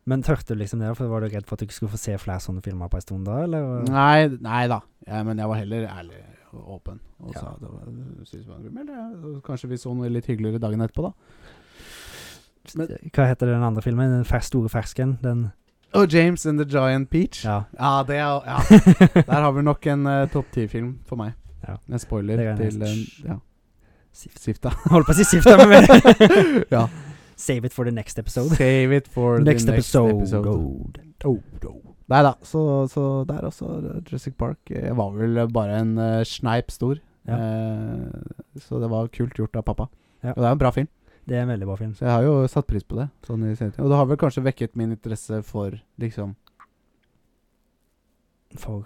S4: Men tørte du liksom det, da? for var du redd for at du ikke skulle få se flere sånne filmer på en stund da, eller?
S3: Nei, nei da. Ja, men jeg var heller ærlig og åpen. Og
S4: Ja.
S3: sa at det var, synes det var skummelt. ja. Og Kanskje vi så noe litt hyggeligere dagen etterpå, da. men-
S4: Hva heter den andre filmen? Den fer store fersken? Den
S3: Og James and the Giant Peach.
S4: Ja.
S3: Ja, det er, ja. Der har vi nok en eh, topp ti-film for meg.
S4: Ja.
S3: En spoiler
S4: Det er
S3: til
S4: nesten-
S3: en, ja.
S4: Sift.
S3: Sifta.
S4: Holdt på å si Sifta, men
S3: ja.
S4: Save it for the next episode.
S3: Save it for
S4: Next
S3: the next episode.
S4: episode.
S3: Oh, no. Nei da, så, så der også. eh, Jurassic Park eh, var vel bare en eh, sneip stor.
S4: Ja.
S3: Eh, så det var kult gjort av pappa.
S4: Ja.
S3: Og det er en bra film,
S4: Det er en veldig bra film.
S3: så jeg har jo satt pris på det. Sånn i senere tid. Og det har vel kanskje vekket min interesse for liksom
S4: For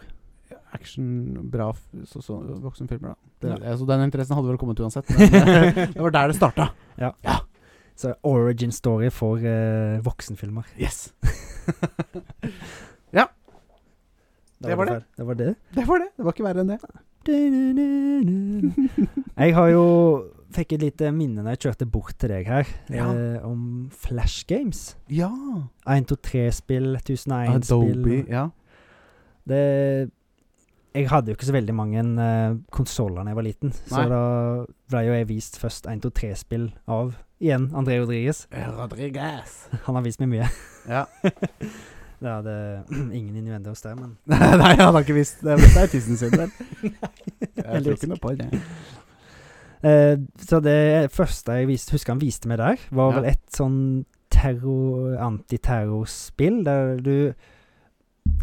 S3: action, bra f- så, så, voksenfilmer, da. Det,
S4: Ja.
S3: altså, den interessen hadde vel kommet uansett. Men eh, det var der det starta.
S4: Så origin story for eh, voksenfilmer.
S3: Yes.
S4: Da
S3: Det var det.
S4: fer- Det var det.
S3: Det var det. Det var ikke verre enn det.
S4: Jeg har jo fikk et lite minne når jeg kjørte bort til deg her,
S3: Ja.
S4: eh, om Flash Games.
S3: Ja.
S4: 123-spill, 1001-spill.
S3: Adobe. Ja.
S4: Det Jeg hadde jo ikke så veldig mange uh, konsoller da jeg var liten, så
S3: Nei.
S4: da ble jo jeg vist først 123-spill av igjen André Rodriguez.
S3: Rodriguez.
S4: Han har vist meg mye.
S3: Ja.
S4: Det hadde ingen innvendinger der, men
S3: Nei, han har ikke visst det. men Det er tissen sin der. Jeg tror ikke noe på det.
S4: Eh, Så det første jeg viste, husker han viste meg der, var
S3: Ja.
S4: vel et sånn terror, antiterrorspill der du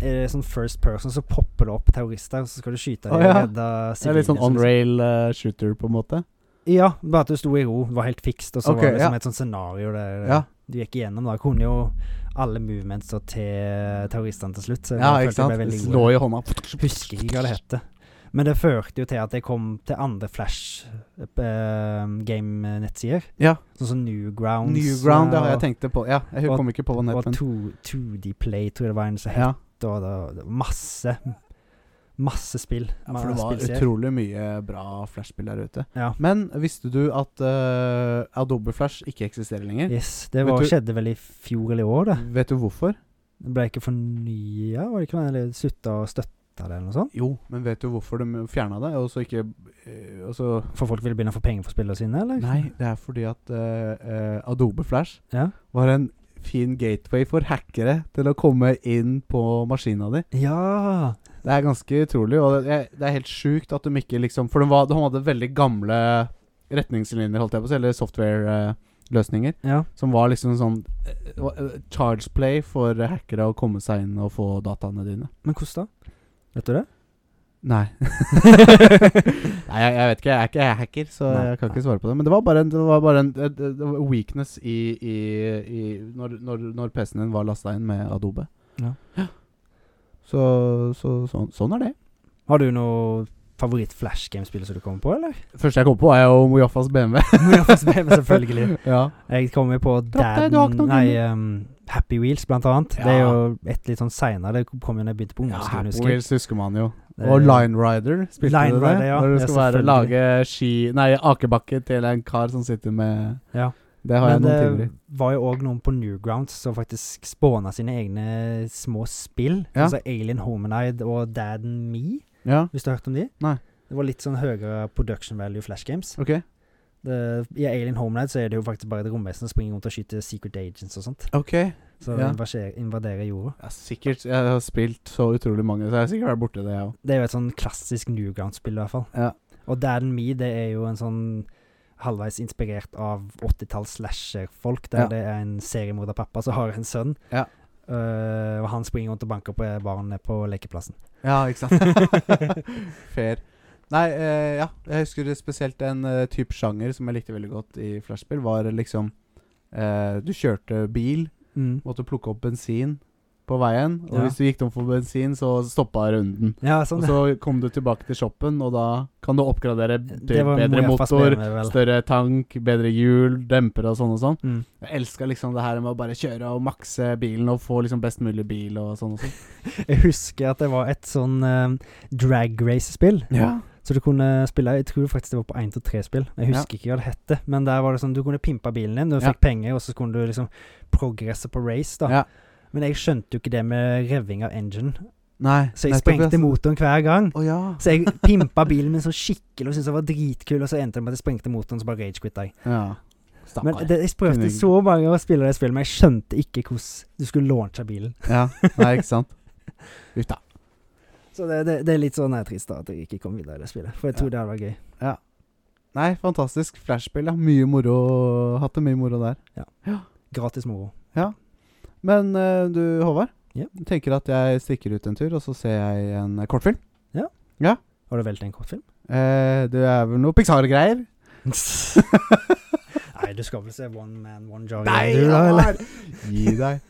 S4: er det sånn first person, så popper det opp terrorister, og så skal du skyte dem
S3: Å, ja.
S4: og redde
S3: Det er litt sånn
S4: som-
S3: on rail eh, shooter, på en måte.
S4: liksom. Ja, bare at du sto i ro, det var helt fikst, og så
S3: Ok,
S4: var det liksom
S3: ja.
S4: et sånt scenario der eh,
S3: Ja.
S4: du gikk igjennom. Da kunne jo alle movementsa til terroristene til slutt, så
S3: Ja, ikke
S4: jeg følte jeg
S3: sant.
S4: ble veldig
S3: Slå
S4: god.
S3: i hånda.
S4: Husker ikke hva det het. Men det førte jo til at jeg kom til andre Flash eh, game-nettsider.
S3: Ja.
S4: Sånn som Newgrounds.
S3: Newground, det
S4: eh,
S3: har jeg tenkt på. Ja, jeg
S4: og-
S3: kom ikke på hva den
S4: Og
S3: het, men
S4: 2- 2D Play, tror jeg det var en som het.
S3: ja.
S4: Og det var- det var masse Masse spill.
S3: Ja, for det var
S4: spillserier.
S3: utrolig mye bra flashspill der ute.
S4: Ja.
S3: Men visste du at eh, Adobe Flash ikke eksisterer lenger?
S4: Yes, det
S3: Vet
S4: var,
S3: du-
S4: skjedde vel i fjor eller i år, det.
S3: Vet du hvorfor?
S4: Det ble ikke fornya, var det ikke? Eller slutta å støtte det, eller noe sånt?
S3: Jo, men vet du hvorfor de fjerna det? Og så ikke eh, og så
S4: For folk ville begynne å få penger for spillene sine, eller?
S3: Nei, det er fordi at eh, eh, Adobe Flash
S4: Ja.
S3: var en fin gateway for hackere til å komme inn på maskina di.
S4: Ja!
S3: Det er ganske utrolig, og det er, det er helt sjukt at de ikke liksom For de, var, de hadde veldig gamle retningslinjer, holdt jeg på å si, eller software-løsninger.
S4: ja.
S3: Som var liksom sånn uh, Charge play for hackere å komme seg inn og få dataene dine.
S4: Men hvordan da? Vet du det?
S3: Nei. Nei, jeg, jeg vet ikke. Jeg er ikke hacker, så
S4: Nei.
S3: jeg kan ikke svare på det. Men det var bare en, det var bare en det- det, det var weakness i, i, i Når, når, når PC-en din var lasta inn med Adobe.
S4: Ja.
S3: Så, så sånn, sånn er det.
S4: Har du noe favoritt-flash game-spill som du kommer på, eller?
S3: Første jeg kom på, er jo Mojaffas BMW.
S4: Men selvfølgelig.
S3: ja.
S4: Jeg kommer på
S3: Trapp deg, du har ikke
S4: Dadden
S3: noe
S4: Nei,
S3: gummi.
S4: ehm, Happy Wheels, blant annet. Det er
S3: Ja.
S4: jo et litt sånn seinere. Det kom jo da jeg begynte på
S3: ja
S4: ungdomsskolen,
S3: Happy
S4: husker jeg. Eh,
S3: Wheels husker man jo.
S4: Det-
S3: Og Line Rider. Spilte
S4: Line
S3: du det?
S4: Rider, ja.
S3: Når du
S4: Ja,
S3: skal være,
S4: selvfølgelig.
S3: lage ski Nei, akebakke til en kar som sitter med
S4: Ja.
S3: Det har jeg
S4: Men
S3: noen
S4: det
S3: tidligere.
S4: var jo òg noen på Newgrounds som faktisk spåna sine egne små spill.
S3: Ja.
S4: Altså Alien Hominide og Dad and Me,
S3: Ja,
S4: hvis du har hørt om de?
S3: Nei.
S4: Det var litt sånn høyere production value flash games.
S3: ok.
S4: Det, I Alien Hominide så er det jo faktisk bare et romvesen som springer rundt og skyter secret agents og sånt.
S3: Ok. Jeg
S4: Så
S3: Ja.
S4: invaderer, invaderer jorda.
S3: har sikkert Jeg har spilt så utrolig mange, så jeg har sikkert vært borti det, jeg òg.
S4: Det er jo et sånn klassisk Newgrounds-spill, i hvert fall.
S3: Ja.
S4: Og Dad and Me, det er jo en sånn halvveis inspirert av 80-talls slasher-folk, der
S3: Ja.
S4: det er en seriemorderpappa som har en sønn.
S3: Ja.
S4: Eh, og han springer rundt og banker på barnet på lekeplassen.
S3: Ja, ikke sant. Fair. Nei, eh, ja. Jeg husker spesielt en eh, type sjanger som jeg likte veldig godt i flashspill, var liksom eh, Du kjørte bil, måtte plukke opp bensin på veien, og
S4: Ja.
S3: hvis du gikk tom for bensin, så stoppa runden.
S4: Ja,
S3: Og
S4: sånn
S3: så kom du tilbake til shoppen, og da kan du oppgradere
S4: Det
S3: til
S4: var
S3: bedre
S4: Mofa
S3: motor,
S4: Spemer, vel.
S3: større tank, bedre hjul, dempere og sånn og sånn.
S4: Mm.
S3: Jeg elska liksom det her med å bare kjøre og makse bilen og få liksom best mulig bil og sånn og sånn.
S4: Jeg husker at det var et sånn eh, drag race-spill. Så du kunne spille Jeg tror faktisk det var på 1 til 3-spill. Jeg
S3: Ja.
S4: husker ikke hva det het. Men der var det sånn du kunne pimpe bilen din. Du
S3: Ja.
S4: fikk penger, og så kunne du liksom progresse på race, da.
S3: Ja.
S4: Men jeg skjønte jo ikke det med revving av engine.
S3: Nei,
S4: Så jeg
S3: nettopp,
S4: sprengte
S3: ja.
S4: motoren hver gang.
S3: Å ja.
S4: Så jeg pimpa bilen min så skikkelig og syntes jeg var dritkul, og så endte det med at jeg sprengte motoren, så bare rage-quitta jeg.
S3: ja.
S4: Men
S3: Stakkar.
S4: det, jeg prøvde
S3: Kunne-
S4: så mange å spille det spillet, men jeg skjønte ikke hvordan du skulle launche bilen.
S3: Ja, nei, ikke sant. Ut, da.
S4: Så det, det, det er litt sånn jeg er trist da at jeg ikke kom videre i det spillet, for jeg tror det hadde vært gøy.
S3: Nei, fantastisk. Flashspill, ja. Mye moro. Hatt det mye moro der.
S4: Gratis moro.
S3: Men eh, du, Håvard.
S4: Ja.
S3: Du tenker at jeg stikker ut en tur, og så ser jeg en eh, kortfilm.
S4: Har du velt en kortfilm?
S3: Eh, det er vel noe Pixar-greier.
S4: Nei, du skal vel se One Man, One Jar
S3: Nei,
S4: du, da, eller?
S3: Håvard! Gi deg.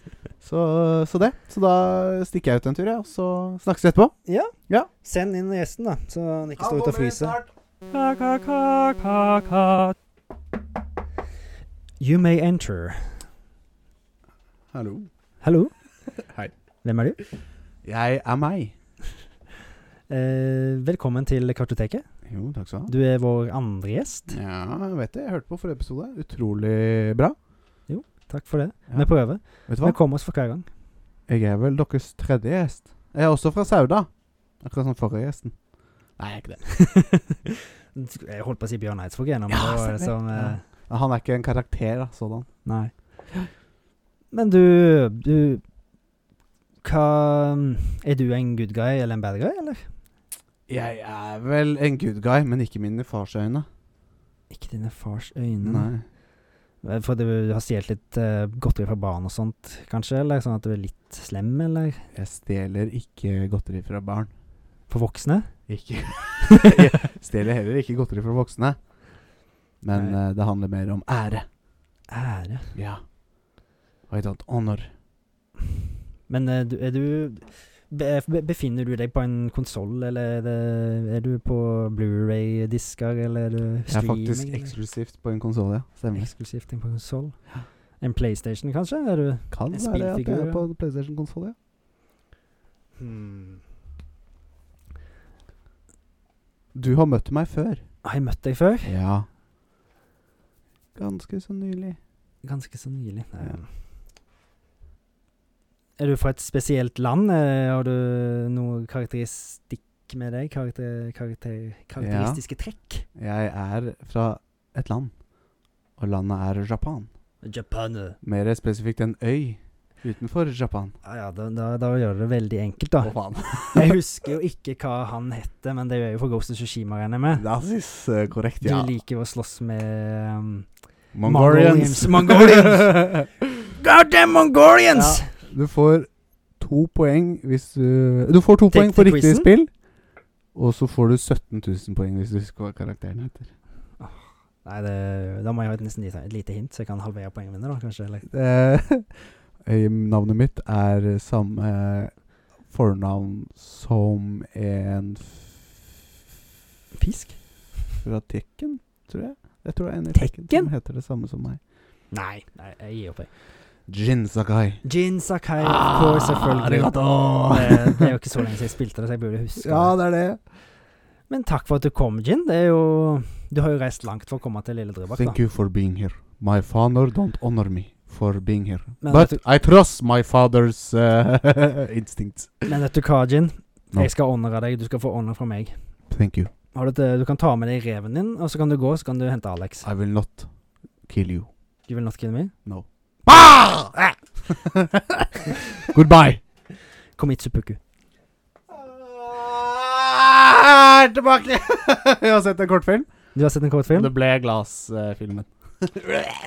S3: Så, så det. Så da stikker jeg ut en tur, jeg, og så snakkes vi etterpå.
S4: Send inn gjesten, da, så han ikke står ute og fryser.
S1: Ka-ka-ka-ka-ka.
S4: You may enter.
S3: Hallo.
S4: Hallo?
S3: Hei.
S4: Hvem er du?
S3: Jeg er meg.
S4: Eh, velkommen til Kartoteket.
S3: Jo, takk skal du ha.
S4: Du er vår andre gjest.
S3: Ja, jeg vet det. Jeg hørte på forrige episode. Utrolig bra.
S4: Takk for det.
S3: Ja.
S4: Vi prøver.
S3: Vet du
S4: Vi
S3: hva?
S4: kommer oss for hver gang.
S3: Jeg er vel deres tredje gjest. Jeg er også fra Sauda. Akkurat som forrige gjesten. Nei, jeg er ikke det.
S4: Jeg holdt på å si Bjørn Eidsvåg igjen, men
S3: Ja,
S4: det var det
S3: stemmer.
S4: som eh,
S3: Ja, Han er ikke en karakter, da, sådan.
S4: Nei. Men du, du Hva mm, Er du en good guy eller en bad guy, eller?
S3: Jeg er vel en good guy, men ikke mine fars øyne.
S4: Ikke dine fars øyne.
S3: Nei.
S4: Eh, For du har stjålet litt eh, godteri fra barn og sånt, kanskje? Eller sånn at du er litt slem, eller?
S3: Jeg stjeler ikke godteri fra barn.
S4: For voksne?
S3: Ikke Jeg stjeler heller ikke godteri fra voksne. Men
S4: Nei.
S3: eh, det handler mer om ære.
S4: Ære.
S3: Ja. Og et annet honor.
S4: Men eh, du, er du be, be- Befinner du deg på en konsoll, eller er, det, er du på Blu-ray-disker, eller er du
S3: Jeg er
S4: streaming?
S3: faktisk
S4: eller?
S3: eksklusivt på en konsoll, ja. Stemmer.
S4: Eksklusivt inn på konsoll. En PlayStation, kanskje? Er du
S3: Kan være at
S4: En
S3: jeg
S4: spillfigur,
S3: er
S4: ja.
S3: på PlayStation-konsoll, ja. Hmm. Du har møtt meg før.
S4: Har jeg møtt deg før?
S3: Ja. Ganske så nylig.
S4: Ganske så nylig. Nei.
S3: Ja.
S4: Er du fra et spesielt land? Eh, Har du noe karakteristikk med deg? Karakter, karakter, karakteristiske trekk?
S3: Jeg er fra et land, og landet er Japan.
S4: Japan. eh.
S3: Mer spesifikt en øy utenfor Japan.
S4: Ah, ja, da, da, da gjør du det veldig enkelt, da.
S3: Å, faen.
S4: Jeg husker jo ikke hva han heter, men det gjør jo for Ghost of Tsushima, regner jeg med.
S3: Das is eh, korrekt,
S4: Du
S3: ja.
S4: liker jo å slåss med um,
S3: Mongolians.
S4: Mongolians. Goddamn Mongolians!
S3: Du får to poeng hvis du Du får to
S4: Take
S3: poeng for
S4: the
S3: riktig
S4: quizen.
S3: spill. Og så får du 17 000 poeng hvis du husker hva karakteren heter.
S4: Nei, det, da må jeg ha et nesten lite, et lite hint, så jeg kan halvere poengene mine, da, kanskje. Eller?
S3: Eh, eh, navnet mitt er samme fornavn som en f-
S4: Fisk?
S3: fra Tekken, tror jeg. Jeg tror det er en i Tekken
S4: Tekken?
S3: som heter det samme som meg.
S4: Nei, nei jeg gir opp, jeg.
S3: Jin Sakai.
S4: Gin Sakai,
S3: Ah,
S4: of course, selvfølgelig.
S3: Arigato!
S4: Det, det er jo ikke så lenge siden jeg spilte det, så jeg burde huske
S3: Ja, det
S4: det.
S3: er det.
S4: Men takk for at du kom, Gin. Det er jo Du har jo reist langt for å komme til Lille Drøbak, da.
S3: Thank you for being here. My father don't honor me for being here.
S4: Men
S3: But
S4: vet
S3: I trust my father's uh, instincts.
S4: Men vet du hva, Jin?
S3: Nå.
S4: Jeg skal honore deg. Du skal få honor fra meg.
S3: Thank you.
S4: Har du, et- eh, du kan ta med deg reven din, og så kan du gå, så kan du hente Alex.
S3: I will not kill you.
S4: You will not kill me?
S3: No. Ah! Ah! Goodbye.
S4: Komitsupuku.
S3: Ah, tilbake! Vi har sett en kortfilm.
S4: Du har sett en kortfilm?
S3: Det ble Glass-filmen.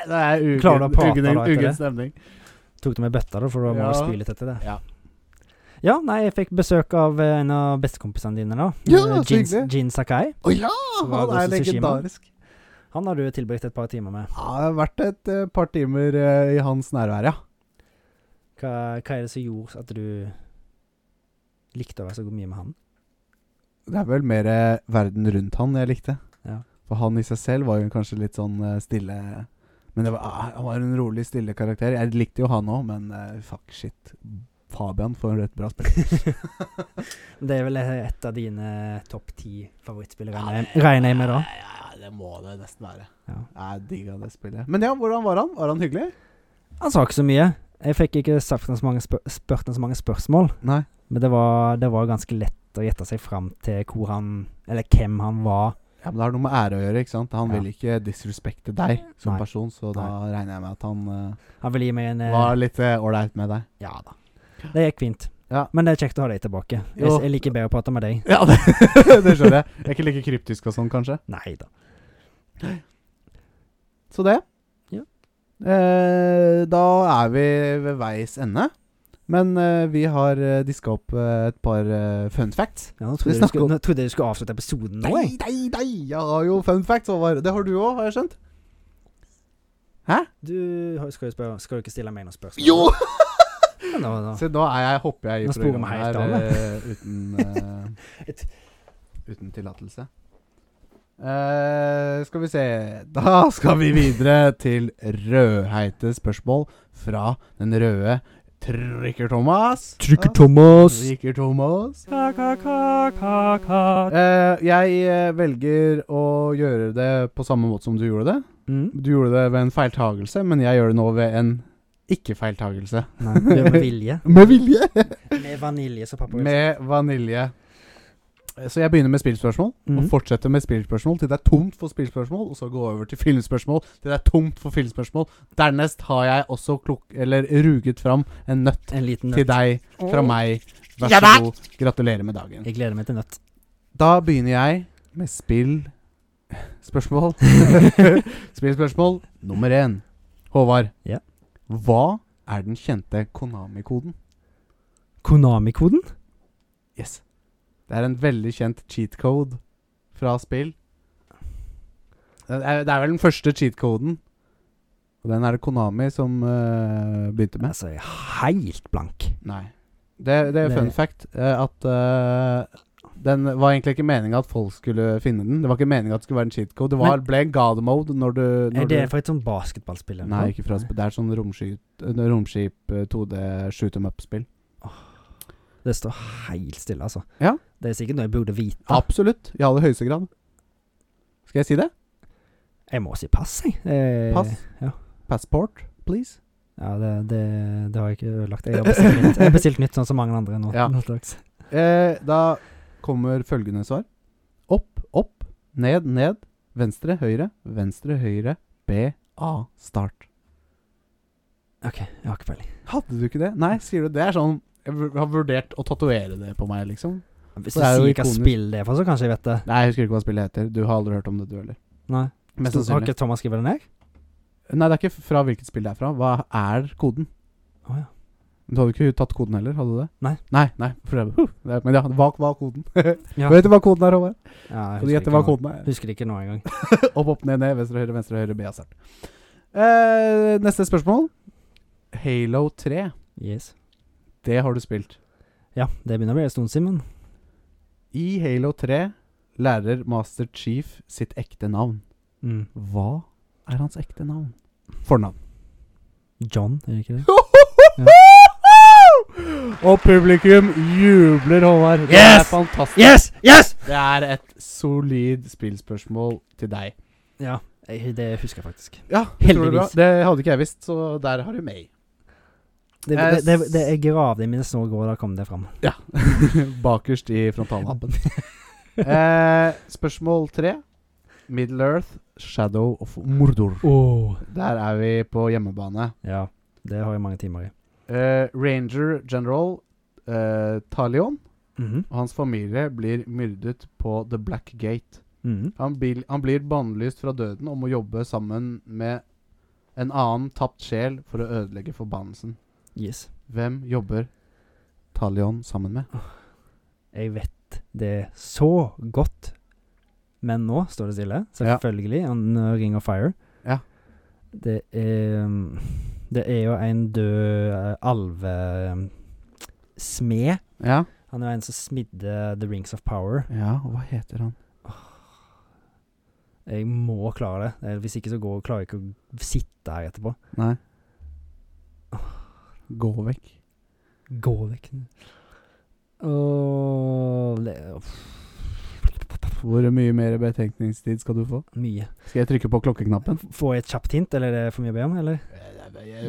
S3: det er
S4: Klarer du å
S3: ugen,
S4: prate
S3: ugen,
S4: da etter
S3: ugen
S4: det?
S3: stemning.
S4: Tok du med bøtta, da, for å må
S3: Ja.
S4: spy litt etter det?
S3: Ja.
S4: Ja, nei, jeg fikk besøk av eh, en av bestekompisene dine, da.
S3: Ja,
S4: Eh, Jin,
S3: så hyggelig.
S4: Jin Sakai.
S3: Å ja!
S4: Så var
S3: Han er
S4: Ghost of Tsushima.
S3: legendarisk.
S4: Han har du tilbrakt et par timer med.
S3: Ja, det har vært et eh, par timer eh, i hans nærvær, ja.
S4: Hva, hva er det som gjorde at du likte å være så mye med han?
S3: Det er vel mer eh, verden rundt han jeg likte.
S4: Ja.
S3: For han i seg selv var jo kanskje litt sånn eh, stille Men det var, ah, han var en rolig, stille karakter. Jeg likte jo han òg, men eh, fuck shit. Fabian får et bra spill.
S4: Det er vel et av dine topp ti favorittspillere, regner jeg- regner jeg med da.
S3: Ja, ja, det må det nesten være.
S4: Ja.
S3: Jeg digga det spillet. Men ja, hvordan var han? Var han hyggelig?
S4: Han sa ikke så mye. Jeg fikk ikke sagt han så mange spør spurt han så mange spørsmål,
S3: Nei.
S4: men det var, det var ganske lett å gjette seg fram til hvor han Eller hvem han var.
S3: Ja, men Det har noe med ære å gjøre. ikke sant? Han
S4: Ja.
S3: vil ikke disrespekte deg som
S4: Nei.
S3: person, så da regner jeg med at han eh,
S4: Han ville gi meg en eh,
S3: var litt eh, ålreit med deg.
S4: Ja da. Det gikk fint.
S3: Ja.
S4: Men det er kjekt å ha deg tilbake. Jeg,
S3: Jo.
S4: jeg liker bedre å prate med deg.
S3: Ja, det, det skjønner jeg. Jeg er ikke like kryptisk og sånn, kanskje.
S4: Nei da.
S3: Så det.
S4: Ja.
S3: Eh, da er vi ved veis ende. Men eh, vi har eh, diska opp eh, et par eh, fun facts.
S4: Ja, nå
S3: Skal vi
S4: trodde jeg du
S3: snakke om-
S4: skulle, nå trodde jeg du skulle avslutte episoden nå, jeg.
S3: Nei, nei, nei! Jeg har jo fun facts. Håvard. Det har du òg, har jeg skjønt?
S4: Du har- skal jo spørre, skal du ikke stille meg noen spørsmål?
S3: Jo!
S4: Ja, Nå, nå.
S3: Se, nå er jeg, hopper jeg i
S4: Nå sporer vi
S3: programmet
S4: helt
S3: her
S4: av,
S3: eh, uten eh,
S4: Et-
S3: Uten tillatelse. Eh, skal vi se Da skal vi videre til rødheite spørsmål fra den røde Trykker-Thomas.
S4: Thomas.
S3: Trykker-Thomas.
S1: Ka-ka-ka-ka-ka.
S3: Eh, jeg eh, velger å gjøre det på samme måte som du gjorde det.
S4: Mm.
S3: Du gjorde det ved en feiltagelse, men jeg gjør det nå ved en ikke-feiltagelse.
S4: Nei, du er med vilje.
S3: Med vilje!
S4: Med vanilje som pappa
S3: Med vanilje. Så jeg begynner med spillspørsmål, og
S4: Mhm.
S3: fortsetter med spillspørsmål til det er tomt for spillspørsmål, og så går jeg over til filmspørsmål til det er tomt for filmspørsmål. Dernest har jeg også klok eller ruget fram en nøtt
S4: En liten
S3: til
S4: nøtt.
S3: deg fra meg. Vær
S1: Ja
S3: så
S1: da!
S3: god. Gratulerer med dagen.
S4: Jeg gleder meg til nøtt.
S3: Da begynner jeg med spill Spørsmål. Spillspørsmål nummer én. Håvard.
S4: Ja.
S3: Hva er den kjente Konami-koden?
S4: Konami-koden?
S3: Yes. Det er en veldig kjent cheat code fra spill. Det er, det er vel den første cheat coden. Og den er det Konami som eh, begynte med.
S4: Altså, jeg er helt blank.
S3: Nei. Det, det er
S4: Det-
S3: fun fact eh, at eh, den var egentlig ikke meninga at folk skulle finne den. Det var ikke meninga at det skulle være en cheat code. Det var,
S4: Men-
S3: ble god mode når du, når
S4: Er det fra et sånn basketballspill?
S3: du
S4: eller
S3: Nei,
S4: noe?
S3: ikke fra spill. Det er sånn romskip, romskip eh, 2D shoot em up-spill.
S4: Det står helt stille, altså.
S3: Ja.
S4: Det er sikkert noe jeg burde vite.
S3: Absolutt. I aller høyeste grad. Skal jeg si det?
S4: Jeg må si pass, jeg. Eh,
S3: Pass.
S4: ja.
S3: Passport, please.
S4: Ja, det, det, det har jeg ikke ødelagt. Jeg har bestilt nytt, jeg har bestilt nytt sånn som mange andre nå.
S3: Ja.
S4: nå til dags.
S3: Eh, da kommer følgende svar. Opp, opp, ned, ned. Venstre, høyre, venstre, høyre. B, A, start.
S4: OK, jeg har ikke peiling.
S3: Hadde du ikke det? Nei, sier du det? er sånn Jeg vur- har vurdert å tatovere det på meg, liksom.
S4: Hvis
S3: For
S4: du
S3: det er jo
S4: sier hva
S3: ikoner.
S4: spill det er for, så kanskje jeg vet det.
S3: Nei, jeg husker ikke hva spillet heter. Du har aldri hørt om det, du heller.
S4: Nei.
S3: Mest
S4: Sto- Har
S3: sannsynlig.
S4: ikke Thomas skrevet det ned?
S3: Nei, det er ikke fra hvilket spill det er fra. Hva er koden?
S4: Å ja.
S3: Du hadde ikke tatt koden heller, hadde du det?
S4: Nei.
S3: Nei, nei for det, huh, det, men ja, hva var koden?
S4: Ja.
S3: Vet du hva koden er, Håvard?
S4: ja jeg
S3: Kan du gjette
S4: ikke
S3: hva
S4: nå.
S3: koden er?
S4: Husker ikke nå engang.
S3: Opp, opp, ned, ned, venstre, høyre, venstre, høyre, B av start. Eh, neste spørsmål. Halo 3,
S4: Yes.
S3: det har du spilt.
S4: Ja, det begynner å bli en stund siden, men
S3: I Halo 3 lærer Master Chief sitt ekte navn.
S4: mm.
S3: Hva er hans ekte navn? Fornavn.
S4: John, er det ikke det?
S3: Og publikum jubler, Håvard. Det er
S4: Yes!
S3: fantastisk.
S4: Yes! Yes!
S3: Det er et solid spillspørsmål til deg.
S4: Ja. Jeg, det husker jeg faktisk.
S3: Ja, utrolig bra.
S4: Heldigvis.
S3: Det hadde ikke jeg visst, så der har du meg.
S4: Det,
S3: Jeg
S4: det, det, det jeg gravde i mine snor går, da kom det fram.
S3: Bakerst i frontalhappen. eh, spørsmål tre. Middle Earth, Shadow of Mordor. Der er vi på hjemmebane.
S4: Ja, det har jeg mange timer i.
S3: Eh, Ranger General eh, Talion
S4: Mhm.
S3: og hans familie blir myrdet på The Black Gate.
S4: Mhm.
S3: Han, bil, han blir bannlyst fra døden om å jobbe sammen med en annen tapt sjel for å ødelegge forbannelsen.
S4: Yes.
S3: Hvem jobber Talion sammen med?
S4: Jeg vet det så godt. Men nå står det stille.
S3: Ja.
S4: Selvfølgelig. En uh, Ring of Fire.
S3: Ja.
S4: Det er um, Det er jo en død mm, uh, alvesmed.
S3: Ja,
S4: Han er jo en som smidde The Rings of Power.
S3: ja og hva heter han?
S4: Jeg må klare det. Eh, Hvis ikke så går, klarer jeg ikke å sitte her etterpå.
S3: Nei. Gå vekk.
S4: Gå vekk. Åh, det er uff,
S3: Hvor mye mer betenkningstid skal du få?
S4: mye.
S3: Skal jeg trykke på klokkeknappen?
S4: F- Får jeg et kjapt hint, eller er det for mye å be om? Eller?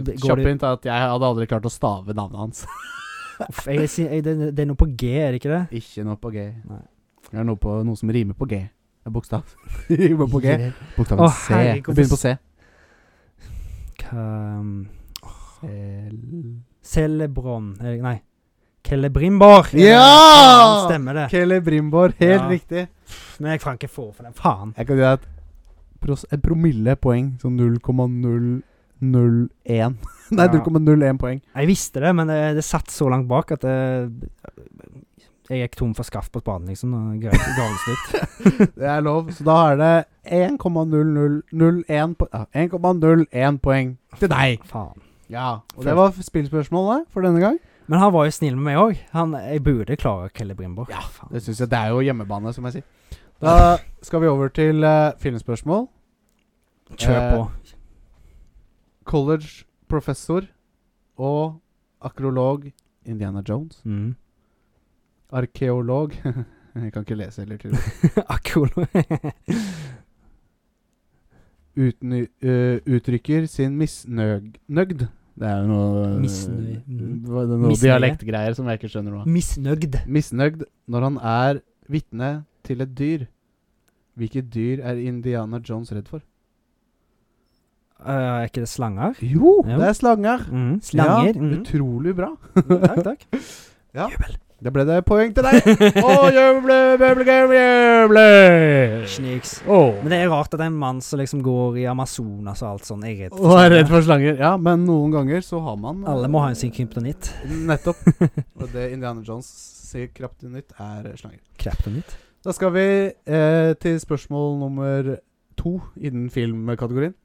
S4: Det- går
S3: Kjapp
S4: det-
S3: hint er at jeg hadde aldri klart å stave navnet hans.
S4: Uff, jeg, jeg, sier- jeg, det, det er noe på G, er det ikke det?
S3: Ikke noe på G.
S4: Nei.
S3: Det er noe, på, noe som rimer på G. Det er Bokstav. rimer på G.
S4: Jeg-
S3: Bokstaven
S4: Å,
S3: C.
S4: herregud,
S3: Det begynner på C.
S4: Ka,
S3: Sel-
S4: Ehm, Celebron er det- Nei. Celebrimbor! er det.
S3: Ja!
S4: Faen, Stemmer det.
S3: Kelly Brimbor, helt
S4: Ja.
S3: riktig.
S4: Men jeg kan ikke få for den. Faen.
S3: Jeg kan gi deg et, pros et promillepoeng. Sånn 0,001 Nei,
S4: Ja.
S3: 0,01 poeng.
S4: Jeg visste det, men det, det satt så langt bak at det, jeg gikk tom for skaft på spaden, liksom. Og ga, ga den slutt.
S3: Det er lov. Så da er det 1,0001 po ja, 1,01 poeng til deg.
S4: Faen.
S3: Ja. Og det var spillspørsmålet for denne gang.
S4: Men han var jo snill med meg òg. Han- Jeg burde klare Kelle Brimborg.
S3: Ja,
S4: faen.
S3: Det synes jeg, det er jo hjemmebane, som jeg sier. Da skal vi over til eh, filmspørsmål.
S4: Kjør
S3: eh,
S4: på.
S3: College-professor og akrolog Indiana Jones.
S4: Mm.
S3: Arkeolog Jeg kan ikke lese heller, tydeligvis.
S4: Akkurat.
S3: Utny, eh, uttrykker sin misnøyd Det er jo noe eh,
S4: Misnøy- mm.
S3: Hva- det er Noe
S4: Misnøye.
S3: dialektgreier som jeg ikke skjønner noe av.
S4: Misnøyd.
S3: Misnøyd når han er vitne til et dyr. Hvilket dyr er Indiana Jones redd for?
S4: Eh, er ikke det slanger?
S3: Jo,
S4: Jo.
S3: det er slanger!
S4: Mm.
S3: Ja,
S4: Slanger. Mm.
S3: Utrolig bra.
S4: Takk, takk.
S3: Da ble det poeng til deg. Å, jøble, bøble, jøble.
S4: Sniks.
S3: Å.
S4: Men det er rart at en mann som liksom går i Amazonas og alt sånn, er redd.
S3: Og er redd for slanger. Ja, men noen ganger så har man eh,
S4: Alle må ha en sin kryptonitt.
S3: Nettopp. Og det Indiana Jones sier krapt nytt, er slanger.
S4: Kryptonitt?
S3: Da skal vi eh, til spørsmål nummer to innen filmkategorien.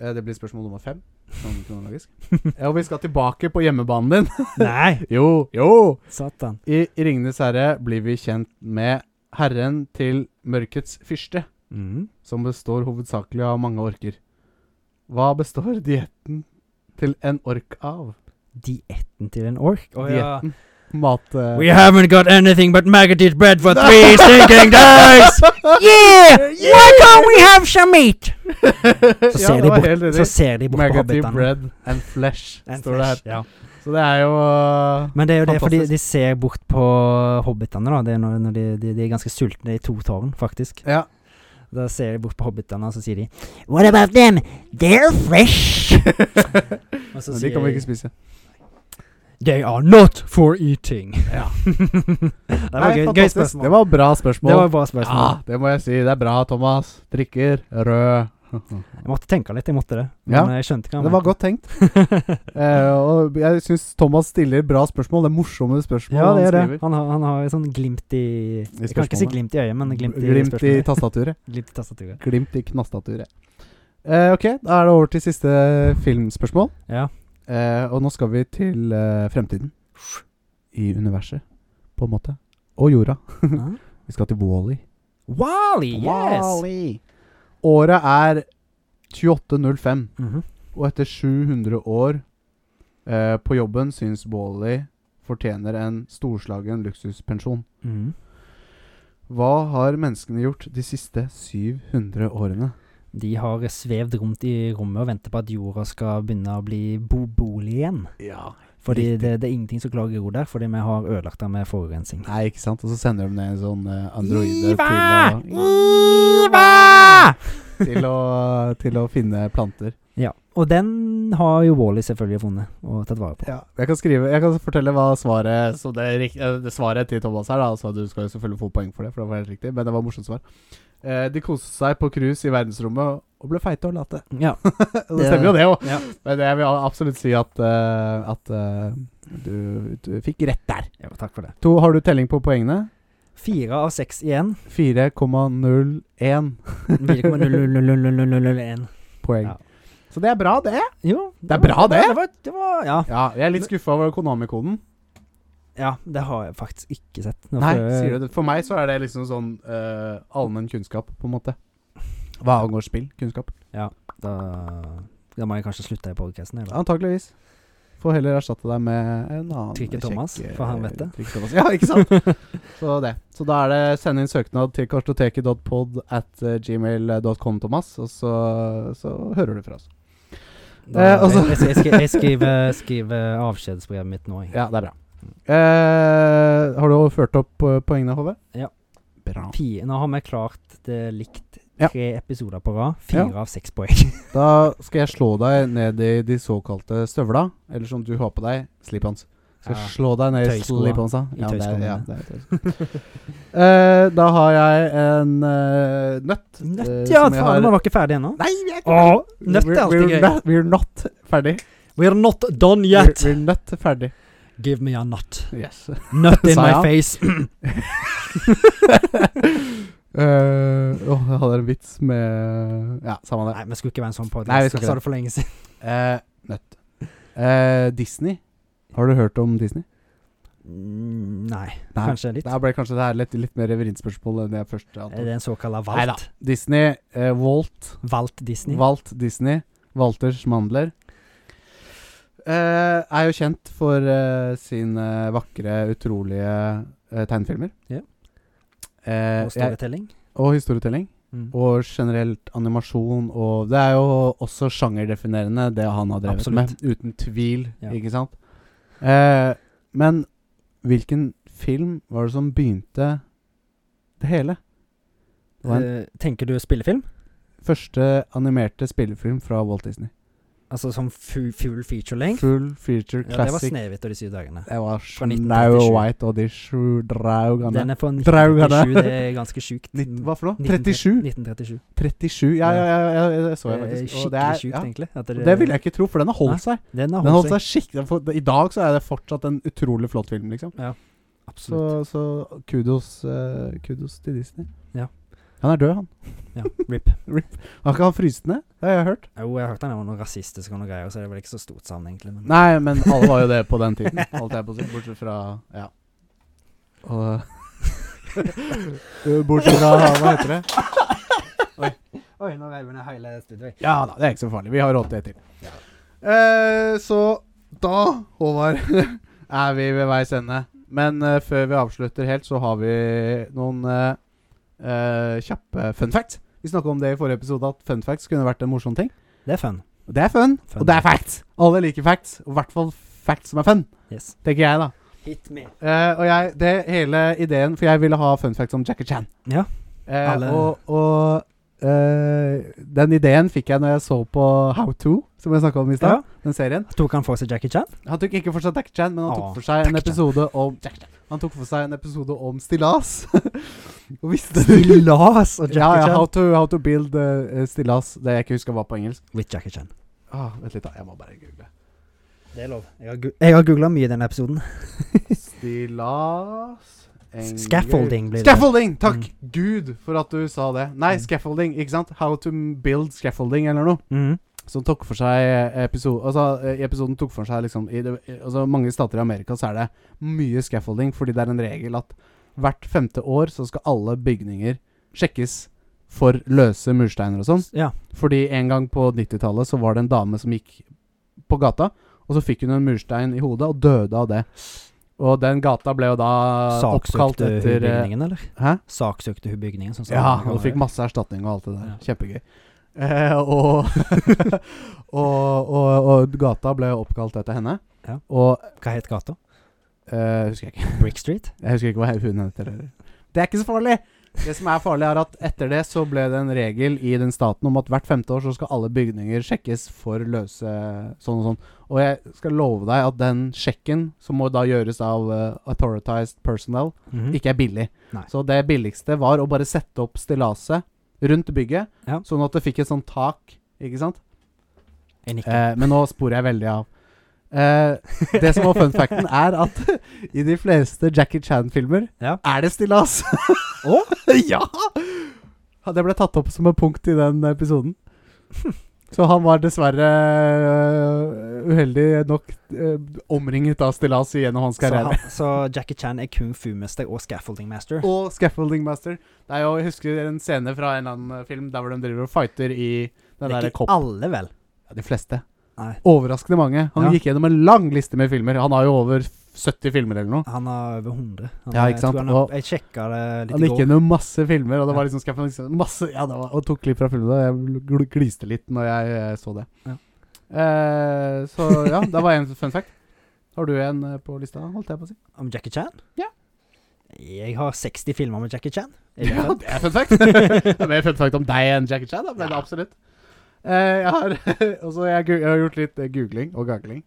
S3: Eh, det blir spørsmål nummer fem, sånn kronologisk. ja, og vi skal tilbake på hjemmebanen din.
S4: Nei!
S3: jo, jo!
S4: Satan.
S3: I Ringenes herre blir vi kjent med herren til mørkets fyrste,
S4: Mm.
S3: som består hovedsakelig av mange orker. Hva består dietten til en ork av?
S4: Dietten til en ork? Å ja.
S3: Dietten. Mat... eh,
S4: We haven't got anything but maggoted bread for three stinking days! Yeah! Why can't we have some meat? Så ser, de, bort, så ser de bort på
S3: Maggoty
S4: hobbitene.
S3: bread and flesh,
S4: And
S3: står
S4: flesh,
S3: det her.
S4: ja.
S3: Så det er jo uh,
S4: Men det er jo det fordi
S3: Fantastisk.
S4: de ser bort på hobbitene, da. Det er når, når de, de, de er ganske sultne i to tårn, faktisk.
S3: Ja.
S4: Da ser de bort på hobbitene, og så sier de What about them? They're fresh! og
S3: Men de
S4: så sier
S3: kan vi
S4: de
S3: ikke spise.
S4: They are not for eating.
S3: Ja.
S4: det var
S3: Nei,
S4: gøy, gøy
S3: fantastisk.
S4: spørsmål.
S3: Det var bra spørsmål.
S4: Det var et bra spørsmål.
S3: Ja, det må jeg si. Det er bra, Thomas. Drikker rød.
S4: Jeg måtte tenke litt, jeg måtte det. Men
S3: Ja.
S4: jeg skjønte hva
S3: Det var godt tenkt. Eh, og jeg syns Thomas stiller bra spørsmål. Det er morsomme spørsmål
S4: ja, det er det.
S3: han skriver.
S4: Han har, han har et sånn glimt i Jeg kan ikke si
S3: spørsmålet.
S4: glimt i øyet, men glimt i
S3: Glimt i
S4: spørsmålet.
S3: tastaturet.
S4: glimt i tastaturet.
S3: Glimt i knastaturet. Eh, ok, da er det over til siste filmspørsmål.
S4: Ja.
S3: Eh, og nå skal vi til eh, fremtiden. I universet, på en måte. Og jorda.
S4: Ah.
S3: Vi skal til Wally.
S4: Wally, yes!
S3: Året er 2805,
S4: Mhm.
S3: og etter 700 år eh, på jobben syns Wally fortjener en storslagen luksuspensjon.
S4: Mhm.
S3: Hva har menneskene gjort de siste 700 årene?
S4: De har svevd rundt i rommet og venter på at jorda skal begynne å bli bobolig igjen.
S3: Ja.
S4: Fordi
S3: Riktig.
S4: det, det er ingenting som klarer ro der, fordi vi har ødelagt den med forurensning.
S3: Nei, ikke sant? Og så sender de ned en sånn eh, androide
S4: Iva!
S3: til å,
S4: Iva!
S3: til, å, til å finne planter.
S4: Ja. Og den har jo Wally selvfølgelig funnet og tatt vare på.
S3: Ja. Jeg kan skrive Jeg kan fortelle hva svaret Så det, er rikt- eh, det svaret til Thomas her, da. Altså, du skal jo selvfølgelig få poeng for det, for det var helt riktig, men det var morsomt svar. Eh, de koste seg på cruise i verdensrommet og ble feite og late.
S4: Ja.
S3: Og det stemmer jo, det òg.
S4: Ja.
S3: Men jeg vil absolutt si at, eh, at eh, du, du fikk rett der.
S4: ja, takk for det.
S3: To, har du telling på poengene?
S4: Fire av seks igjen.
S3: 4,01
S4: 4,00001.
S3: poeng.
S4: Ja.
S3: Så det er bra, det.
S4: Jo.
S3: Det er bra, det.
S4: Det var, det var ja.
S3: Ja, jeg er litt skuffa over Konami-koden.
S4: ja. Det har jeg faktisk ikke sett. Nå
S3: Nei,
S4: får jeg-
S3: sier du det? For meg så er det liksom sånn uh, allmenn kunnskap, på en måte. Hva angår spill? Kunnskap?
S4: Da, da må jeg kanskje slutte i podkasten.
S3: Antakeligvis. Får heller erstatte deg med en annen
S4: Trikke
S3: kjekk,
S4: Thomas,
S3: eh,
S4: for han vet det.
S3: Trikke Thomas. Ja, ikke sant? så det. Så da er det send inn søknad til kartoteket.pod at eh, gmail.com, Thomas, og så, så hører du fra oss.
S4: Da,
S3: Eh, altså-
S4: jeg, jeg, skri- jeg skriver, skriver avskjedsbrevet mitt nå. Jeg.
S3: Ja, det er bra. Eh, har du ført opp eh, poengene, HV?
S4: Ja.
S3: Bra.
S4: Fi- Nå har vi klart det likt
S3: Ja.
S4: tre episoder på rad. Fire
S3: Ja.
S4: av seks poeng.
S3: Da skal jeg slå deg ned i de såkalte støvla, eller som du har på deg, slipons. Skal
S4: Ja.
S3: slå deg ned i
S4: Tøyskoa.
S3: sliponsa.
S4: I
S3: det er-
S4: tøyskoene.
S3: ja, det er tøysko. Eh, da har jeg en eh, nøtt. eh,
S4: Nøtt, ja!
S3: som jeg
S4: Faen,
S3: har-
S4: vi var ikke ferdig ennå.
S3: Nei, vi er ikke
S4: Å, nøtt er
S3: We're-
S4: alltid
S3: we're
S4: gøy.
S3: not- We're not ferdig.
S4: We're not done
S3: We're,
S4: yet.
S3: we're not ferdig.
S4: Give me a nut.
S3: Yes.
S4: Nut in
S3: Sa
S4: my
S3: jeg?
S4: face.
S3: Eh, åh, jeg hadde en vits med Ja, samme det.
S4: Nei, vi skulle ikke være en sånn
S3: Nei, vi
S4: podkast.
S3: skulle
S4: Jeg
S3: ikke
S4: sa
S3: det.
S4: det for lenge siden.
S3: Eh, nøtt. Eh, Disney. Har du hørt om Disney?
S4: Mm, Nei,
S3: Nei.
S4: kanskje litt.
S3: Der ble kanskje det her litt, litt mer vrientspørsmål enn jeg først
S4: Er
S3: antok.
S4: det en såkalt
S3: Neida.
S4: valt?
S3: Disney, eh, Walt,
S4: Valt Disney?
S3: Walt Disney, Walters Mandler, eh, er jo kjent for eh, sine vakre, utrolige eh, tegnefilmer.
S4: Ja.
S3: Eh,
S4: Og
S3: jeg,
S4: storytelling?
S3: og historietelling.
S4: Mm.
S3: Og generelt animasjon og Det er jo også sjangerdefinerende, det han har drevet
S4: Absolutt.
S3: med. Uten tvil,
S4: Ja.
S3: ikke sant? Eh, men hvilken film var det som begynte det hele? Det var en
S4: Eh, tenker du spillefilm?
S3: første animerte spillefilm fra Walt Disney.
S4: Altså som fu full feature length?
S3: Full feature
S4: Ja, det var
S3: classic.
S4: Snehvit og de syv dagene.
S3: det var
S4: Fra
S3: Snow
S4: 1937.
S3: White og de sju
S4: Den
S3: draugene.
S4: er fra
S3: Draugane.
S4: 1937, det er ganske sjukt. Mm.
S3: Nitt- Hva for noe?
S4: 1937.
S3: 37? 37, ja, ja, ja, ja, ja det så jeg
S4: Det er
S3: faktisk. Og det
S4: Eh, Skikkelig
S3: er,
S4: sjukt,
S3: ja.
S4: egentlig. at
S3: Og det ville jeg ikke tro, for den har
S4: Nei.
S3: holdt seg.
S4: Den har
S3: Den har holdt
S4: holdt seg.
S3: seg skikkelig for- I dag så er det fortsatt en utrolig flott film, liksom. Så,
S4: Absolutt.
S3: så kudos, eh, kudos til Disney.
S4: Ja.
S3: Han er død, han.
S4: Ja, rip.
S3: Har ikke han fryst ned? Det har jeg hørt.
S4: Jo, jeg har hørt han var noe rasistisk og noe greier, så det er vel ikke så stort savn, egentlig. Men
S3: Nei, men alle var jo det på den tiden. Holdt jeg på å si. Bortsett fra Ja. Og Bortsett fra Hva heter det?
S4: Oi, nå reiv jeg ned hele studioet.
S3: Ja da, det er ikke så farlig. Vi har råd til det til. Eh, så da, Håvard, er vi ved veis ende. Men eh, før vi avslutter helt, så har vi noen eh, eh, kjappe fun facts. Vi snakka om det i forrige episode, at fun facts kunne vært en morsom ting.
S4: Det er fun.
S3: Og det er fun,
S4: Fun.
S3: og det er facts. Alle liker facts. Og i hvert fall facts som er fun,
S4: Yes.
S3: tenker jeg, da.
S4: Hit me.
S3: Eh, og jeg, det hele ideen For jeg ville ha fun facts om Jackie Chan.
S4: Ja,
S3: Eh,
S4: alle-
S3: Og, og eh, den ideen fikk jeg når jeg så på How To, som jeg snakka om i
S4: ja.
S3: stad. Den serien.
S4: Tok han for seg Jackie Chan?
S3: Han tok ikke for seg Jackie Chan, men han
S4: Åh,
S3: tok for seg en
S4: Jackie Chan.
S3: episode om Jackie Chan. Han tok for seg en episode om stillas. og visste
S4: Stillas og
S3: Ja,
S4: Jackie
S3: ja. How
S4: Chan.
S3: to, how to build eh, stillas. Det jeg ikke husker var på engelsk.
S4: With Jackie Chan.
S3: Ah, vent litt, da. Jeg må bare google.
S4: Det er lov. Jeg har, gu- jeg har googla mye i denne episoden.
S3: Stillas engel-
S4: Scaffolding blir det. Mm.
S3: Scaffolding! Takk! Gud for at du sa det. Nei, scaffolding, ikke sant? How to build scaffolding eller noe.
S4: Mhm.
S3: Som tok for seg episode, altså, eh, episoden tok for seg liksom i det, altså, Mange stater i Amerika så er det mye scaffolding fordi det er en regel at hvert femte år så skal alle bygninger sjekkes for løse mursteiner og sånn.
S4: Ja.
S3: Fordi en gang på 90-tallet så var det en dame som gikk på gata, og så fikk hun en murstein i hodet og døde av det. Og den gata ble jo da oppkalt
S4: Saksøkte hun
S3: etter eh,
S4: bygningen, eller?
S3: Hæ?
S4: Saksøkte hun bygningen? Sånn som
S3: Ja,
S4: man kan
S3: og
S4: gjøre.
S3: fikk masse erstatning og alt det der. Kjempegøy. Eh, og, og, og, og gata ble oppkalt etter henne.
S4: Ja.
S3: Og
S4: Hva het gata?
S3: eh, husker jeg ikke.
S4: Brick Street?
S3: Jeg husker ikke hva hun heter heller. Det er ikke så farlig! Det som er farlig, er at etter det så ble det en regel i den staten om at hvert femte år så skal alle bygninger sjekkes for løse sånn og sånn. Og jeg skal love deg at den sjekken, som må da gjøres av eh, authoritized personnel,
S4: Mhm.
S3: ikke er billig.
S4: Nei.
S3: Så det billigste var å bare sette opp stillaset rundt bygget,
S4: Ja.
S3: sånn at det fikk et sånt tak, ikke sant?
S4: Jeg nikker.
S3: Eh, men nå sporer jeg veldig av. Eh, det som var fun facten, er at i de fleste Jackie Chan-filmer
S4: Ja.
S3: er det stillas. Å? ja! Ja, Det ble tatt opp som et punkt i den episoden. Så han var dessverre eh, uheldig nok eh, omringet av stillas gjennom hans
S4: så,
S3: karriere.
S4: han, så Jackie Chan er kung fu-mester og scaffolding master.
S3: Og Scaffolding Master. Det er jo, jeg husker en scene fra en eller annen film der hvor de driver og fighter i den
S4: det er
S3: der
S4: ikke
S3: koppen.
S4: alle, vel?
S3: Ja, de fleste.
S4: Nei.
S3: Overraskende mange. Han
S4: Ja.
S3: gikk gjennom en lang liste med filmer. Han har jo over 70 filmer eller noe.
S4: Han har over 100. Han,
S3: Ja,
S4: er-
S3: ikke sant?
S4: Jeg, tror han
S3: Og-
S4: er, jeg sjekka det litt
S3: Han
S4: i
S3: gikk
S4: går.
S3: gjennom masse filmer, og det var
S4: Ja.
S3: liksom Scaffolding masse, ja, det var, Og tok klipp fra filmene. og Jeg gl- gliste litt når jeg eh, så det.
S4: Ja.
S3: Eh, så ja, det var en fun fact. Har du en eh, på lista, holdt jeg på å si?
S4: Om Jackie Chan?
S3: Ja.
S4: Jeg har 60 filmer med Jackie Chan. Er det
S3: Ja,
S4: sant?
S3: det er fun fact. det er mer fun fact om deg enn Jackie Chan, da, men
S4: Ja.
S3: absolutt. Eh, jeg, har, og så har jeg, gu- jeg har gjort litt eh, googling og gagling.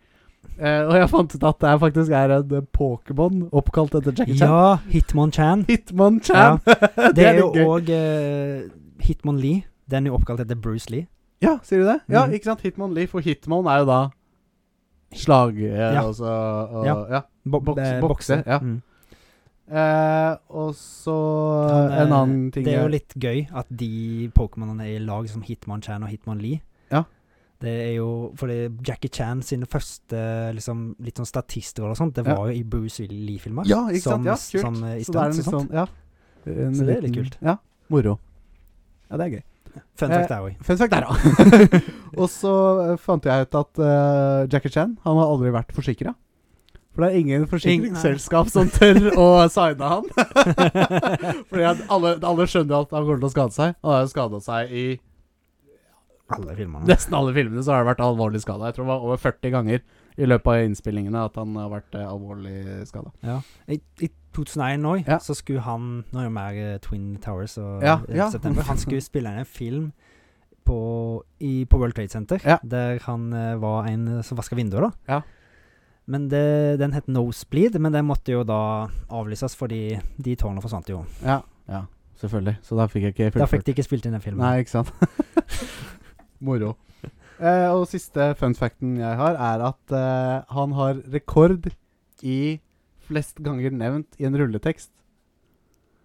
S3: Eh, og jeg fant ut at det er faktisk er en eh, Pokémon oppkalt etter Jackie Chan.
S4: Ja, Hitmon Chan.
S3: Hitman Chan! det,
S4: Det er
S3: litt
S4: jo
S3: gøy.
S4: òg Hitmon Lee. Den er jo oppkalt etter Bruce Lee.
S3: Ja, sier du det? Ja,
S4: Mhm.
S3: ikke sant? Hitman Lee, for Hitman er jo da slag eh,
S4: Ja.
S3: altså, og, ja.
S4: Ja. Bo
S3: Boks-
S4: eh,
S3: bokse, ja.
S4: Mm.
S3: Eh, og så
S4: Han, eh,
S3: en annen ting
S4: Det er jo
S3: jeg-
S4: litt gøy at de Pokémonene er i lag som Hitmon Chan og Hitmon Lee.
S3: Ja.
S4: Det er jo fordi Jackie Chan sine første liksom, litt sånn statister og sånt, det
S3: Ja.
S4: var jo i Bruce Lee-filmer.
S3: Ja, ikke
S4: som,
S3: sant? Ja, kult.
S4: Som, eh, i
S3: Så det er
S4: stunts
S3: en
S4: og sånt.
S3: sånn Ja. En
S4: Så det er litt
S3: liten-
S4: kult.
S3: Ja. Moro. Ja, det er gøy.
S4: Fun
S3: Eh,
S4: fact der òg.
S3: Fun fact der, da. og så eh, fant jeg ut at eh, Jackie Chan Han har aldri vært forsikra. For det er ingen forsikringsselskap som tør å signe han. Fordi at alle, alle skjønner jo at han kommer til å skade seg. Han har jo skada seg i
S4: Alle filmene.
S3: nesten alle filmene. Så har det vært alvorlig skada. Jeg tror det var over 40 ganger i løpet av innspillingene at han har vært eh, alvorlig skada.
S4: Ja. I, I 2001 òg,
S3: Ja.
S4: så skulle han Nå er det mer eh, Twin Towers og
S3: Ja,
S4: eh,
S3: ja.
S4: september. Han skulle spille inn en film på, i, på World Trade Center,
S3: Ja.
S4: der han eh, var en eh, som vaska vinduer, da.
S3: Ja.
S4: Men det, den het Nosebleed, men den måtte jo da avlyses fordi de tårnene forsvant jo.
S3: Ja, ja, selvfølgelig. Så da fikk jeg ikke
S4: Da fikk de ikke spilt inn den filmen.
S3: Nei, ikke sant. Moro. Eh, og siste fun facten jeg har, er at eh, han har rekord i flest ganger nevnt i en rulletekst.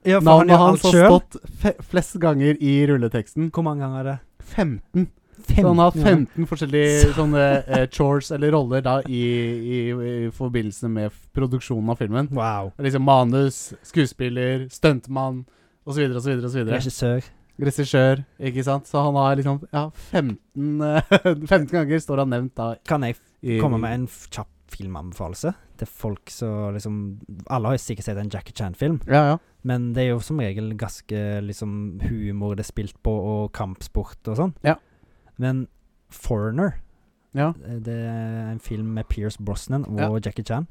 S4: Ja, for han
S3: Navnet
S4: gjør alt
S3: hans har
S4: sjøl.
S3: stått fe flest ganger i rulleteksten.
S4: Hvor mange ganger er det?
S3: 15. Så han har 15 forskjellige sånne eh, chores eller roller da i, i, i forbindelse med f- produksjonen av filmen.
S4: Wow.
S3: Liksom manus, skuespiller, stuntmann osv. osv. osv.
S4: Regissør.
S3: Regissør, ikke sant? Så han har liksom ja, 15, eh, 15 ganger står han nevnt da
S4: Kan jeg
S3: i
S4: komme med en f- kjapp filmanbefalelse til folk som liksom Alle har jo sikkert sett en Jackie Chan-film,
S3: Ja, ja.
S4: men det er jo som regel ganske liksom humor det er spilt på, og kampsport og sånn.
S3: Ja.
S4: Men Foreigner,
S3: Ja.
S4: eh, det er en film med Pierce Brosnan og Jackie Chan.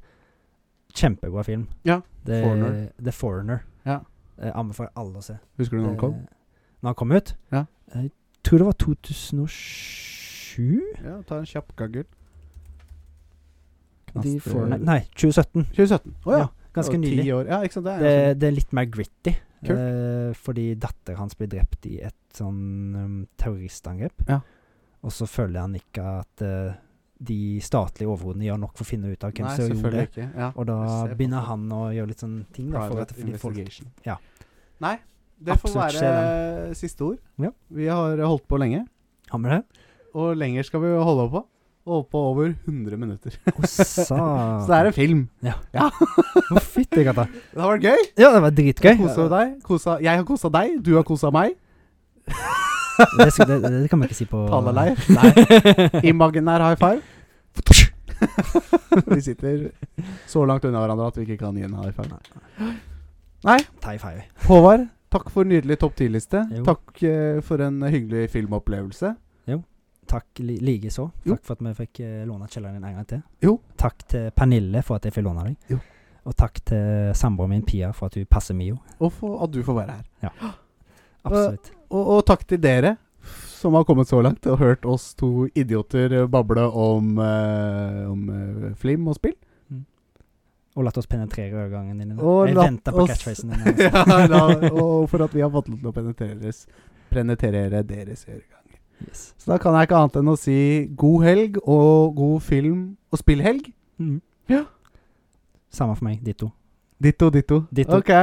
S4: Kjempebra film.
S3: Ja,
S4: Det,
S3: Foreigner.
S4: The Foreigner.
S3: Ja.
S4: Eh, anbefaler alle å se.
S3: Husker du når han kom?
S4: Eh, Når han kom ut?
S3: Ja.
S4: Jeg tror det var 2007?
S3: Eh, Ja, ta en kjapp gaggel.
S4: De
S3: Knaster-
S4: får, nei, nei, 2017.
S3: 2017. Å ja.
S4: Ja, Ganske
S3: Det var
S4: nylig.
S3: Ti år. Ja, ikke sant. Det er
S4: Det,
S3: jo sånn.
S4: det er litt mer gritty.
S3: Kult.
S4: eh, fordi datteren hans blir drept i et sånn um, terroristangrep.
S3: Ja.
S4: Og så føler han ikke at eh, de statlige overhodene gjør nok for å finne ut av hvem
S3: Nei,
S4: som gjorde det.
S3: selvfølgelig ikke. Ja.
S4: Og da
S3: Jeg ser på
S4: begynner
S3: det.
S4: han å gjøre litt sånn ting. Da, for at
S3: Private
S4: fordi folk,
S3: investigation.
S4: ja.
S3: Nei, det får
S4: Absolutt
S3: være siste ord.
S4: Ja.
S3: Vi har holdt på lenge,
S4: har vi det?
S3: og lenger skal vi holde på. Holdt på over 100 minutter.
S4: Å,
S3: Så det er en film.
S4: Å, fytti katta.
S3: Det har vært gøy.
S4: Ja, det var dritgøy.
S3: Kosa deg. Kosa, jeg har kosa deg, du har kosa meg.
S4: Det, skal- det, det kan man ikke si på
S3: Palaleir. Nei. Imaginær high five. vi sitter så langt unna hverandre at vi ikke kan gi en high five. Nei.
S4: Thai five.
S3: Håvard, Takk for nydelig topp ti-liste.
S4: Jo.
S3: Takk eh, for en hyggelig filmopplevelse.
S4: Takk li likeså.
S3: Jo.
S4: Takk for at vi fikk eh, låne kjelleren din en gang til.
S3: Jo.
S4: Takk til Pernille for at jeg fikk låne deg.
S3: Jo.
S4: Og takk til samboeren min Pia for at hun passer Mio.
S3: Og for at du får være her.
S4: Absolutt.
S3: Og, og takk til dere som har kommet så langt og hørt oss to idioter eh, bable om, eh, om eh, flim og spill.
S4: Og latt oss penetrere øregangen din.
S3: Og
S4: Jeg
S3: latt
S4: venter på
S3: oss-
S4: catchphrasen din. altså.
S3: ja, da, og for at vi har fått lov til å penetreres, penetrere deres øregang.
S4: Yes.
S3: Så da kan jeg ikke annet enn å si god helg og god film- og spillhelg.
S4: Mm.
S3: Ja.
S4: Samme for meg. Ditto.
S3: Ditto, ditto.
S4: Ditto.
S3: Ok.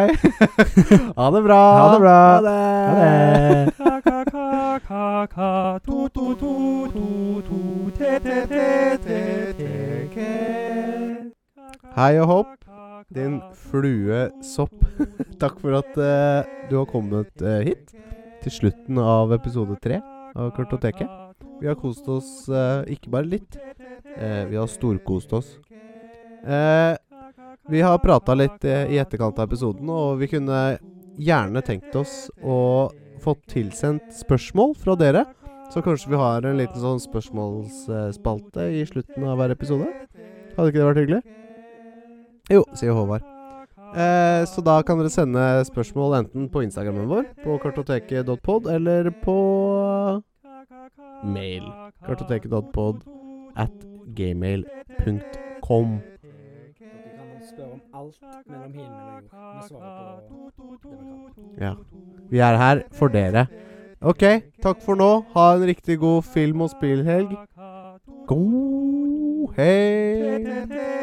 S3: ha det bra.
S4: Ha det bra.
S3: Ha det.
S4: Ha det.
S1: ka ka ka ka ka tu tu tu tu tu te te te te te ke.
S3: Hei og hopp, din fluesopp. Takk for at eh, du har kommet eh, hit til slutten av episode tre av Kartoteket. Vi har kost oss eh, ikke bare litt, eh, vi har storkost oss. Eh, vi har prata litt eh, i etterkant av episoden, og vi kunne gjerne tenkt oss å få tilsendt spørsmål fra dere. Så kanskje vi har en liten sånn spørsmålsspalte i slutten av hver episode. Hadde ikke det vært hyggelig? Jo, sier Håvard. Eh, så da kan dere sende spørsmål enten på Instagrammen vår, på kartoteket.pod, eller på mail. Kartoteket.pod at gmail.com.
S2: Dere kan spørre om alt mellom himmel og jord. Vi svarer på det vi kan.
S3: Ja. Vi er her for dere. Ok, takk for nå. Ha en riktig god film- og spillhelg. God helg!